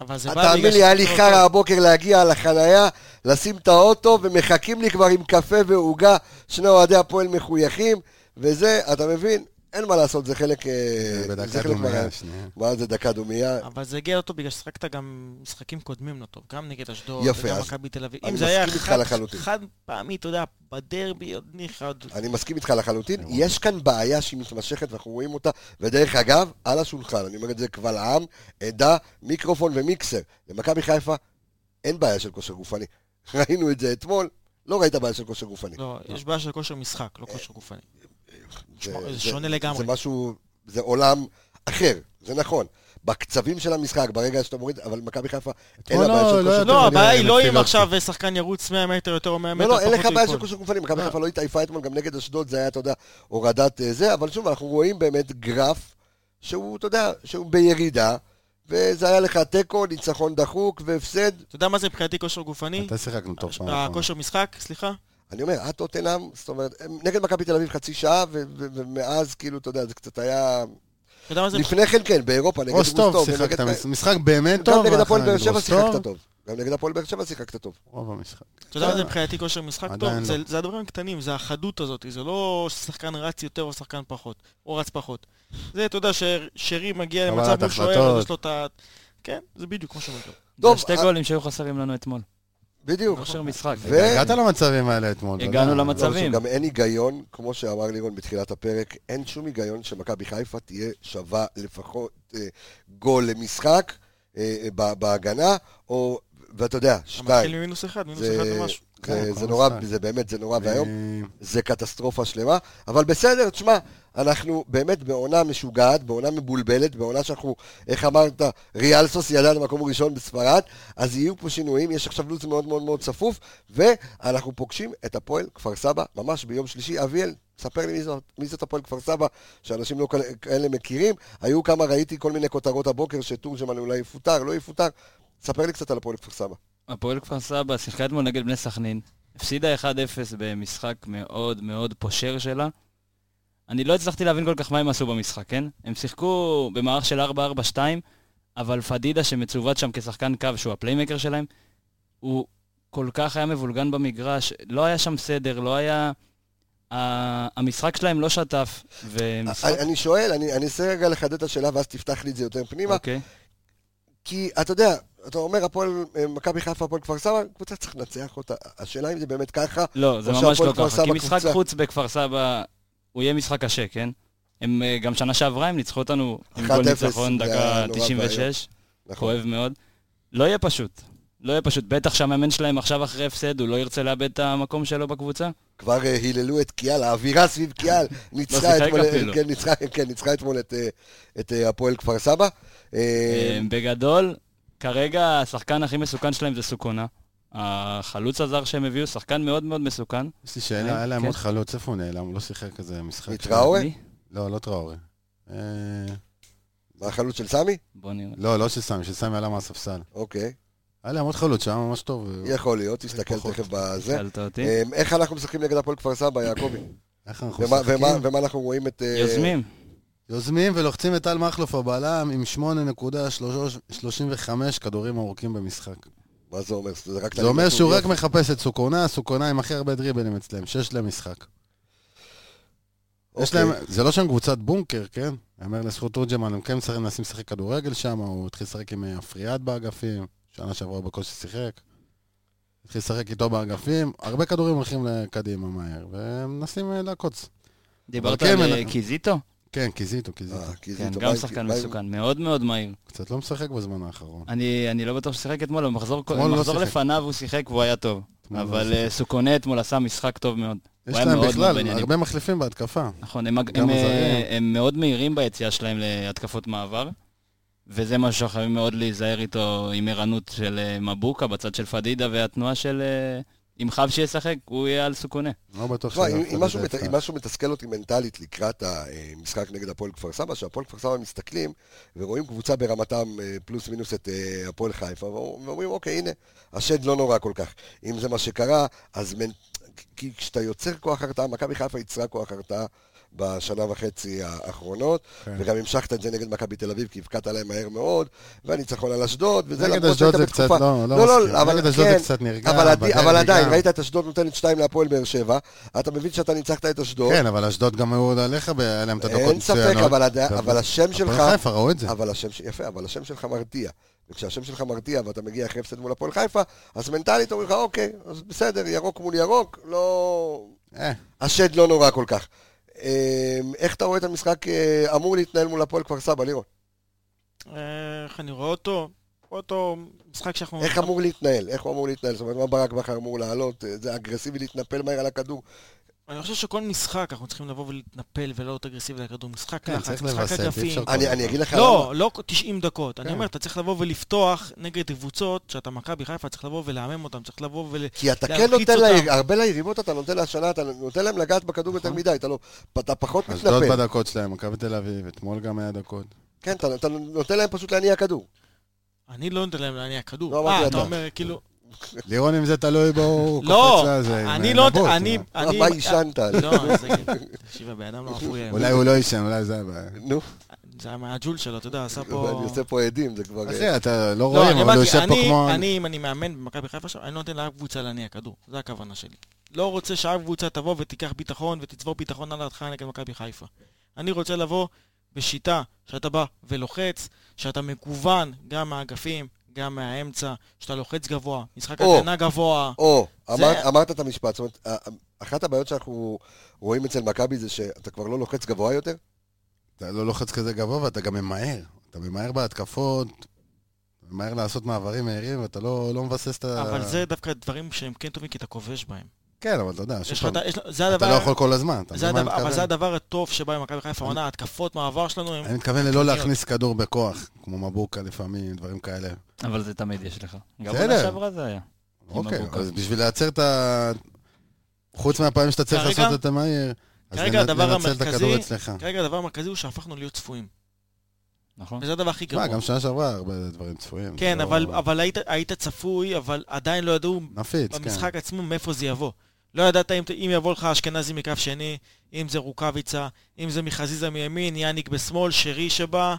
[SPEAKER 2] אבל זה בא...
[SPEAKER 1] תאמין
[SPEAKER 2] בגלל
[SPEAKER 1] לי, היה לי
[SPEAKER 2] שזה
[SPEAKER 1] חרא
[SPEAKER 2] לא
[SPEAKER 1] הבוקר להגיע לחנייה, לשים את האוטו, ומחכים לי כבר עם קפה ועוגה, שני אוהדי הפועל מחויכים, וזה, אתה מבין? אין מה לעשות, זה חלק... אה, זה
[SPEAKER 5] בדקה
[SPEAKER 1] חלק מהרעיון.
[SPEAKER 5] דומייה, שנייה.
[SPEAKER 1] מה זה דקה דומייה?
[SPEAKER 2] טוב. אבל זה הגיע לא טוב בגלל ששחקת גם משחקים קודמים לא טוב. גם נגד אשדוד,
[SPEAKER 1] יפה,
[SPEAKER 2] וגם
[SPEAKER 1] אז
[SPEAKER 2] מכבי תל אביב.
[SPEAKER 1] אני
[SPEAKER 2] אם זה היה
[SPEAKER 1] מסכים איתך
[SPEAKER 2] חד-
[SPEAKER 1] לחלוטין.
[SPEAKER 2] חד פעמי, אתה יודע, בדרבי, עוד ניחא, עוד...
[SPEAKER 1] אני מסכים איתך לחלוטין. יש כאן בעיה שהיא מתמשכת ואנחנו רואים אותה, ודרך אגב, על השולחן, אני אומר את זה קבל עם, עדה, מיקרופון ומיקסר. למכבי חיפה אין בעיה של כושר גופני. ראינו את זה אתמול, לא ראית בעיה של כושר גופני.
[SPEAKER 2] לא, יש בעיה של כושר משחק, לא כושר גופני. תשמע,
[SPEAKER 1] אה, זה-
[SPEAKER 2] זה שונה לגמרי.
[SPEAKER 1] זה משהו, זה עולם אחר, זה נכון. בקצבים של המשחק, ברגע שאתה מוריד, אבל מכבי חיפה, אין לה
[SPEAKER 5] לא-
[SPEAKER 1] בעיה של
[SPEAKER 5] לא
[SPEAKER 1] כושר
[SPEAKER 5] יותר
[SPEAKER 2] לא, הבעיה
[SPEAKER 5] מדי
[SPEAKER 2] היא לא אם
[SPEAKER 5] נפילות.
[SPEAKER 2] עכשיו שחקן ירוץ 100 מטר יותר או 100 מטר
[SPEAKER 1] לא,
[SPEAKER 2] פחות.
[SPEAKER 1] לא, אין לך
[SPEAKER 2] הוא
[SPEAKER 1] בעיה של
[SPEAKER 2] ייפול.
[SPEAKER 1] כושר גופני, מכבי
[SPEAKER 5] לא.
[SPEAKER 1] חיפה לא התעייפה אתמול, גם נגד אשדוד זה היה, אתה יודע, הורדת אה, זה, אבל שוב, אנחנו רואים באמת גרף שהוא, אתה יודע, שהוא בירידה, וזה היה לך תיקו, ניצחון דחוק והפסד.
[SPEAKER 2] אתה יודע מה זה מבחינתי כושר גופני?
[SPEAKER 5] אתה שיחקנו טוב
[SPEAKER 2] אה,
[SPEAKER 5] פעם. האחרונה.
[SPEAKER 2] הכושר משחק, סליחה?
[SPEAKER 1] אני אומר, עד טוטנאם, זאת אומרת, הם נגד מכבי תל אביב חצי שעה, ו- ו- ומאז, כאילו, אתה יודע, זה קצת היה...
[SPEAKER 2] אתה יודע מה זה?
[SPEAKER 1] לפני כן, כן, באירופה, נגד
[SPEAKER 5] רוסטוב
[SPEAKER 1] רוסטוב,
[SPEAKER 5] שיחקת,
[SPEAKER 1] ונגד-
[SPEAKER 5] מש- משחק באמת טוב.
[SPEAKER 1] גם נגד
[SPEAKER 5] ואחר
[SPEAKER 1] הפועל באר
[SPEAKER 5] נגד
[SPEAKER 1] שבע
[SPEAKER 5] רוסטוב.
[SPEAKER 1] שיחקת טוב. גם נגד הפועל באר שבע שיחקת טוב.
[SPEAKER 5] רוב המשחק.
[SPEAKER 2] אתה
[SPEAKER 1] אה.
[SPEAKER 2] יודע מה זה מבחינתי כושר משחק
[SPEAKER 5] עדיין
[SPEAKER 2] טוב?
[SPEAKER 5] לא.
[SPEAKER 2] זה, זה הדברים הקטנים, זה החדות הזאת, זה לא ששחקן רץ יותר או שחקן פחות, או רץ פחות. זה, אתה יודע, ששרי מגיע
[SPEAKER 5] קבלת
[SPEAKER 2] למצב מול שוער,
[SPEAKER 5] החלטות.
[SPEAKER 2] אז יש לו את ה... כן, זה בדיוק כמו שאומרים.
[SPEAKER 1] טוב,
[SPEAKER 6] זה שתי
[SPEAKER 1] אה-
[SPEAKER 6] גולים שהיו חסרים לנו אתמול.
[SPEAKER 1] בדיוק.
[SPEAKER 5] נכון.
[SPEAKER 6] כושר משחק.
[SPEAKER 1] ו-
[SPEAKER 5] הגעת למצבים האלה
[SPEAKER 6] הגענו
[SPEAKER 5] אתמול. אתה יודע.
[SPEAKER 1] לא, שוב,
[SPEAKER 6] מצבים.
[SPEAKER 1] גם אין היגיון, כמו שאמר לירון בתחילת הפרק, אין שום היגיון שמכבי חיפה תהיה שווה לפחות אה, גול למשחק אה, אה, ב- בהגנה, או, ואתה יודע,
[SPEAKER 2] מתחיל
[SPEAKER 1] שתיים.
[SPEAKER 2] ממינוס אחד, מינוס אחד
[SPEAKER 1] זה,
[SPEAKER 2] ומשהו.
[SPEAKER 1] זה-
[SPEAKER 5] כן,
[SPEAKER 1] זה
[SPEAKER 5] כל אה,
[SPEAKER 1] נורא,
[SPEAKER 5] משחק.
[SPEAKER 1] זה באמת, זה נורא
[SPEAKER 5] אני-
[SPEAKER 1] ואיום. זה קטסטרופה שלמה, אבל בסדר, תשמע, אנחנו באמת בעונה משוגעת, בעונה מבולבלת, בעונה שאנחנו, איך אמרת, ריאלסוס ידע למקום ראשון בספרד, אז יהיו פה שינויים, יש עכשיו לו"ז מאוד מאוד מאוד צפוף, ואנחנו פוגשים את הפועל כפר סבא ממש ביום שלישי. אביאל, ספר לי מי זאת, מי זאת הפועל כפר סבא, שאנשים לא כאלה- כאלה מכירים. היו כמה, ראיתי כל מיני כותרות הבוקר שתורג'מן אולי יפוטר, לא יפוטר. ספר לי קצת על הפועל כפר סבא.
[SPEAKER 6] הפועל כפר סבא שיחקה אתמול נגד בני סכנין, הפסידה 1-0 במשחק מאוד מאוד פושר שלה. אני לא הצלחתי להבין כל כך מה הם עשו במשחק, כן? הם שיחקו במערך של 4-4-2, אבל פדידה שמצוות שם כשחקן קו, שהוא הפליימקר שלהם, הוא כל כך היה מבולגן במגרש, לא היה שם סדר, לא היה... ה- המשחק שלהם לא שטף, ומשחק...
[SPEAKER 1] אני- אני שואל, אני אני אנסה רגע לחדד את השאלה ואז תפתח לי את זה יותר פנימה.
[SPEAKER 6] אוקיי.
[SPEAKER 1] כי אתה יודע, אתה אומר הפועל, אה, מכבי חיפה, הפועל כפר סבא, קבוצה צריך לנצח אותה. השאלה אם זה באמת ככה,
[SPEAKER 6] לא, זה
[SPEAKER 1] או
[SPEAKER 6] ממש
[SPEAKER 1] שהפועל
[SPEAKER 6] לא
[SPEAKER 1] כפר
[SPEAKER 6] ככה. כי
[SPEAKER 1] סבא
[SPEAKER 6] משחק
[SPEAKER 1] קבוצה.
[SPEAKER 6] חוץ בכפר סבא, הוא יהיה משחק קשה, כן? הם אה, גם שנה שעברה, הם ניצחו אותנו עם
[SPEAKER 1] 1-0,
[SPEAKER 6] גול ניצחון
[SPEAKER 1] זה
[SPEAKER 6] דקה
[SPEAKER 1] היה נורא
[SPEAKER 6] 96,
[SPEAKER 1] נכון?
[SPEAKER 6] כואב מאוד. לא יהיה פשוט. לא יהיה פשוט. בטח שהמאמן שלהם עכשיו אחרי הפסד, הוא לא ירצה לאבד את המקום שלו בקבוצה.
[SPEAKER 1] כבר אה, היללו את קיאל, האווירה סביב קיאל ניצחה
[SPEAKER 6] שיחק
[SPEAKER 1] אתמול,
[SPEAKER 6] אפילו.
[SPEAKER 1] כן, ניצחה- כן, ניצחה אתמול את, אה, את אה, הפועל כפר סבא. אה,
[SPEAKER 6] אה, בגדול, כרגע השחקן הכי מסוכן שלהם זה סוכונה. החלוץ הזר שהם הביאו, שחקן מאוד מאוד מסוכן.
[SPEAKER 5] יש לי שאלה, היה להם
[SPEAKER 6] כן.
[SPEAKER 5] עוד חלוץ, איפה הוא נעלם? הוא לא שיחק איזה משחק.
[SPEAKER 1] נתראו? טראורה?
[SPEAKER 6] מי?
[SPEAKER 5] לא, לא טראורי. אה,
[SPEAKER 1] מה החלוץ של סמי?
[SPEAKER 6] בוא נראה.
[SPEAKER 5] לא, לא של סמי, של סמי עלה מהספסל.
[SPEAKER 1] אוקיי,
[SPEAKER 5] היה להם עוד חלוץ שהיה ממש טוב.
[SPEAKER 6] לא.
[SPEAKER 5] אה,
[SPEAKER 1] יכול להיות, תסתכל
[SPEAKER 5] פחות.
[SPEAKER 1] תכף בזה.
[SPEAKER 6] שאלת אותי.
[SPEAKER 1] אה, איך אנחנו משחקים נגד הפועל כפר סבא, יעקבי?
[SPEAKER 5] איך אנחנו
[SPEAKER 1] ומה-
[SPEAKER 5] משחקים?
[SPEAKER 1] ומה- ומה אנחנו רואים את... אה,
[SPEAKER 6] יוזמים.
[SPEAKER 5] יוזמים ולוחצים את טל מכלוף הבלם עם 8.35 כדורים ארוכים במשחק.
[SPEAKER 1] מה זה אומר? זה רק...
[SPEAKER 5] זה אומר שהוא רק
[SPEAKER 1] יופי.
[SPEAKER 5] מחפש את סוכונה, סוכונה עם הכי הרבה דריבלים אצלם, שיש להם משחק. יש
[SPEAKER 1] אוקיי.
[SPEAKER 5] להם, זה לא שהם קבוצת בונקר, כן? אומר לזכות תורג'מן, הם כן משחקים- מנסים לשחק כדורגל שם, הוא התחיל לשחק עם אה, אפריאט באגפים, שנה שעברה הוא בקושי שיחק. התחיל לשחק איתו באגפים, הרבה כדורים הולכים לקדימה מהר, והם מנסים אה, לעקוץ.
[SPEAKER 6] דיברת
[SPEAKER 5] אבל
[SPEAKER 6] על
[SPEAKER 5] כן,
[SPEAKER 6] אה,
[SPEAKER 5] אנחנו-
[SPEAKER 6] קיזיטו?
[SPEAKER 5] כן, קיזיטו, קיזיטו.
[SPEAKER 1] אה, כי זה
[SPEAKER 6] כן,
[SPEAKER 1] איתו, מה
[SPEAKER 6] גם
[SPEAKER 1] עם-
[SPEAKER 6] שחקן
[SPEAKER 1] מה עם-
[SPEAKER 6] מסוכן. מאוד מאוד מהיר.
[SPEAKER 5] קצת לא משחק בזמן האחרון.
[SPEAKER 6] אני אני לא בטוח ששיחק אתמול, במחזור
[SPEAKER 5] אתמול לא
[SPEAKER 6] במחזור
[SPEAKER 5] שיחק.
[SPEAKER 6] לפניו הוא שיחק והוא היה טוב.
[SPEAKER 5] אתמול לא
[SPEAKER 6] אבל
[SPEAKER 5] שיחק.
[SPEAKER 6] אה, סוכונה אתמול עשה משחק טוב מאוד.
[SPEAKER 5] יש
[SPEAKER 6] היה
[SPEAKER 5] להם
[SPEAKER 6] מאוד מאוד
[SPEAKER 5] בכלל
[SPEAKER 6] בעניינים.
[SPEAKER 5] הרבה מחליפים בהתקפה.
[SPEAKER 6] נכון, הם,
[SPEAKER 5] גם
[SPEAKER 6] הם, אה,
[SPEAKER 5] הזרים.
[SPEAKER 6] הם מאוד מהירים ביציאה שלהם להתקפות מעבר, וזה מה שאנחנו חייבים מאוד להיזהר איתו עם ערנות של אה, מבוקה בצד של פדידה והתנועה של... אה, אם חבשי ישחק, הוא יהיה על סוכונה.
[SPEAKER 5] לא בטוח
[SPEAKER 1] תשמע,
[SPEAKER 5] שזה
[SPEAKER 1] אם-
[SPEAKER 5] אף אחד
[SPEAKER 1] אם משהו
[SPEAKER 5] יודע
[SPEAKER 1] מת- אם
[SPEAKER 5] יפתח.
[SPEAKER 1] משהו מתסכל אותי מנטלית לקראת המשחק נגד הפועל כפר סבא, שהפועל כפר סבא מסתכלים ורואים קבוצה ברמתם אה, פלוס מינוס את אה, הפועל חיפה, ואומר- ואומרים, אוקיי, הנה, השד לא נורא כל כך. אם זה מה שקרה, אז מנ- כי כשאתה יוצר כוח הרתעה, מכבי חיפה יצרה כוח הרתעה בשנה וחצי האחרונות,
[SPEAKER 5] כן.
[SPEAKER 1] וגם המשכת את זה נגד מכבי תל אביב, כי הבקעת להם מהר מאוד, והניצחון על אשדוד, וזה
[SPEAKER 5] נגד
[SPEAKER 1] למרות
[SPEAKER 5] אשדוד
[SPEAKER 1] שהיית
[SPEAKER 5] זה קצת
[SPEAKER 1] בתקופה-
[SPEAKER 5] לא,
[SPEAKER 1] לא,
[SPEAKER 5] לא
[SPEAKER 1] לא,
[SPEAKER 5] מסכים.
[SPEAKER 1] אבל
[SPEAKER 5] נגד אשדוד זה
[SPEAKER 1] כן,
[SPEAKER 5] קצת נרגע.
[SPEAKER 1] אבל, עדי,
[SPEAKER 5] בדרבי
[SPEAKER 1] אבל עדיין,
[SPEAKER 5] גם.
[SPEAKER 1] ראית את אשדוד נותנת שתיים להפועל באר שבע, אתה מבין שאתה ניצחת את אשדוד,
[SPEAKER 5] כן, אבל אשדוד גם היו עוד עליך, ב- היה להם את הדקות
[SPEAKER 1] אין ספק, אבל, עדי,
[SPEAKER 5] אבל-
[SPEAKER 1] אבל השם שלך,
[SPEAKER 5] הפועל חיפה ראו את זה.
[SPEAKER 1] אבל השם, ש- יפה, אבל השם שלך מרתיע. וכשהשם שלך מרתיע ואתה מגיע אחרי הפסד מול הפועל חיפה, אז מנטלית אומרים לך, אוקיי, אז בסדר, ירוק מול ירוק, לא...
[SPEAKER 5] אה,
[SPEAKER 1] השד לא נורא כל כך. אה, איך אתה רואה את המשחק אה, אמור להתנהל מול הפועל כפר סבא, לירון?
[SPEAKER 2] אה, איך אני רואה אותו? רואה אותו משחק שאנחנו...
[SPEAKER 1] איך אמור להתנהל? איך הוא אמור להתנהל? זאת אומרת, מה ברק בכר אמור לעלות? אה, זה אגרסיבי להתנפל מהר על הכדור?
[SPEAKER 2] אני חושב שכל משחק אנחנו צריכים לבוא ולהתנפל ולא להיות אגרסיבי לכדור. משחק
[SPEAKER 5] כן,
[SPEAKER 2] לחץ,
[SPEAKER 5] צריך
[SPEAKER 2] משחק
[SPEAKER 5] לווסת, אי
[SPEAKER 2] אגפים.
[SPEAKER 5] אפשר כל
[SPEAKER 1] אני
[SPEAKER 5] הזמן.
[SPEAKER 1] אני אגיד לך...
[SPEAKER 2] לא, לא 90 דקות.
[SPEAKER 1] כן.
[SPEAKER 2] אני אומר, אתה צריך לבוא ולפתוח נגד קבוצות שאתה מכבי חיפה, צריך לבוא ולהמם אותם, צריך לבוא ול...
[SPEAKER 1] כי אתה כן
[SPEAKER 2] להלחיץ
[SPEAKER 1] נותן,
[SPEAKER 2] אותם. נכון.
[SPEAKER 1] לה, הרבה ליריבות אתה נותן להשנה, אתה נותן להם לגעת בכדור יותר מדי, אתה, לא, אתה פחות
[SPEAKER 5] אשדוד
[SPEAKER 1] מתנפל.
[SPEAKER 5] בדקות שלהם, מכבי תל אביב, אתמול גם היה דקות.
[SPEAKER 1] כן, אתה, אתה נותן להם פשוט להניע כדור.
[SPEAKER 2] אני לא נותן להם להניע
[SPEAKER 1] לא
[SPEAKER 2] כדור.
[SPEAKER 1] אמרתי
[SPEAKER 2] אה,
[SPEAKER 1] אתה.
[SPEAKER 2] אתה אומר, כאילו...
[SPEAKER 5] לירון, אם זה תלוי בו, הוא
[SPEAKER 2] לא,
[SPEAKER 5] קופץ לזה. עם
[SPEAKER 2] אני לא...
[SPEAKER 5] נבוט,
[SPEAKER 2] אני...
[SPEAKER 5] אה.
[SPEAKER 1] אני...
[SPEAKER 2] אני-
[SPEAKER 1] מה עישנת?
[SPEAKER 2] לא, זה... תקשיב, הבן אדם לא אפוי.
[SPEAKER 5] אולי הוא לא ישן, אולי זה הבעיה.
[SPEAKER 1] נו,
[SPEAKER 2] זה היה מהג'ול שלו, אתה יודע, עשה פה...
[SPEAKER 1] אני עושה פה עדים, זה כבר... אה,
[SPEAKER 5] אחי, אתה לא
[SPEAKER 2] לא,
[SPEAKER 5] רואים,
[SPEAKER 2] אני
[SPEAKER 5] אבל הוא
[SPEAKER 2] אמרתי,
[SPEAKER 5] יושב פה
[SPEAKER 2] אני-
[SPEAKER 5] כמו...
[SPEAKER 2] אני, אם אני מאמן במכבי חיפה עכשיו, אני לא נותן לאף קבוצה להניע כדור. זו הכוונה שלי. לא רוצה שאף קבוצה תבוא ותיקח ביטחון ותצבור ביטחון על דעתך נגד מכבי חיפה. אני רוצה לבוא בשיטה שאתה בא ולוחץ, שאתה מגוון גם מהאגפים, גם מהאמצע, שאתה לוחץ גבוה, משחק
[SPEAKER 1] או.
[SPEAKER 2] הגנה גבוה.
[SPEAKER 1] או, אמר,
[SPEAKER 2] זה-
[SPEAKER 1] אמרת את המשפט, זאת אומרת, ה- אחת הבעיות שאנחנו רואים אצל מכבי זה שאתה כבר לא לוחץ גבוה יותר?
[SPEAKER 5] אתה לא לוחץ כזה גבוה ואתה גם ממהר. אתה ממהר בהתקפות, ממהר לעשות מעברים מהירים, ואתה לא לא מבסס את ה...
[SPEAKER 2] אבל זה דווקא דברים שהם כן טובים, כי אתה כובש בהם.
[SPEAKER 5] כן, אבל אתה יודע, שוב
[SPEAKER 2] יש לך
[SPEAKER 5] פעם,
[SPEAKER 2] את ה- יש ל- זה
[SPEAKER 5] אתה לא
[SPEAKER 2] הדבר...
[SPEAKER 5] יכול כל הזמן. אתה
[SPEAKER 2] זה
[SPEAKER 5] מבין מה
[SPEAKER 2] הדבר,
[SPEAKER 5] אני
[SPEAKER 2] אבל זה
[SPEAKER 5] מתכוון?
[SPEAKER 2] הדבר הטוב שבא עם מכבי חיפה, עונה, התקפות מעבר שלנו הם
[SPEAKER 5] אני מתכוון ללא להכניס כדור בכוח, כמו מבוקה לפעמים, דברים כאלה.
[SPEAKER 6] אבל זה תמיד יש לך. גם
[SPEAKER 5] בסדר.
[SPEAKER 6] בעונה שעברה זה היה.
[SPEAKER 5] אוקיי,
[SPEAKER 6] מבוקה.
[SPEAKER 5] אז בשביל לייצר את ה... חוץ מהפעמים שאתה צריך
[SPEAKER 2] כרגע-
[SPEAKER 5] לעשות את המהיר, אז
[SPEAKER 2] כרגע
[SPEAKER 5] לנ-
[SPEAKER 2] הדבר
[SPEAKER 5] לנצל את הכדור
[SPEAKER 2] המרכזי-
[SPEAKER 5] אצלך.
[SPEAKER 2] כרגע הדבר המרכזי הוא שהפכנו להיות צפויים.
[SPEAKER 6] נכון?
[SPEAKER 2] וזה הדבר הכי גרוע.
[SPEAKER 5] מה, גם שנה שעברה היה הרבה דברים צפויים.
[SPEAKER 2] כן,
[SPEAKER 5] זה
[SPEAKER 2] אבל,
[SPEAKER 5] לא-
[SPEAKER 2] אבל היית, היית צפוי, אבל עדיין לא ידעו
[SPEAKER 5] נפיץ, כן.
[SPEAKER 2] במשחק עצמו מאיפה זה יבוא. לא ידעת אם, אם יבוא לך אשכנזי מכף שני, אם זה רוקאביצה, אם זה מחזיזה מימין, יאניק בשמאל, שרי שבא.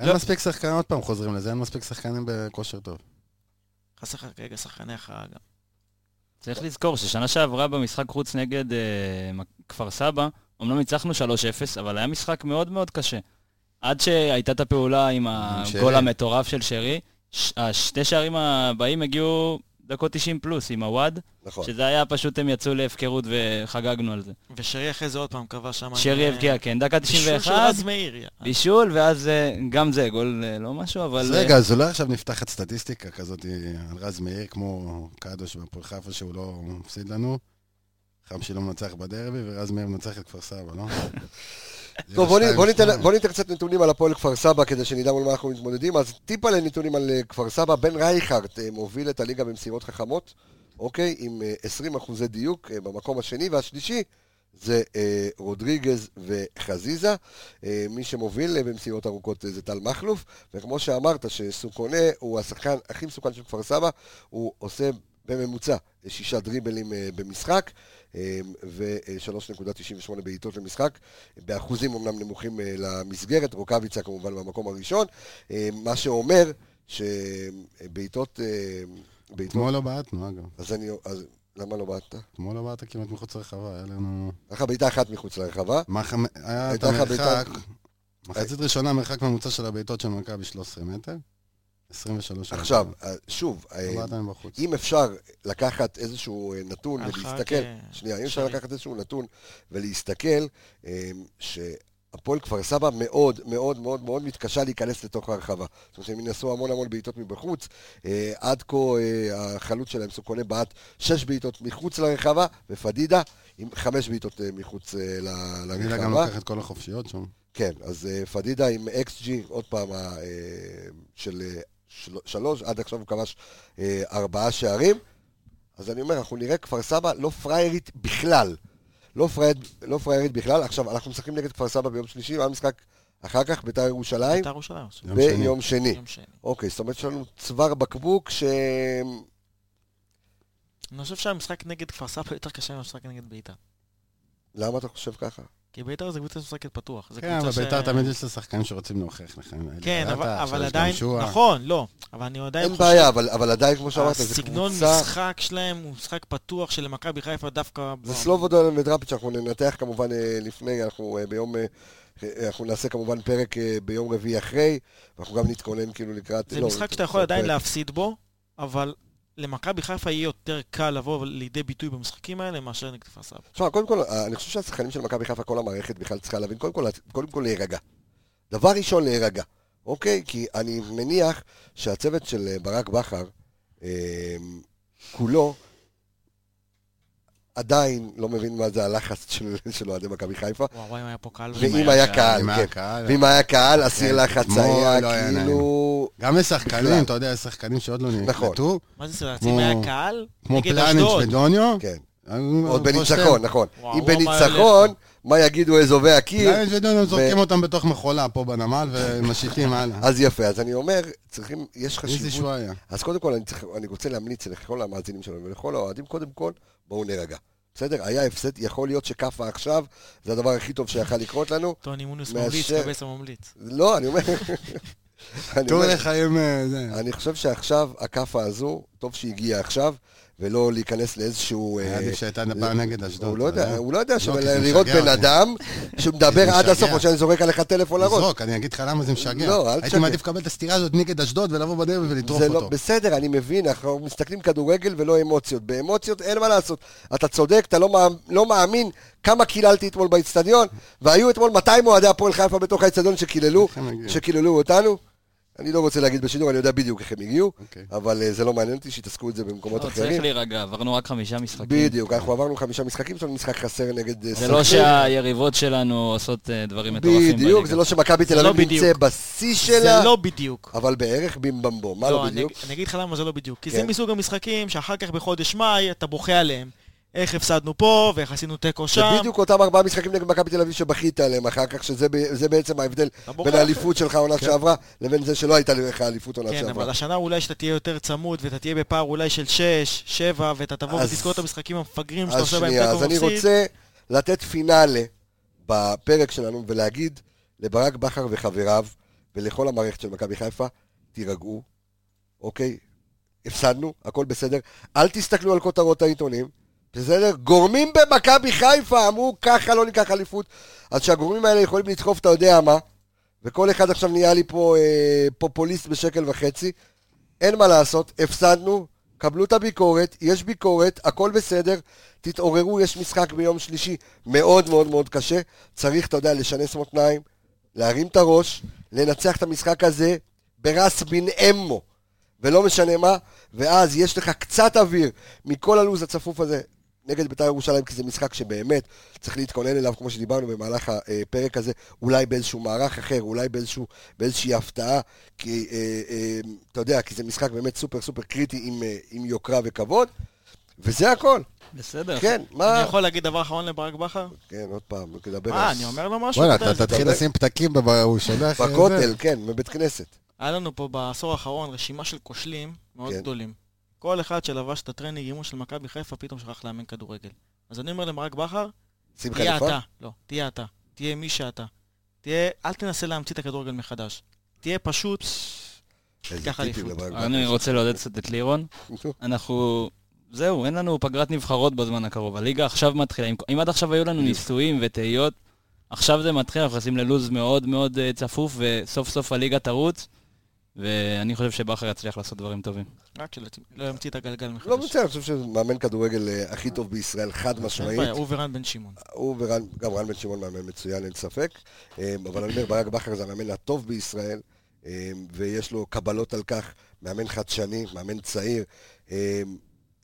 [SPEAKER 5] אין
[SPEAKER 2] לא-
[SPEAKER 5] מספיק שחקנים, עוד פעם חוזרים לזה, אין מספיק שחקנים בכושר טוב.
[SPEAKER 2] חסר לך כרגע שחקני הכרעה גם.
[SPEAKER 6] צריך לזכור ששנה שעברה במשחק חוץ נגד אה, מק- כפר סבא, אמנם ניצחנו 3-0, אבל היה משחק מאוד מאוד קשה. עד שהייתה את הפעולה עם
[SPEAKER 5] שרי.
[SPEAKER 6] הגול המטורף של שרי, ש- השתי שערים הבאים הגיעו דקות 90 פלוס עם הוואד,
[SPEAKER 1] נכון.
[SPEAKER 6] שזה היה פשוט הם יצאו להפקרות וחגגנו על זה.
[SPEAKER 2] ושרי אחרי זה עוד פעם קבע שם...
[SPEAKER 6] שרי הבקיע, כן, דקה
[SPEAKER 2] בישול
[SPEAKER 6] 91,
[SPEAKER 2] של רז מאיר.
[SPEAKER 6] בישול, ואז אה, גם זה גול אה, לא משהו,
[SPEAKER 5] אז
[SPEAKER 6] אבל...
[SPEAKER 5] רגע, אז אולי עכשיו נפתחת סטטיסטיקה כזאת על רז מאיר, כמו קדוש בהפועל חיפה שהוא לא מפסיד לנו. חמשי לא מנצח בדרבי, ורז מאיר מנצח את כפר סבא, לא?
[SPEAKER 1] טוב, בוא, נ- בוא, ניתן,
[SPEAKER 5] 2-2.
[SPEAKER 1] בוא ניתן קצת נתונים על הפועל כפר סבא כדי שנדע מול מה אנחנו מתמודדים. אז טיפה לנתונים על אה, כפר סבא. בן רייכרט אה, מוביל את הליגה במסירות חכמות, אוקיי? עם אה, 20 אחוזי דיוק אה, במקום השני והשלישי. זה אה, רודריגז וחזיזה, אה, מי שמוביל אה, במסירות ארוכות אה, זה טל מכלוף, וכמו שאמרת שסוכונה הוא השחקן הכי מסוכן של כפר סבא, הוא עושה בממוצע אה, שישה דריבלים אה, במשחק, אה, ו-3.98 בעיטות למשחק, באחוזים אמנם נמוכים אה, למסגרת, רוקאביצה כמובן במקום הראשון, אה, מה שאומר שבעיטות... אה, בעיטות...
[SPEAKER 5] אתמול לא בעטנו, אגב.
[SPEAKER 1] אז אני... אז למה לא בעטת?
[SPEAKER 5] אתמול לא בעטת כמעט מחוץ לרחבה, היה לנו...
[SPEAKER 1] היה לך בעיטה אחת מחוץ לרחבה.
[SPEAKER 5] מה חמ- היה את
[SPEAKER 1] הייתה לך
[SPEAKER 5] המרחק, מחצית ראשונה מרחק ממוצע של הבעיטות של מכבי 13 מטר, 23
[SPEAKER 1] עכשיו, אה, שוב, אה,
[SPEAKER 5] לא בעטנו בחוץ.
[SPEAKER 1] אם אפשר לקחת איזשהו אה, נתון
[SPEAKER 2] הרחק,
[SPEAKER 1] ולהסתכל,
[SPEAKER 2] אה,
[SPEAKER 1] שנייה, אם אפשר
[SPEAKER 2] אפשרי.
[SPEAKER 1] לקחת איזשהו נתון ולהסתכל, אה, שהפועל כפר סבא מאוד מאוד מאוד מאוד מתקשה להיכנס לתוך הרחבה. זאת אומרת שהם ינסו המון המון בעיטות מבחוץ, אה, עד כה אה, החלוץ שלהם סוכונה בעט שש בעיטות מחוץ לרחבה, ופדידה עם חמש בעיטות אה, מחוץ אה, ל-
[SPEAKER 5] גילה גם
[SPEAKER 1] לרחבה.
[SPEAKER 5] לקח את כל החופשיות שם.
[SPEAKER 1] כן, אז אה, פדידה עם אקס ג'י, עוד פעם, ה- אה, של אה, של- שלוש, עד עכשיו הוא כבש אה, ארבעה שערים. אז אני אומר, אנחנו נראה כפר סבא לא פריירית בכלל. לא, פרייר, לא פריירית בכלל. עכשיו, אנחנו משחקים נגד כפר סבא ביום שלישי, מה המשחק אחר כך? בית"ר ירושלים,
[SPEAKER 2] בית"ר ירושלים. עשו.
[SPEAKER 5] יום שני.
[SPEAKER 1] ביום שני.
[SPEAKER 2] יום שני.
[SPEAKER 1] אוקיי, זאת אומרת שיש לנו צוואר בקבוק ש...
[SPEAKER 2] אני חושב שהמשחק נגד כפר סבא יותר קשה מהמשחק נגד בית"ר.
[SPEAKER 1] למה אתה חושב ככה?
[SPEAKER 2] כי בית"ר זה קבוצה משחקת פתוח. זה
[SPEAKER 5] כן,
[SPEAKER 2] קבוצה
[SPEAKER 5] אבל
[SPEAKER 2] ש-
[SPEAKER 5] ביתר תמיד יש לשחקנים שרוצים להוכיח לך.
[SPEAKER 2] כן,
[SPEAKER 5] אלי
[SPEAKER 2] אבל- אבל
[SPEAKER 5] חרטה, עכשיו יש גם
[SPEAKER 2] עדיין...
[SPEAKER 5] שועה.
[SPEAKER 2] נכון, לא. אבל אני עדיין
[SPEAKER 1] אין
[SPEAKER 2] חושב...
[SPEAKER 1] בעיה, אבל, אבל עדיין, כמו שאמרת, זה
[SPEAKER 2] הסגנון
[SPEAKER 1] קבוצה...
[SPEAKER 2] משחק שלהם הוא משחק פתוח שלמכבי חיפה דווקא...
[SPEAKER 1] זה סלובודון ודראפיץ', אנחנו ננתח כמובן אה, לפני, אנחנו אה, ביום... אה, אה, אנחנו נעשה כמובן פרק אה, ביום רביעי אחרי, ואנחנו גם נתכונן כאילו לקראת...
[SPEAKER 2] זה
[SPEAKER 1] לא,
[SPEAKER 2] משחק שאתה יכול עדיין
[SPEAKER 1] פרק.
[SPEAKER 2] להפסיד בו, אבל למכבי חיפה יהיה יותר קל לבוא לידי ביטוי במשחקים האלה מאשר נגד כפר סבא.
[SPEAKER 1] תשמע, קודם כל, אה, אני חושב שהשחקנים של מכבי חיפה, כל המערכת בכלל צריכה להבין, קודם כל, קודם כל להירגע. דבר ראשון, להירגע, אוקיי? כי אני מניח שהצוות של אה, ברק בכר, אה, כולו, עדיין לא מבין מה זה הלחץ של של אוהדי מכבי חיפה.
[SPEAKER 2] וואו, וואי, אם היה פה קהל.
[SPEAKER 1] ואם היה קהל,
[SPEAKER 5] עם
[SPEAKER 1] כן.
[SPEAKER 5] הקהל.
[SPEAKER 1] ואם היה קהל, אסיר
[SPEAKER 5] כן,
[SPEAKER 1] לחץ
[SPEAKER 5] אתמול
[SPEAKER 1] היה
[SPEAKER 5] לא היה
[SPEAKER 1] כאילו...
[SPEAKER 5] גם
[SPEAKER 1] בכלל.
[SPEAKER 5] לשחקנים, אתה יודע, יש שחקנים שעוד לא
[SPEAKER 1] נכון.
[SPEAKER 5] נקלטו,
[SPEAKER 2] מה זה סרט?
[SPEAKER 5] כמו-
[SPEAKER 2] אם היה קהל?
[SPEAKER 5] כמו
[SPEAKER 2] נגד
[SPEAKER 5] פלניץ'
[SPEAKER 2] אשדוד.
[SPEAKER 5] ודוניו.
[SPEAKER 1] כן.
[SPEAKER 5] היו
[SPEAKER 1] עוד
[SPEAKER 5] פה שתיהם.
[SPEAKER 1] בניצחון, נכון.
[SPEAKER 2] וואו,
[SPEAKER 1] אם
[SPEAKER 2] וואו, מה
[SPEAKER 1] בניצחון, מה יגידו אזובי הקיר?
[SPEAKER 5] פלניץ' ודוניו זורקים אותם בתוך מכולה פה בנמל ומשיתים הלאה.
[SPEAKER 1] אז יפה, אז אני אומר, צריכים, יש
[SPEAKER 5] איזה
[SPEAKER 1] חשיבות.
[SPEAKER 5] שואה היה.
[SPEAKER 1] אז קודם כל, אני צריך- אני רוצה להמליץ לכל המאזינים שלנו ולכל האוהדים, קודם כל, בואו נרגע. בסדר? היה הפסד, יכול להיות שכאפה עכשיו, זה הדבר הכי טוב שיכל לקרות לנו.
[SPEAKER 2] טוני מונוס
[SPEAKER 1] מאשר-
[SPEAKER 2] ממליץ, קבס הממליץ.
[SPEAKER 1] לא, אני אומר... אני
[SPEAKER 5] תראו
[SPEAKER 1] אומר-
[SPEAKER 5] לחיים אה, זה.
[SPEAKER 1] אני חושב שעכשיו, הכאפה הזו, טוב שהגיעה עכשיו, ולא להיכנס לאיזשהו...
[SPEAKER 5] היה
[SPEAKER 1] אה,
[SPEAKER 5] עדיף שהייתה פעם נגד אשדוד.
[SPEAKER 1] הוא לא
[SPEAKER 5] אתה
[SPEAKER 1] יודע, הוא לא יודע,
[SPEAKER 5] כי
[SPEAKER 1] אבל
[SPEAKER 5] זה
[SPEAKER 1] לראות
[SPEAKER 5] משגע
[SPEAKER 1] בן
[SPEAKER 5] אותי.
[SPEAKER 1] אדם שמדבר
[SPEAKER 5] זה
[SPEAKER 1] עד
[SPEAKER 5] משגע.
[SPEAKER 1] הסוף, או שאני זורק עליך טלפון לראש.
[SPEAKER 5] לזרוק, אני אגיד לך למה זה משגע.
[SPEAKER 1] לא, אל
[SPEAKER 5] הייתי
[SPEAKER 1] תשגע.
[SPEAKER 5] מעדיף לקבל את הסטירה הזאת נגד אשדוד ולבוא בדרבי ולטרוף
[SPEAKER 1] זה לא,
[SPEAKER 5] אותו.
[SPEAKER 1] בסדר, אני מבין, אנחנו מסתכלים כדורגל ולא אמוציות. באמוציות אין מה לעשות. אתה צודק, אתה לא, מאמ- לא מאמין כמה קיללתי אתמול באיצטדיון, והיו אתמול 200 אוהדי הפועל חיפה בתוך האיצטדיון שקיללו,
[SPEAKER 5] איך הם הגיעו?
[SPEAKER 1] שקיללו אותנו. אני לא רוצה להגיד בשידור, אני יודע בדיוק איך הם הגיעו,
[SPEAKER 5] אוקיי.
[SPEAKER 1] אבל אה, זה לא מעניין אותי, שיתעסקו את זה במקומות
[SPEAKER 6] לא, צריך
[SPEAKER 1] אחרים.
[SPEAKER 6] להירגע, עברנו רק חמישה משחקים.
[SPEAKER 1] בדיוק, אנחנו עברנו חמישה משחקים, יש לנו משחק חסר נגד אה,
[SPEAKER 6] זה לא
[SPEAKER 1] סכנין.
[SPEAKER 6] שהיריבות שלנו עושות אה, דברים מטורפים בליגה.
[SPEAKER 1] בדיוק, זה לא שמכבי תל
[SPEAKER 2] זה לא
[SPEAKER 1] אביב נמצא
[SPEAKER 2] בדיוק.
[SPEAKER 1] בשיא
[SPEAKER 2] זה
[SPEAKER 1] שלה,
[SPEAKER 2] לא בדיוק.
[SPEAKER 1] אבל בערך בימבמבו, מה לא
[SPEAKER 2] אני-
[SPEAKER 1] בדיוק?
[SPEAKER 2] אני אגיד לך למה זה לא בדיוק. כי
[SPEAKER 1] כן.
[SPEAKER 2] זה מסוג המשחקים שאחר כך בחודש מאי אתה בוכה עליהם. איך הפסדנו פה, ואיך עשינו תיקו
[SPEAKER 1] זה
[SPEAKER 2] שם.
[SPEAKER 1] בדיוק אותם ארבעה משחקים נגד מכבי תל אביב שבכית עליהם אחר כך, שזה ב- זה בעצם ההבדל
[SPEAKER 2] אתה בוכה.
[SPEAKER 1] בין האליפות שלך עונה שעברה לבין זה שלא הייתה לך אליפות עונה
[SPEAKER 2] כן, אבל
[SPEAKER 1] שעברה.
[SPEAKER 2] השנה אולי שאתה תהיה יותר צמוד, ואתה תהיה בפער אולי של 6, 7, ואתה תבוא
[SPEAKER 1] אז-
[SPEAKER 2] ותזכור את המשחקים המפגרים שאתה
[SPEAKER 1] אז
[SPEAKER 2] עושה בהם
[SPEAKER 1] שנייה,
[SPEAKER 2] תיקו
[SPEAKER 1] אז אני
[SPEAKER 2] ומפסיד.
[SPEAKER 1] רוצה לתת פינאלה בפרק שלנו ולהגיד לברק בכר וחבריו ולכל המערכת של מכבי חיפה, תירגעו, אוקיי? הפסדנו, הכל בסדר. אל תסתכלו על כותרות העיתונים, בסדר? גורמים במכבי חיפה אמרו, ככה לא ניקח אליפות. אז שהגורמים האלה יכולים לדחוף, אתה יודע מה, וכל אחד עכשיו נהיה לי פה אה, פופוליסט בשקל וחצי, אין מה לעשות, הפסדנו, קבלו את הביקורת, יש ביקורת, הכל בסדר, תתעוררו, יש משחק ביום שלישי מאוד מאוד מאוד קשה, צריך, אתה יודע, לשנס מותניים, להרים את הראש, לנצח את המשחק הזה ברס בן אמו, ולא משנה מה, ואז יש לך קצת אוויר מכל הלו"ז הצפוף הזה נגד בית"ר ירושלים, כי זה משחק שבאמת צריך להתכונן אליו, כמו שדיברנו במהלך הפרק הזה, אולי באיזשהו מערך אחר, אולי באיזשהו, באיזושהי הפתעה, כי אה, אה, אתה יודע, כי זה משחק באמת סופר סופר קריטי עם, אה, עם יוקרה וכבוד, וזה הכל.
[SPEAKER 6] בסדר.
[SPEAKER 1] כן,
[SPEAKER 2] אני
[SPEAKER 1] מה...
[SPEAKER 2] יכול להגיד דבר אחרון לברק בכר?
[SPEAKER 1] כן, עוד פעם, לדבר
[SPEAKER 2] מה,
[SPEAKER 1] על-
[SPEAKER 2] אני אומר לו משהו?
[SPEAKER 5] וואלה,
[SPEAKER 2] אתה יודע,
[SPEAKER 5] אתה
[SPEAKER 2] זה-
[SPEAKER 5] תתחיל לשים פתקים, בב- הוא שולח... אה, זה.
[SPEAKER 1] בכותל, כן, בבית כנסת.
[SPEAKER 2] היה לנו פה בעשור האחרון רשימה של כושלים מאוד
[SPEAKER 1] כן.
[SPEAKER 2] גדולים. כל אחד שלבש את הטרנינג אימון של מכבי חיפה פתאום שכח לאמן כדורגל. אז אני אומר לברק בכר,
[SPEAKER 1] שים
[SPEAKER 2] תהיה
[SPEAKER 1] חליפה?
[SPEAKER 2] אתה. לא, תהיה אתה. תהיה מי שאתה. תהיה, אל תנסה להמציא את הכדורגל מחדש. תהיה פשוט,
[SPEAKER 1] איזה
[SPEAKER 2] תיקח
[SPEAKER 1] טיפים
[SPEAKER 2] אליפות.
[SPEAKER 1] לברק
[SPEAKER 6] אני
[SPEAKER 1] בכר.
[SPEAKER 6] רוצה לעודד קצת את לירון. אנחנו... זהו, אין לנו פגרת נבחרות בזמן הקרוב. הליגה עכשיו מתחילה. אם- אם עד עכשיו היו לנו ניסויים ותהיות, עכשיו זה מתחיל, אנחנו נכנסים ללוז מאוד מאוד אה, צפוף, וסוף סוף הליגה תרוץ, ואני חושב שבכר יצליח לעשות דברים טובים.
[SPEAKER 2] רק שלא לא ימציא את הגלגל מחדש.
[SPEAKER 1] לא מצטער, אני חושב שזה מאמן כדורגל אה, הכי טוב בישראל, חד
[SPEAKER 2] אין
[SPEAKER 1] משמעית.
[SPEAKER 2] בעיה, הוא ורן בן שמעון.
[SPEAKER 1] הוא ורן, גם רן בן שמעון מאמן מצוין, אין ספק. אה, אבל אני אומר, ברק בכר זה המאמן הטוב בישראל, אה, ויש לו קבלות על כך, מאמן חדשני, מאמן צעיר. אה,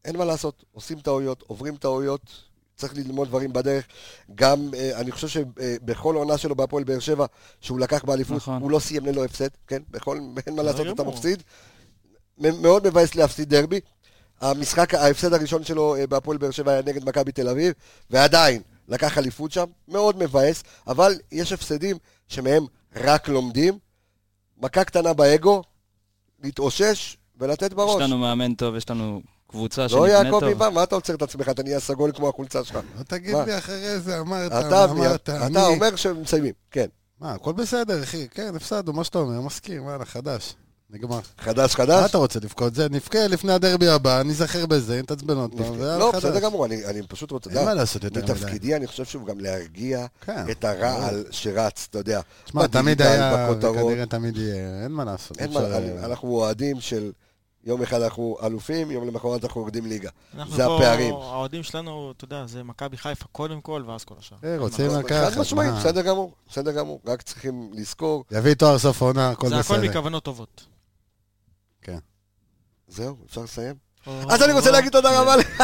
[SPEAKER 1] אין מה לעשות, עושים טעויות, עוברים טעויות, צריך ללמוד דברים בדרך. גם, אה, אני חושב שבכל עונה שלו בהפועל באר שבע, שהוא לקח באליפות,
[SPEAKER 6] נכון.
[SPEAKER 1] הוא לא סיים ללא הפסד, כן? בכל, אין מה לעשות, אתה
[SPEAKER 2] גמור.
[SPEAKER 1] מפסיד. מ- מאוד מבאס להפסיד דרבי. המשחק, ההפסד הראשון שלו אה, בהפועל באר שבע היה נגד מכבי תל אביב, ועדיין לקח אליפות שם, מאוד מבאס, אבל יש הפסדים שמהם רק לומדים. מכה קטנה באגו, להתאושש ולתת בראש.
[SPEAKER 6] יש לנו מאמן טוב, יש לנו קבוצה
[SPEAKER 1] לא
[SPEAKER 6] שנקנה
[SPEAKER 1] יעקב
[SPEAKER 6] טוב.
[SPEAKER 1] איבא, מה אתה עוצר את עצמך? אתה נהיה סגול כמו החולצה שלך.
[SPEAKER 5] לא תגיד
[SPEAKER 1] מה?
[SPEAKER 5] לי אחרי זה, אמרת,
[SPEAKER 1] אתה,
[SPEAKER 5] מה אמרת,
[SPEAKER 1] אתה
[SPEAKER 5] אני...
[SPEAKER 1] אומר שהם מסיימים, כן.
[SPEAKER 5] מה, הכל בסדר, אחי, כן, הפסדנו, מה שאתה אומר, מסכים, וואלה, חדש. נגמר.
[SPEAKER 1] חדש
[SPEAKER 5] מה
[SPEAKER 1] חדש?
[SPEAKER 5] אתה רוצה לבכות? זה נבכה לפני הדרבי הבא, ניזכר בזה, נתעצבן עוד פעם,
[SPEAKER 1] נפגע.
[SPEAKER 5] ויאללה,
[SPEAKER 1] לא,
[SPEAKER 5] חדש.
[SPEAKER 1] בסדר גמור, אני אני פשוט רוצה,
[SPEAKER 5] אין מה לעשות יותר מדי.
[SPEAKER 1] מתפקידי אני חושב שהוא גם להרגיע
[SPEAKER 5] כן.
[SPEAKER 1] את הרעל שרץ, אתה יודע.
[SPEAKER 5] שמע, תמיד
[SPEAKER 1] בדיגיטל,
[SPEAKER 5] היה,
[SPEAKER 1] בכותרות.
[SPEAKER 5] וכנראה תמיד יהיה, אין מה לעשות.
[SPEAKER 1] אין
[SPEAKER 5] אפשר-
[SPEAKER 1] מה, אני- אנחנו אוהדים של יום אחד אנחנו אלופים, יום למחרת אנחנו יורדים ליגה.
[SPEAKER 2] אנחנו
[SPEAKER 1] זה
[SPEAKER 2] פה-
[SPEAKER 1] הפערים.
[SPEAKER 2] האוהדים שלנו, אתה יודע, זה מכבי חיפה קודם כל, ואז כל השאר.
[SPEAKER 5] אה, רוצים לקחת.
[SPEAKER 1] נכון, חד משמעית,
[SPEAKER 5] מה?
[SPEAKER 1] בסדר גמור, בסדר גמור, רק צריכים לזכור,
[SPEAKER 5] יביא תואר סוף עונה, הכל
[SPEAKER 2] זה הכל
[SPEAKER 5] בסדר.
[SPEAKER 2] מכוונות טובות.
[SPEAKER 1] זהו, אפשר לסיים? אז אני רוצה להגיד תודה רבה, לך.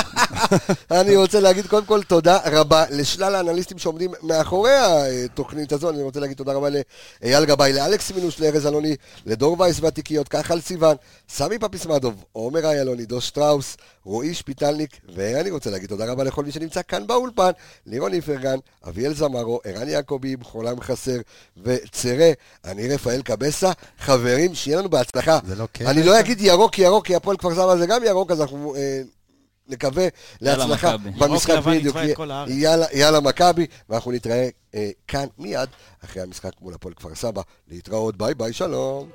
[SPEAKER 1] אני רוצה להגיד קודם כל תודה רבה לשלל האנליסטים שעומדים מאחורי התוכנית הזו, אני רוצה להגיד תודה רבה לאייל גבאי, לאלכס מינוש, לארז אלוני, לדור וייס והתיקיות, כחל סיוון, סמי פפיסמדוב, עומר איילון, עידו שטראוס, רועי שפיטלניק, ואני רוצה להגיד תודה רבה לכל מי שנמצא כאן באולפן, לירון איפרגן, אביאל זמרו, ערן יעקבי, חולם חסר וצרה, אני רפאל קבסה, חברים, שיהיה לנו בהצלחה.
[SPEAKER 5] זה לא כיף.
[SPEAKER 1] אני לא אגיד ירוק ירוק, כי הפועל כפר סבא זה גם ירוק, אז אנחנו אה, נקווה להצלחה
[SPEAKER 6] מכבי.
[SPEAKER 2] ירוק
[SPEAKER 1] במשחק
[SPEAKER 2] לבן
[SPEAKER 1] בדיוק.
[SPEAKER 2] יצבע את כל הארץ.
[SPEAKER 1] יאללה, יאללה מכבי, ואנחנו נתראה אה, כאן מיד אחרי המשחק מול הפועל כפר סבא. להתראות, ביי ביי, שלום.